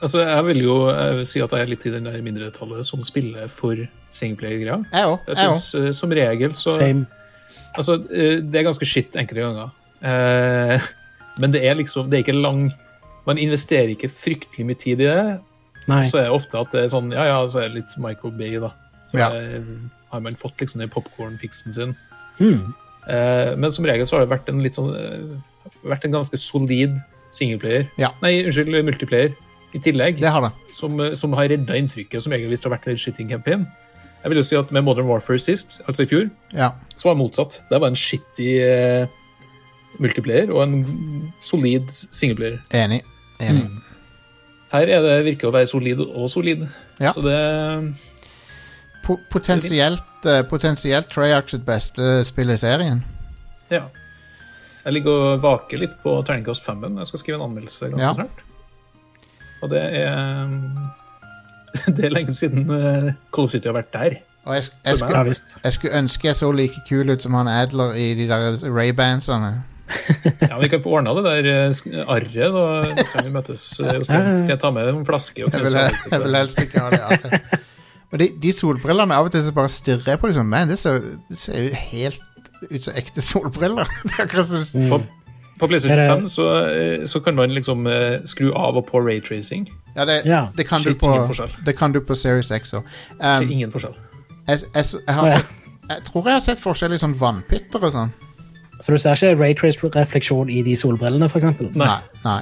Altså, Jeg vil jo eh, si at jeg er litt i den der mindretallet som spiller for singleplayer-greia.
jeg òg.
Jeg
Jeg òg.
synes, eh, Som regel så
Same.
altså, eh, Det er ganske skitt enkelte ganger. Eh, men det er liksom Det er ikke lang Man investerer ikke fryktelig mye tid i det.
Nei.
Så er det ofte at det er sånn Ja, ja, så er det litt Michael Bay, da. Så
Ja.
eh, har man fått liksom den popkorn-fiksen sin.
Hmm.
Mm.
Eh, men som regel så har det vært en litt sånn eh, Vært en ganske solid singleplayer.
Ja.
Nei, unnskyld, multiplayer. I tillegg
Det har det.
som, eh, som har redda inntrykket som egentlig hvis det har vært en shitting campaign. Jeg vil jo si at Med Modern Warfare sist, altså i fjor,
Ja.
så var det motsatt. Det var en shitty eh, multiplayer og en solid singleplayer.
Enig. Enig.
Her er det virker å være solid og solid.
Ja.
Så det
Po potensielt eh, potensielt Treyarch sitt beste spill i serien.
Ja. Jeg ligger og vaker litt på terningkast femmen. Jeg skal skrive en anmeldelse ganske
Ja.
snart. Og det er Det er lenge siden eh, Call of Duty har vært der.
Og jeg, sk- jeg,
Ja
skulle,
visst.
jeg skulle ønske jeg så like kul ut som han Adler i de der Ray-bandsene.
Ja, men Vi kan få ordna det der eh, sk- arret da neste gang vi møtes. eh, Jostein. Skal jeg ta med en flaske? og
Jeg, vil-
knuse
jeg vil helst ikke ha det. akkurat. Og de, de solbrillene av og til så bare stirrer jeg på dem sånn Man, det ser, det ser jo helt ut som ekte solbriller. Det er akkurat som
Mm.
du-
På, på PlayStation
Er det-
5 så, eh, så kan man liksom eh, skru av og på raytracing.
Ja, det,
Ja.
det, kan du
Skjer ingen
på,
forskjell.
det kan du på Series X òg.
Det
Um,
er ingen forskjell.
jeg, jeg, s- jeg, har
Å, ja.
sett- jeg tror jeg har sett forskjell i sånn vannpytter og sånn.
Så du ser ikke Raytrace-refleksjon i de solbrillene, f.eks.?
Nei.
Nei. nei.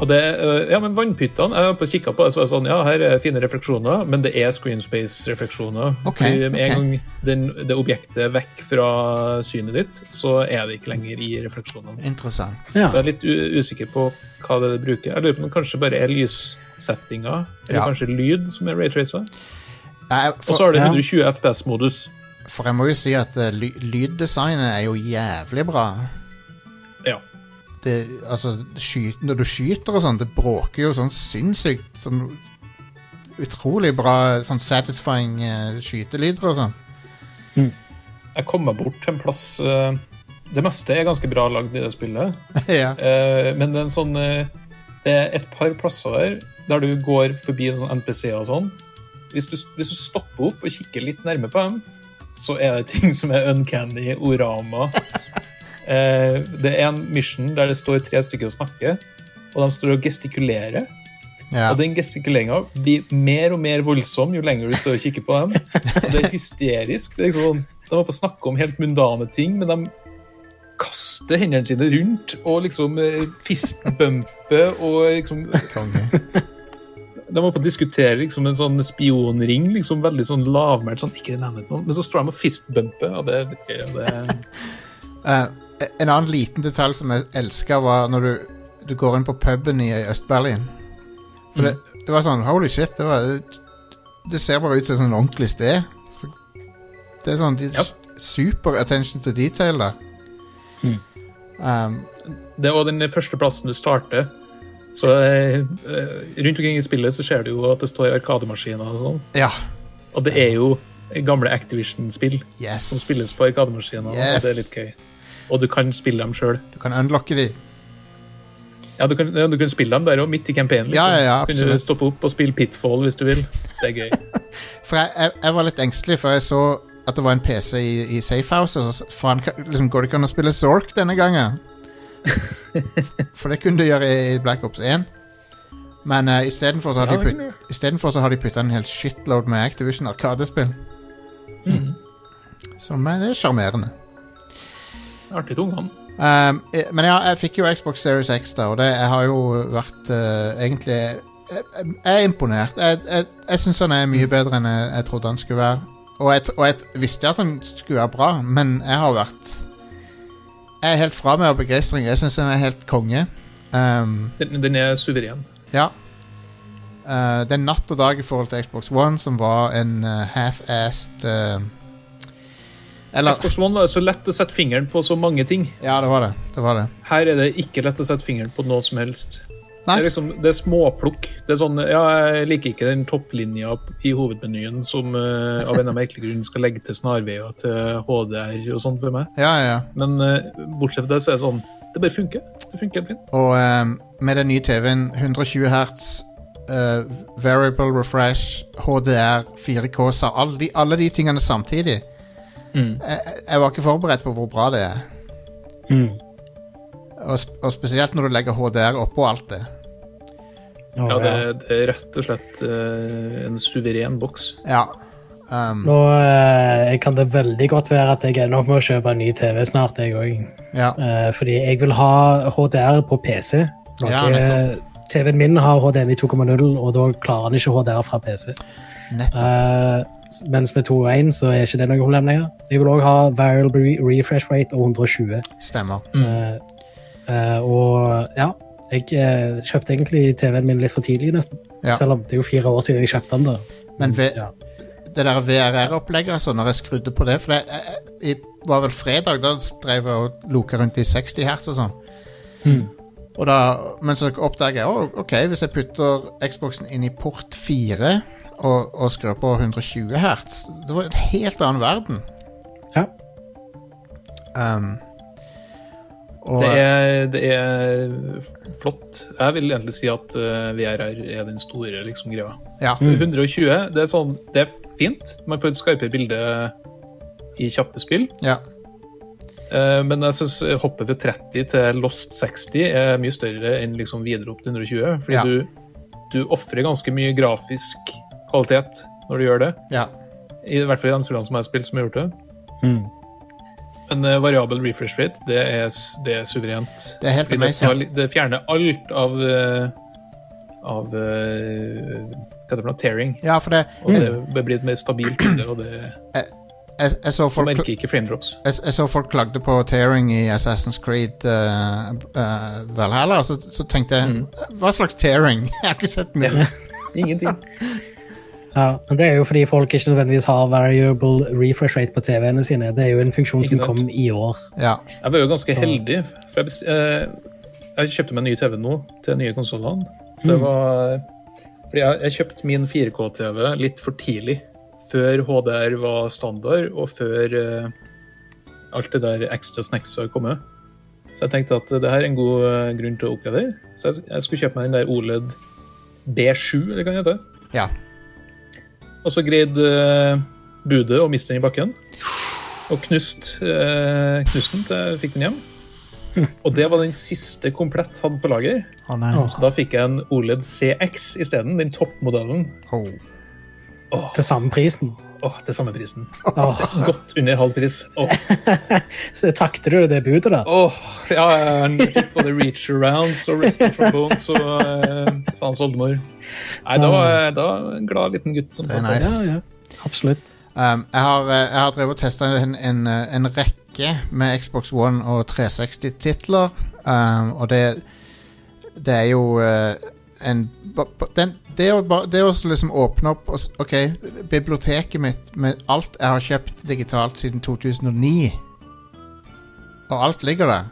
Og det, eh, ja, men Vannpyttene Jeg var på kikka på det, så var det sånn, ja, her er fine refleksjoner, men det er screen space-refleksjoner.
Ok,
Fordi Med en
ok.
gang den, det objektet er vekk fra synet ditt, så er det ikke lenger i refleksjonene.
Interessant.
Ja.
Så jeg er litt u usikker på hva det er de bruker. Jeg lurer på om det kanskje bare er lyssettinga, eller
Ja.
kanskje lyd, som er raytracer.
Nei,
Og så
for,
har det
Ja.
120 FPS-modus.
for jeg må jo si at eh, ly lyddesignet er jo jævlig bra.
Ja.
Det, altså, skyt, når du skyter og sånn, det bråker jo sånn sinnssykt sånn Utrolig bra sånn satisfying eh, skytelyder og sånn.
Jeg kom meg bort til en plass eh, Det meste er ganske bra lagd i det spillet,
ja.
eh, men det er en sånn eh, Det er et par plasser der der du går forbi en sånn NPC og sånn. Hvis du, hvis du stopper opp og kikker litt nærme på dem, så er det ting som er uncanny, orama Eh, Det er en mission der det står tre stykker og snakker, og de står og gestikulerer.
ja.
Og den gestikuleringa blir mer og mer voldsom jo lenger du står og kikker på dem. Og det er hysterisk. Det er liksom, sånn- de holder på å snakke om helt mundane ting, men de kaster hendene sine rundt og liksom eh, fistbumper og liksom
Konge.
De holder på å diskutere liksom en sånn spionring, liksom veldig sånn lavmælt sånn Ikke nevn noen, men så står de og fistbumper, og det vet ikke jeg det,
Eh, en annen liten detalj som jeg elska, var når du, du går inn på puben i Øst-Berlin. For
Mm.
det, det var sånn Holy shit. Det, var, det, det ser bare ut som et sånn ordentlig sted. Så, det er sånn de,
Ja.
super attention to detail der.
Mm.
Um,
Det var den første plassen du starter. Så eh, eh, Rundt omkring i spillet så ser du jo at det står arkademaskiner og sånn.
ja.
Og det er jo gamle Activision-spill
Yes.
som spilles på arkademaskiner.
Yes.
Og det er litt gøy. Og du kan spille dem sjøl.
Du kan unlocke de.
Ja, du kan, ja, du kan spille dem der òg, midt i campaignen. Liksom.
Ja, ja, ja,
Så kan
absolutt.
du stoppe opp og spille Pitfall hvis du vil. Det er gøy.
For jeg, jeg, jeg var litt engstelig, for jeg så at det var en PC i, i Safehouse. Og så s- faen, kan- liksom, går det ikke an å spille Zork denne gangen? for det kunne du gjøre i, i Black Ops 1. Men uh, istedenfor så har
Ja,
de
det
putt-
kunne du.
istedenfor så har de putta en hel shitload med Activision Arkadespill.
Mm.
Som er, det er sjarmerende.
Artig til ungene.
Um, eh, men ja, jeg fikk jo Xbox Series X, da, og det jeg har jo vært eh, egentlig jeg, jeg jeg er imponert. Jeg, jeg, jeg syns han er mye bedre enn jeg, jeg trodde han skulle være. Og jeg, t- og jeg t- visste at han skulle være bra, men jeg har vært Jeg er helt fra meg av begeistring. Jeg syns han er helt konge. Um,
Den, den er suveren.
ja. Eh, det er natt og dag i forhold til Xbox One, som var en eh, half-assed eh, Eller
Xbox One var det så lett å sette fingeren på så mange ting.
Ja, det var det. Det var det.
Her er det ikke lett å sette fingeren på noe som helst.
Nei.
Det er liksom, det er småplukk. Det er sånn, ja, Jeg liker ikke den topplinja i hovedmenyen som eh, av en eller annen merkelig grunn skal legge til snarveier til HDR og sånn for meg.
Ja, ja, ja.
Men eh, bortsett fra det, så er det sånn Det bare funker. Det funker helt fint.
Og ehm, med den nye TV-en 120 hertz eh, Variable refresh HDR, 4K sa alle de, alle de tingene samtidig jeg, jeg- jeg var ikke forberedt på hvor bra det er
Mm.
og, sp- og spesielt når du legger HDR oppå alt det
Å,
Ja, det,
ja.
det er rett og slett eh, en suveren boks.
Ja Ehm,
Nå eh, kan det veldig godt være at jeg ender opp med å kjøpe en ny TV snart, jeg òg.
ja.
Eh, fordi jeg vil ha HDR på PC. Noe- eh,
Ja, nettopp.
TV-en min har HDMI 2,0, og da klarer han ikke HDR fra PC.
Nettopp
Eh, s- mens med 2.1 så er ikke det noe problem lenger. Jeg vil òg ha variable re- refresh rate og 120.
stemmer
Eh, eh, og ja, jeg eh, kjøpte egentlig TV-en min litt for tidlig, nesten.
Ja.
Selv om det er jo fire år siden jeg kjøpte den. da.
Men ve-
Ja.
det der VRR-opplegget altså, Når jeg skrudde på det For det jeg, jeg, jeg var vel fredag Da drev jeg og loka rundt i 60 hertz og sånn og da, Men så oppdager jeg «Å, Ok, hvis jeg putter Xboxen inn i port 4 Og, og skrur på 120 hertz Det var en helt annen verden
Ja.
Ehm, og,
Det er, det er f- flott. Jeg vil egentlig si at eh, VRR er den store liksom, greia.
ja,
120, det er, sånn, det er fint. Man får et skarpere bilde i kjappe spill.
ja,
Eh, Men jeg syns hoppet fra 30 til Lost 60 er mye større enn liksom videre opp til 120. Fordi
Ja.
du, du ofrer ganske mye grafisk kvalitet når du gjør det.
ja, Mm.
I hvert fall i de spillene som jeg har spilt, som har gjort det. Men eh, variabel refresh rate, det er, s- det er suverent.
Det er helt
Fordi det,
amazing.
tar li- det fjerner alt av eh, Av eh, Hva heter det for noe? Tearing.
Ja, for det
Og det, det blir et mer stabilt bilde, og det
Jeg, jeg, så
du
folk,
merker ikke frame drops.
jeg, jeg så folk klagde på tearing i Assassin's Creed eh, eh, Valhalla, så, så tenkte jeg Hva slags tearing? Jeg har ikke sett noe.
Ingenting.
Ja, men Det er jo fordi folk ikke nødvendigvis har variable refresh rate på TV-ene sine. Det er jo en funksjon
Ikke
som
sant?
kom i år.
Ja.
Jeg var jo ganske
Så-
heldig. For jeg, best, eh, jeg kjøpte meg en ny TV nå til nye konsollene. Det var fordi jeg, jeg kjøpte min 4K-TV litt for tidlig. Før HDR var standard, og før eh, alt det der ekstra snacksa kom med. Så jeg tenkte at det her er en god eh, grunn til å oppgradere. Så jeg, jeg skulle kjøpe meg den der E OLED B7, eller hva den heter.
ja.
Og så greide eh, budet å miste den i bakken. Og knust eh, knusten til jeg fikk den hjem. Og det var den siste komplett hadde på lager.
Å nei.
Så da fikk jeg en Oled CX isteden. Den toppmodellen.
Oh.
Til samme prisen.
Åh, til samme prisen.
Åh,
Godt under halv pris. Åh,
så takte du det budet, da?
åh, ja, jeg fikk både reach arounds og restore from bones og eh, faens oldemor. Nei, da var jeg da var jeg en glad liten gutt. Som
Det er
fant
nice.
Ja, ja. Absolutt.
Um, jeg, har, eh, jeg har drevet og testa en, en, eh, en rekke med Xbox One og 360-titler. Um, og det Det er jo eh, en ba- ba- den, det, å, ba- det å liksom åpne opp og, s- OK, biblioteket mitt med alt jeg har kjøpt digitalt siden 2009 Og alt ligger der.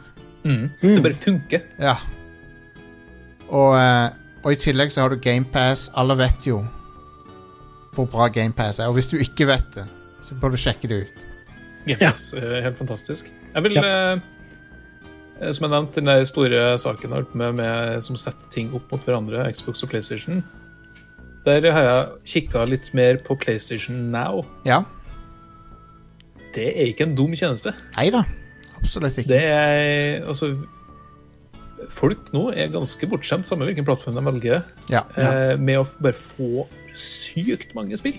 Mm. Det bare funker.
Ja. Og, eh, og i tillegg så har du GamePass. Alle vet jo hvor bra GamePass er. Og hvis du ikke vet det, så bør du sjekke det ut.
Gamepass. eh, Helt fantastisk. Jeg vil, eh, som jeg nevnte, den der store saken jeg har vært med, med eh, som setter ting opp mot hverandre, Xbox og PlayStation. Der har jeg kikka litt mer på PlayStation Now.
Ja.
Det er ikke en dum tjeneste.
Nei da. Absolutt ikke.
Det er altså Folk nå er ganske bortskjemt, samme hvilken plattform de velger,
Ja.
eh, med å f- bare få sykt mange spill.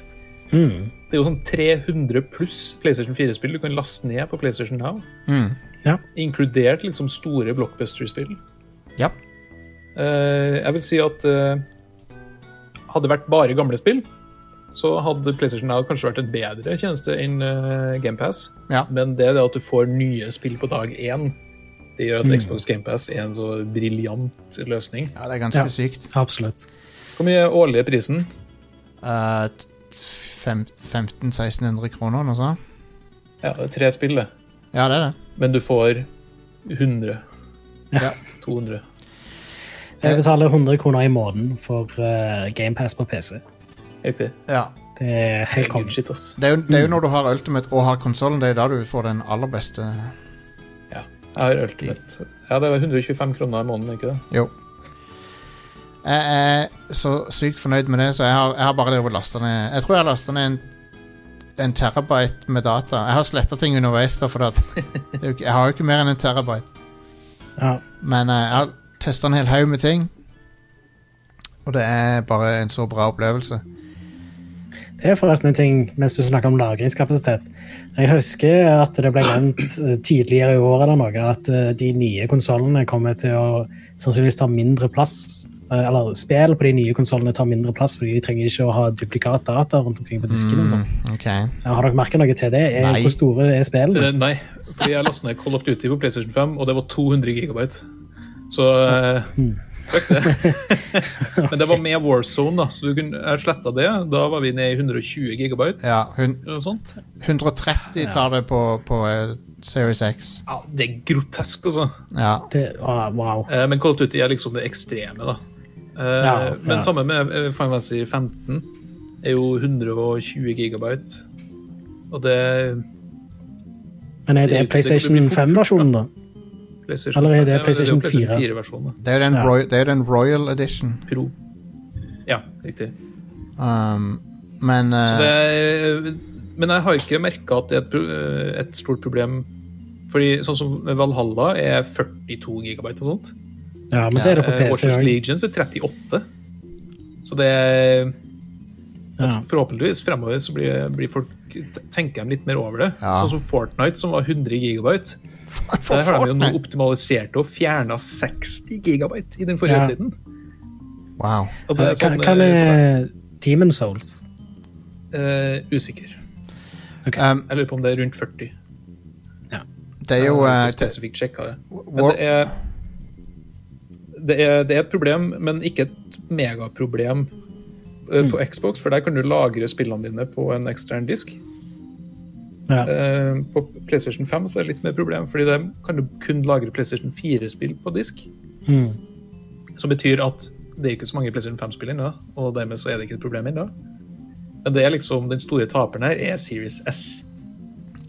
Det er jo sånn 300 pluss PlayStation 4-spill du kan laste ned på PlayStation Now.
Mm.
Ja.
Inkludert liksom store blockbuster-spill.
Ja.
Eh, jeg vil si at eh, hadde det vært bare gamle spill, så hadde PlayStation Now kanskje vært en bedre tjeneste enn eh, GamePass.
Ja.
Men det, er det at du får nye spill på dag én, det gjør at Xbox GamePass er en så briljant løsning.
ja, det er ganske
Ja.
sykt.
Absolutt.
Hvor mye er årlige prisen?
Eh, t- fem- 1500-1600 kroner, noe sånt?
Ja, det er tre spill, det.
Ja, det er det.
Men du får 100.
Ja.
200.
Jeg betaler 100 kroner i måneden for eh, GamePass på PC.
Riktig.
Ja.
Det er helt
Good
konge.
shit, ass.
Det, er jo, det er jo når du har Ultimate og har konsollen, det er da du får den aller beste
Ja, jeg har Ultimate. Ja, det er 125 kroner i måneden, ikke det?
Jo. Jeg er så sykt fornøyd med det, så jeg har, jeg har bare drevet og lastet ned Jeg tror jeg har lasta ned en, en terabyte med data. Jeg har sletta ting underveis, da, for at, det er jo ikke, jeg har jo ikke mer enn en terabyte.
Ja.
Men eh, jeg har testa en hel haug med ting. Og det er bare en så bra opplevelse.
Det er forresten en ting mens du snakker om lagringskapasitet. Jeg husker at det ble nevnt eh, tidligere i år eller noe, at eh, de nye konsollene kommer til å sannsynligvis ta mindre plass. eh, Eller spill på de nye konsollene tar mindre plass, fordi de trenger ikke å ha duplikat data rundt omkring på disken. og sånt.
Ok.
Ja, Har dere merket noe til det? Er,
Nei.
hvor store er spillene?
Eh, Nei, fordi jeg lastet ned Call of Duty på PlayStation 5, og det var 200 gigabyte. Så eh, fuck det. Men det var med Warzone, da, så du kunne, jeg sletta det. Da var vi ned i 120 gigabyte.
Ja, hun,
eller noe sånt.
130 tar det på, på eh, Series X.
Ja, det er grotesk, altså.
Ja.
Det, ah, wow.
Eh, Men Call of Duty er liksom det ekstreme, da. Eh,
Ja, ja.
Men samme med eh, Final Fantasy 15. Er jo 120 gigabyte. Og det
Men er
det-
det
det-
PlayStation
det blir fort fullt,
5-versjonen, da?
PlayStation,
Eller er det
ja,
PlayStation 4?
4-versjonen.
Det er jo den,
Ja.
Roy, det er jo den Royal Edition.
Pro. Ja, riktig.
Um, men eh,
Så det er, men jeg har ikke merka at det er et, pro- eh, et stort problem. Fordi sånn som Valhalla er 42 gigabyte og sånt.
Ja, men det er det på
Eh,
PC
Watchers
òg.
Legions er 38. Så det er
Ja.
Forhåpentligvis fremover så blir, blir folk, tenker de litt mer over det.
Ja.
Sånn som Fortnite, som var 100 gigabyte.
For
Der har de jo nå
Fortnite.
optimalisert og fjerna 60 gigabyte i den forrige
Ja.
tiden.
Wow.
Og det
Hva
er sånn,
hva
eh, sånn
med Demon Souls?
eh, Usikker.
Um,
Jeg lurer på om det er rundt 40.
det er jo
Jeg har
eh,
ikke
det,
spesifikt sjekket det. Men
War-
det er, det er Det er et problem, men ikke et megaproblem eh,
Mm.
på Xbox, for der kan du lagre spillene dine på en ekstern disk.
Ja.
Eh, På PlayStation 5 så er det litt mer problem, fordi der kan du kun lagre PlayStation 4-spill på disk.
Mm.
Som betyr at det er ikke så mange PlayStation 5-spill ennå, og dermed så er det ikke et problem ennå. Men det er liksom, den store taperen her er Series S.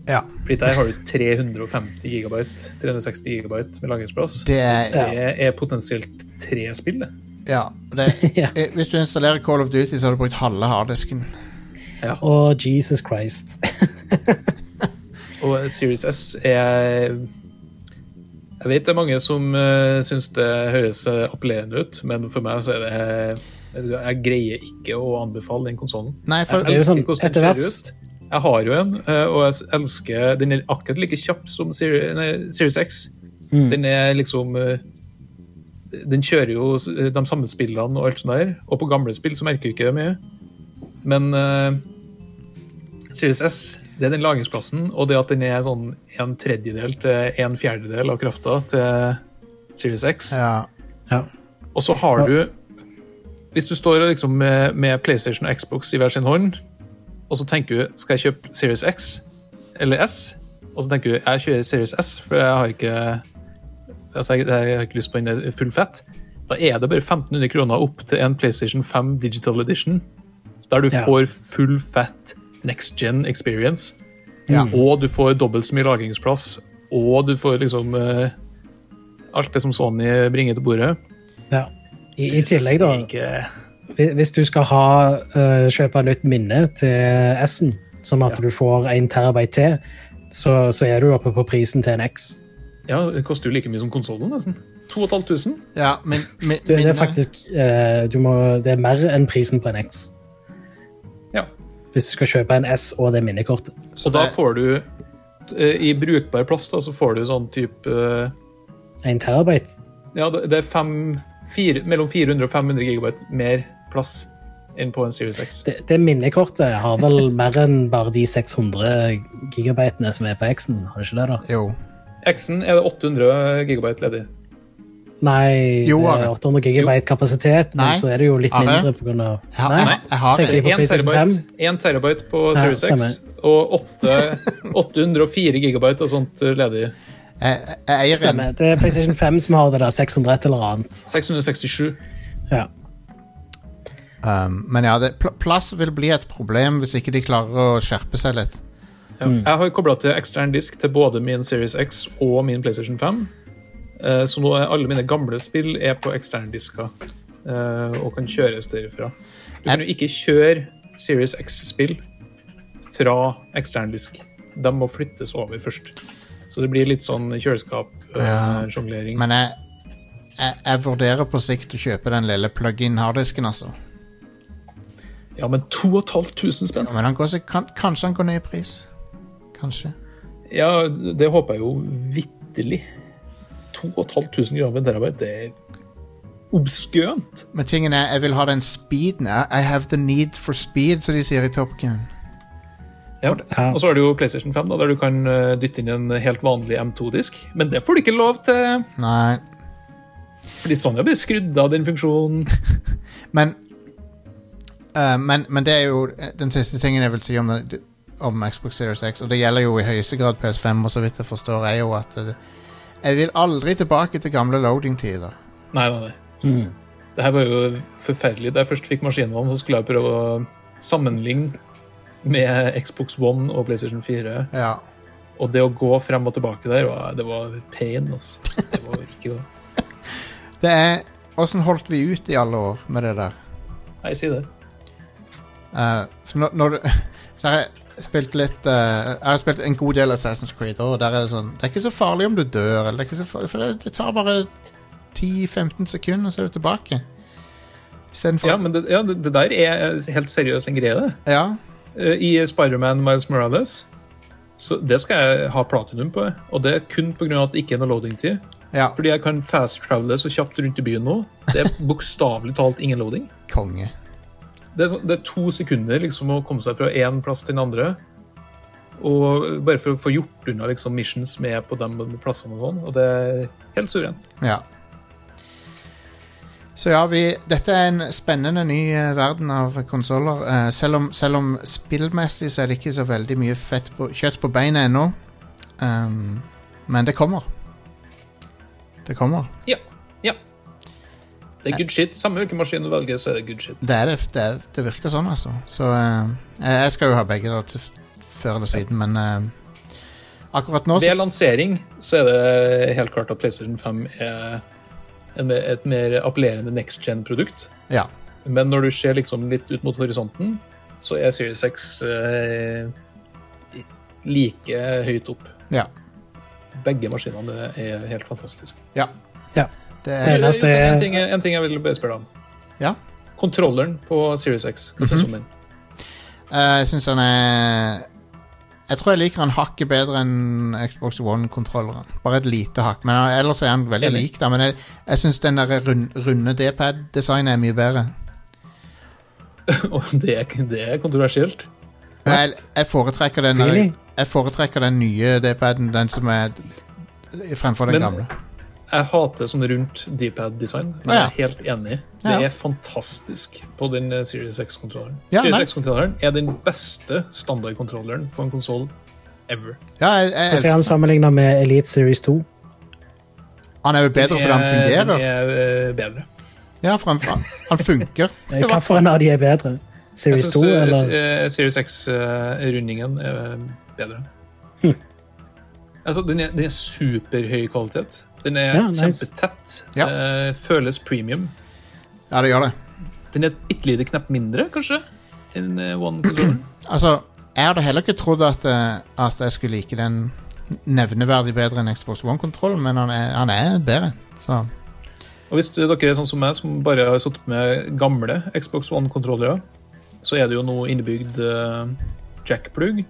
Ja.
Fordi der har du 350 gigabyte, 360 gigabyte med lagringsplass.
det er
Det er potensielt tre spill, det.
Ja. Det, eh, hvis du installerer Call of Duty, så har du brukt halve harddisken.
Og Jesus Christ.
Og Series S er Jeg vet det er mange som uh, syns det høres eh, appellerende ut, men for meg så er det Jeg greier ikke å anbefale den konsollen.
Nei, for
Det er jo sånn, etter hvert-
Jeg har jo en, eh, og jeg s- elsker Den er akkurat like kjapp som Series, nei, Series X. Den er liksom eh, Den kjører jo s- de samme spillene og alt sånt der. Og på gamle spill så merker du ikke det mye. Men eh, Series S, det er den lagringsplassen, og det at den er sånn en tredjedel til en fjerdedel av krafta til Series X.
ja.
Ja.
Og så har du Hvis du står og liksom med, med PlayStation og Xbox i hver sin hånd, og så tenker du skal jeg kjøpe Series X eller S, og så tenker du jeg kjører Series S, for jeg har ikke altså jeg, jeg har ikke lyst på en full fett, da er det bare 1500 kroner opp til en PlayStation 5 Digital Edition, der du
Ja.
får full fett next gen experience,
Ja.
og du får dobbelt så mye lagringsplass, og du får liksom eh, alt det som Sony bringer til bordet.
ja. I, I tillegg, da.
Ikke-
Hvi- Hvis du skal ha, eh, kjøpe nytt minne til S-en, som at du får 1 terabyte til, så, så er du oppe på prisen til en X.
Ja, det koster jo like mye som konsollen, nesten. 2500.
ja min, min,
Du, det
minne-
er faktisk eh, du må, Det er mer enn prisen på en X.
Ja.
Hvis du skal kjøpe en S og det minnekortet.
Så da
det-
får du eh, I brukbar plass da, så får du sånn type eh,
En terabyte.
Ja, det det er fem, fire, mellom 400 og 500 gigabyte mer plass enn på en Series X.
Det, det minnekortet har vel mer enn bare de 600 gigabytene som er på X-en, har det ikke det, da?
Jo.
X-en er det 800 gigabyte ledig.
Nei,
Jo,
det er
Are.
800 gigabyte kapasitet,
Nei.
men så er det jo litt
Are.
mindre på grunn av
Jeg, har- jeg, har- jeg har
Tenker
det.
på
Én
PlayStation
terabyte, en terabyte på
Ja,
Series X og åtte- 804 gigabyte og sånt eh, ledig.
Jeg, jeg eier en.
Stemmer. Det er PlayStation 5 som har det der 600 et eller annet.
667.
Ja.
Um, men ja, det, pl plass vil bli et problem hvis ikke de klarer å skjerpe seg litt.
Ja.
Mm.
Jeg har kobla til ekstern disk til både min Series X og min PlayStation 5. Eh, Så nå er alle mine gamle spill er på eksterndisker eh, og kan kjøres derifra. Du kan jo ikke kjøre Series X-spill fra eksterndisk. De må flyttes over først. Så det blir litt sånn
Ja.
kjøleskapsjonglering.
Men jeg, jeg, jeg vurderer på sikt å kjøpe den lille plug-in harddisken, altså.
Ja, men 2500 spenn?
Ja, Men han går seg, kan, kanskje han går ned i pris. Kanskje.
Ja, det håper jeg jo vitterlig. 2500 kroner for en terabyte, det er obskønt.
Men tingen er, jeg vil ha den speeden. I, I have the need for speed, som de sier i Top Gun.
Ja.
Ja.
Og så har du jo PlayStation 5, da, der du kan eh, dytte inn en helt vanlig M2-disk. Men det får du ikke lov til,
Nei.
fordi Sony har bare skrudd av den funksjonen.
Men, eh, men, men det er jo eh, den siste tingen jeg vil si om, det, om Xbox Series X, og det gjelder jo i høyeste grad PS5, og så vidt jeg forstår, er jo at eh, jeg vil aldri tilbake til gamle loading-tider.
Nei, nei, nei. Det her var jo forferdelig. Da jeg først fikk maskinen om, så skulle jeg prøve å sammenligne med Xbox One og PlayStation 4.
Ja.
Og det å gå frem og tilbake der, var, det var pain, altså. Det var ikke det.
Det er Åssen holdt vi ut i alle år med det der?
Nei, si det.
Eh, for når, når du Så har jeg spilt litt eh, Jeg har spilt en god del Assassin's Creed, og der er det sånn Det er ikke så farlig om du dør, eller det er ikke så farlig, for det, det tar bare 10-15 sekunder, og så er du tilbake. Istedenfor
Ja, men det, ja, det det der er helt seriøst en greie, det.
Ja.
Eh, I Spider-Man Miles Morales. Så det skal jeg ha platinum på, og det er kun pga. at det ikke er noe loading-tid.
ja.
Fordi jeg kan fast-travele så kjapt rundt i byen nå. Det er bokstavelig talt ingen loading.
Konge.
Det er, sånn- det er to sekunder liksom å komme seg fra én plass til den andre. Og bare for å få gjort unna liksom missions med på de plassene og sånn. Og det er helt suverent.
Ja. Så ja, vi, dette er en spennende ny eh, verden av konsoller. Eh, selv, om- selv om spillmessig så er det ikke så veldig mye fett på, kjøtt på beinet ennå. Ehm, men det kommer. Det kommer.
Ja. Ja. Det er good shit. Samme hvilken maskin du velger, så er det good shit.
Det, er det, det, er- det virker sånn, altså. Så eh, jeg- jeg skal jo ha begge da, til f- før eller siden, men eh, akkurat nå
Ved
så
lansering så er det helt klart at PlayStation 5 er en, et mer appellerende next gen-produkt.
Ja.
Men når du ser liksom litt ut mot horisonten, så er Series 6 eh, like høyt opp.
ja.
Begge maskinene er helt fantastiske.
Det
Det
er,
eneste er-
en, ting, en ting jeg vil bare spørre deg om.
Ja. Mhm.
Kontrolleren på Series X, hva syns du om den?
Eh, jeg syns han er Jeg tror jeg liker han hakket bedre enn Xbox One-kontrolleren. Bare et lite hakk. Men han- ellers er han veldig
Enig.
lik, da. Men jeg, jeg syns den der rund, runde D-pad-designet er mye bedre.
Og det, er- det er kontroversielt.
Jeg, jeg, foretrekker den, der-
Really?
jeg foretrekker den nye D-paden, den som er fremfor den
Men-
gamle.
Jeg hater sånn rundt D-pad-design, men
Ah, ja.
jeg er helt enig. Det
Ja, ja.
er fantastisk på den eh, Series X-kontrolleren.
Ja,
Series
nice.
X-kontrolleren er den beste standardkontrolleren på en konsoll ever.
Ja, jeg, jeg,
Jeg ser han
elsker den.
sammenlignet med Elite Series 2.
Han er jo bedre fordi han
Den
fungerer.
er eh, bedre.
Ja, for han, han- han funker.
Eh, Hvilken av de er bedre?
Jeg
Series 2
synes, eh,
eller
eh, Series X-rundingen er eh, bedre.
Hm.
Altså, den er, den er superhøy kvalitet. Den er
Ja, nice.
kjempetett.
Ja.
eh, føles premium.
Ja, det gjør det.
Den er et bitte lite knepp mindre, kanskje, enn eh, One-kontrolleren.
Altså, jeg hadde heller ikke trodd at, eh, at jeg skulle like den nevneverdig bedre enn Xbox One-kontrollen, men han er, han er bedre. Så
Og hvis dere er sånn som meg, som bare har sittet med gamle Xbox One-kontrollere, så er det jo nå innebygd eh, jack-plugg.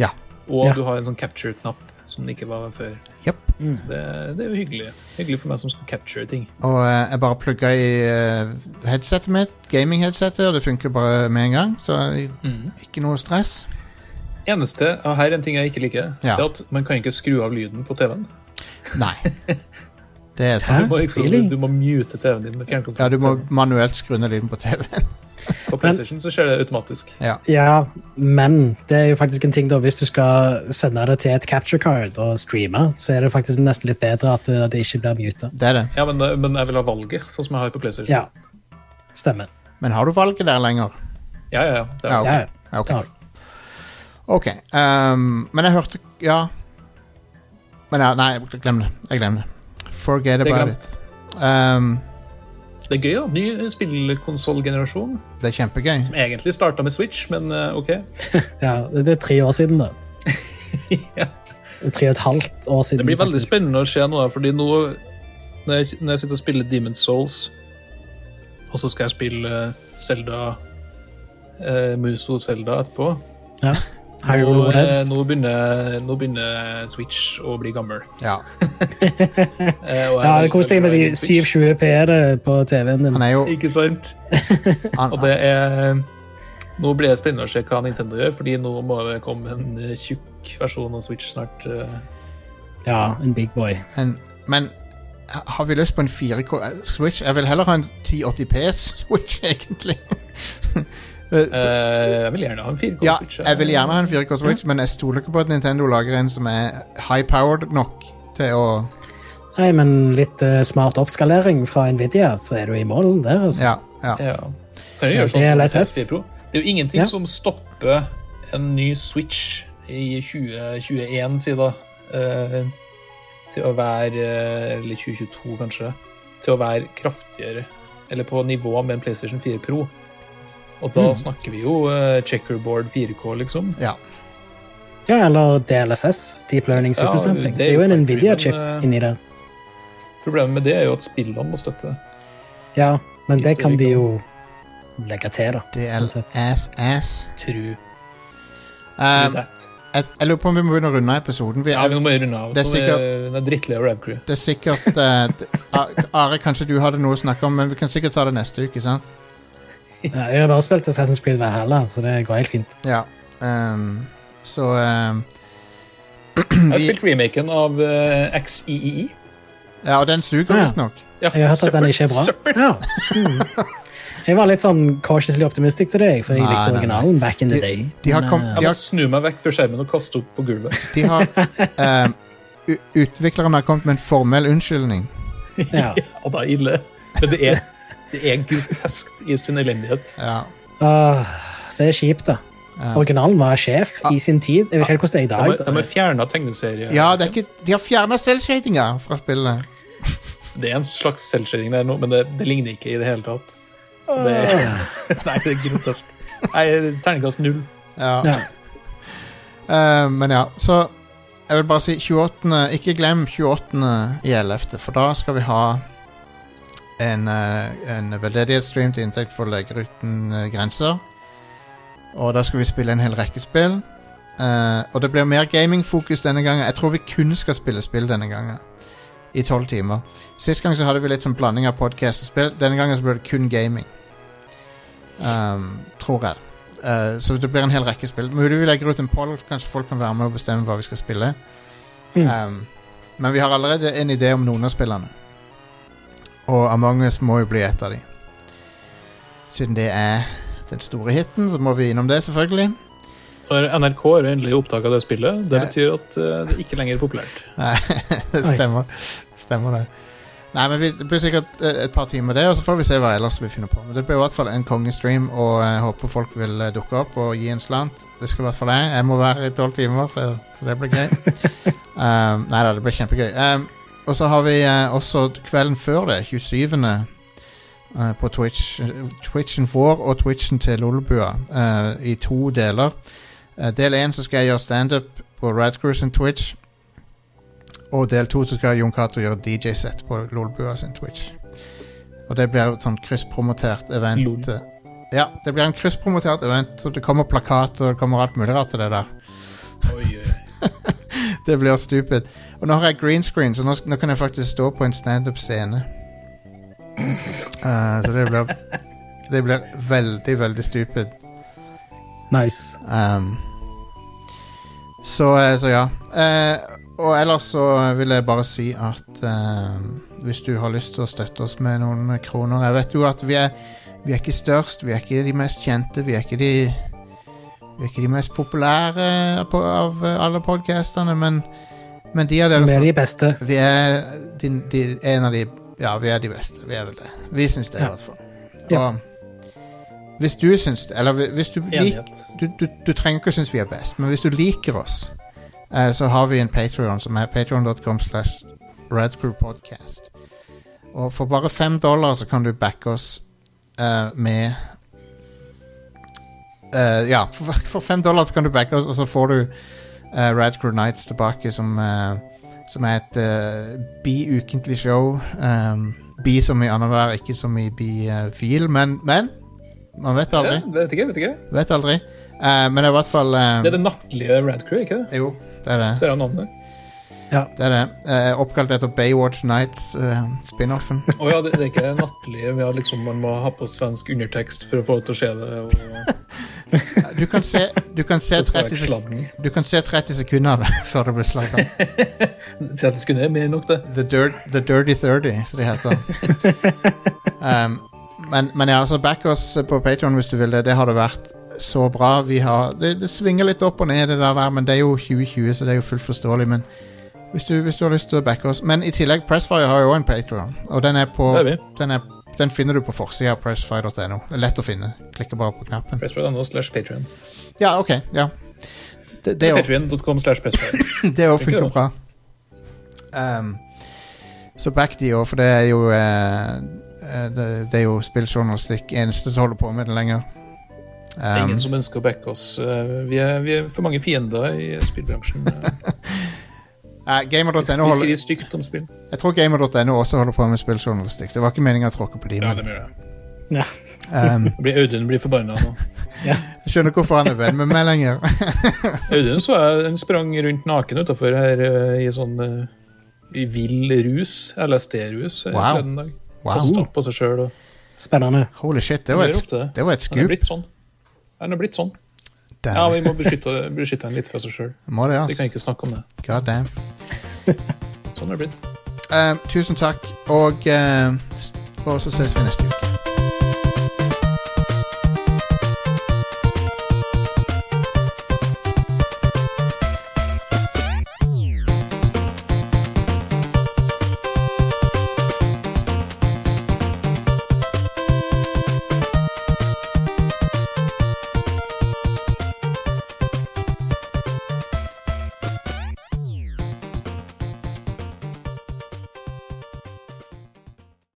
Ja.
Og
Ja.
du har en sånn capture-knapp som det ikke var før.
jepp.
Det, det er jo hyggelig. Hyggelig for meg som skal capture ting.
Og eh, jeg bare plugga i eh, headsetet mitt, gaming-headsetet, og det funker bare med en gang. Så ikke noe stress.
Eneste, og her er en ting jeg ikke liker,
Ja.
det er at man kan ikke skru av lyden på TV-en.
Nei. Det er sant.
Du, må liksom,
Really?
du må mute TV-en din med fjernkontroll.
Ja, du må manuelt skru ned lyden på TV-en.
På PlayStation så skjer det automatisk.
Ja, men det er jo faktisk en ting da, hvis du skal sende det til et capture card og streame, så er det faktisk nesten litt bedre at eh, det ikke blir muta.
Det er det.
Ja, men, men jeg vil ha valget, sånn som jeg har på PlayStation.
Ja, stemmer.
Men har du valget der lenger?
ja, ja, ja. Det er-
Ja,
Ja,
Ja, Ok.
ja.
Ok, ehm, men jeg hørte Ja. Men ja, nei, glem det. Jeg glemmer det. Forget
Det er
about
glemt.
it. Ehm,
Det er gøy, da. Ny spillkonsollgenerasjon.
det er kjempegøy.
Som egentlig starta med Switch, men eh, OK.
ja, det det er tre år siden, da.
Ja.
Tre og et halvt år siden.
Det blir veldig
faktisk.
spennende å se nå, da, fordi nå når jeg, når jeg sitter og spiller Demon's Souls, og så skal jeg spille eh, Zelda eh, Muso Zelda etterpå
Ja.
nå,
Hyrule
eh,
Whatevs.
nå, begynner, nå begynner Switch å bli gammel.
Ja.
Eh, og jeg
Ja,
er
det koster deg med de
veldig glad i Switch.
720p-ene E på TV-en din.
Han er jo
Ikke sant?
han,
Og det er Nå blir det spennende å se hva Nintendo gjør, fordi nå må det komme en eh, tjukk versjon av Switch snart. eh.
Ja, en big boy.
en, Men har vi lyst på en 4K Switch? Jeg vil heller ha en 1080P-switch, egentlig. Eh,
Eh,
så,
jeg vil gjerne ha en 4K
ja,
Switch.
jeg vil gjerne ha en 4K-switch, men jeg stoler ikke på at Nintendo lager en som er high-powered nok til å
Nei, men litt eh, smart oppskalering fra Nvidia, så er du i mål der, altså.
Ja. ja.
Ja. Kan jo
Ja,
gjøre sånn som
DLSS.
PS4 Pro. Det er jo ingenting
Ja.
som stopper en ny Switch i 2021, si da, eh, til å være eh, Eller 2022, kanskje. Til å være kraftigere, eller på nivå med en PlayStation 4 Pro. Og da
Mm.
snakker vi jo eh, checkerboard 4K, liksom.
ja.
Ja, eller DLSS, Deep Learning Supersampling.
Ja,
det, er jo en
faktisk
Nvidia-chip
en, eh,
inni der.
Problemet med det er jo at spillene må støtte det.
Ja, men
i
det kan de
spillene.
jo legge til, da. sånn sett.
DLSS.
True.
Um,
that.
jeg, jeg lurer på om vi må begynne å runde episoden. Vi,
Ja, vi må runde av.
det er
for
sikkert-
det er drittlei av Rab Crew.
Det er sikkert eh, d- A- Are, kanskje du hadde noe å snakke om, men vi kan sikkert ta det neste uke, sant?
Ja, Jeg har bare spilt Assassin's Creed Valhalla, så det går helt fint.
Ja. ehm, så ehm,
Jeg har
Mm, vi,
spilt remaken av eh, XIII.
Ja, og den suger
Ah, ja.
visstnok.
Ja,
Jeg har hørt at den ikke er bra.
Søppel!
Ja. Mm. Jeg var litt sånn cautiously optimistic til deg, for jeg
Nei, nei,
likte
nei.
originalen back in the
De-
day.
de har
Men,
kom-
eh,
Jeg måtte snu meg vekk fra skjermen og kaste opp på gulvet.
De har ehm, u- Utviklerne har kommet med en formell unnskyldning.
eh, ja.
Ja, det er ille. Men det er, det er grotesk i sin elendighet.
Ja.
Åh, Ah, det er kjipt, da. Originalen var sjef
Ah.
i sin tid. Jeg vet ikke helt hvordan det er i
De har-
dag.
de har fjerna tegneserier.
ja, det er ikke, de har fjerna selvshadinga fra spillet.
Det er en slags selvskjøring der nå, men det, det ligner ikke i det hele tatt. Det, nei, det er grotesk. Nei, terningkast null.
Ja.
Ja.
Eh, men ja, så Jeg vil bare si 28. Ikke glem 28. i 11., for da skal vi ha en, eh, en veldedighetsstream til inntekt for Leger uten eh, grenser. Og da skal vi spille en hel rekke spill. Eh, og det blir mer gamingfokus denne gangen. Jeg tror vi kun skal spille spill denne gangen. I tolv timer. Sist gang så hadde vi litt sånn blanding av podkast og spill. Denne gangen så blir det kun gaming. Um, tror jeg. Eh, så det blir en hel rekke spill. Mulig vi legger ut en poll, kanskje folk kan være med og bestemme hva vi skal spille. Um, men vi har allerede en idé om noen av spillene. Og Among us må jo bli et av de. Siden det er den store hiten, så må vi innom det, selvfølgelig.
Når NRK har endelig opptak av det spillet, det
Ja.
betyr at eh, det ikke lenger er populært.
Nei, det
Oi.
stemmer. Stemmer det. Nei, men vi, det blir sikkert eh, et par timer det, og så får vi se hva ellers vi finner på. Men det blir i hvert fall en kongestream, og jeg håper folk vil eh, dukke opp og gi en slant. Det skal i hvert fall jeg. Jeg må være her i tolv timer, så, så det blir gøy. um, nei da, det blir kjempegøy. Um, og så har vi eh, også kvelden før det, 27. eh, på Twitch, Twitchen vår og Twitchen til Lolbua eh, i to deler. Eh, del én så skal jeg gjøre standup på Radcruise sin Twitch. Og del to så skal Jon Cato gjøre DJ-sett på Lolbua sin Twitch. Og det blir et sånt krysspromotert event. eh,
Lol.
Ja, det blir en krysspromotert event, så det kommer plakat og det kommer alt mulig rart til det der. det blir stupid. Og nå har jeg green screen, så nå, nå kan jeg faktisk stå på en standup-scene. Eh, så det blir Det blir veldig, veldig stupid.
Nice.
Um, så, eh, så ja. Eh, og ellers så vil jeg bare si at eh, hvis du har lyst til å støtte oss med noen kroner Jeg vet jo at vi er, vi er ikke størst, vi er ikke de mest kjente, vi er ikke de vi er ikke de mest populære på, av eh, alle podkastene, men, men de av dere
Vi
som
er de beste.
vi er de, de, en av de Ja, vi er de beste. Vi er vel det. Vi syns det, i
Ja.
hvert fall.
Ja.
Og hvis du syns det, eller hvis du liker
Enighet.
du, du, du trenger ikke å synes vi er best, men hvis du liker oss, eh, så har vi en Patreon som er patreon.com slash radcrewpodcast. Og for bare fem dollar så kan du backe oss eh, med eh, Ja, for, for fem dollar så kan du backe oss, og så får du eh, Radcrew Nights tilbake, som, eh, som er et eh, bi-ukentlig show. Um, bi som i annenhver, ikke som i bifil, men, men man vet aldri.
Ja, vet ikke, vet ikke.
Vet aldri. Eh, men det er i hvert fall eh,
Det er det nattlige Rad Crew, ikke det?
Jo, det er det.
Det er navnet.
det, er det. Eh, oppkalt etter Baywatch Nights, eh, spin-offen.
Å ja, det, det er ikke nattlige. Vi har liksom, man må ha på svensk undertekst for å få det til å skje det. Og,
Eh, Du kan se, du kan se,
og få
30,
vekk
sek
sladden.
du kan se 30 sekunder av det før det blir slagga.
30 sekunder er mer enn nok, det.
The, dirt, the Dirty 30, som det heter. Um, men, men ja, altså back oss på Patreon hvis du vil det. Det har det vært så bra. Vi har, det, det svinger litt opp og ned, det der, der, men det er jo 2020, så det er jo fullt forståelig. Men hvis du, hvis du har lyst til å backe oss Men i tillegg, Pressfire har jo også en Patreon, og den er på
Det er vi.
den, er, den finner du på forsida av pressfire.no. Det er Lett å finne. Klikker bare på knappen.
Pressfire.no slash Patreon.
Ja, OK. Ja. Det, det er jo-
Patreon.com slash Pressfire.
det òg funker
Funker det.
bra. Ehm, så back de òg, for det er jo eh, eh, det, det er jo spilljournalistikk eneste som holder på med det lenger.
Det er
Ehm,
Ingen som ønsker å backe oss. Eh, Vi er, vi er for mange fiender i spillbransjen. Eh,
eh,
Vi
Gamer.no
vi
holder
skriver stygt om spill.
Jeg tror gamer.no også holder på med spilljournalistikk. så Det var ikke meninga å tråkke på de, men
gjør jeg.
Ja.
Um,
Jeg blir- Audun blir forbanna nå.
skjønner hvorfor han er venn med meg lenger.
Audun så jeg, hun sprang rundt naken utafor her eh, i sånn eh, i vill rus, LSD-rus, eh,
Wow.
forleden dag. Kasta
Wow.
opp på seg sjøl.
Spennende.
Holy shit, det
Han
var
gjør
et,
ofte det.
det var et
Han er
scoop.
blitt sånn. Han er blitt sånn. Ja,
Damn.
vi må beskytte, beskytte han litt fra seg sjøl.
Må det,
Vi
altså.
kan ikke snakke om det.
God damn.
Sånn er det blitt.
Eh, tusen takk, og, eh, og så ses vi neste uke.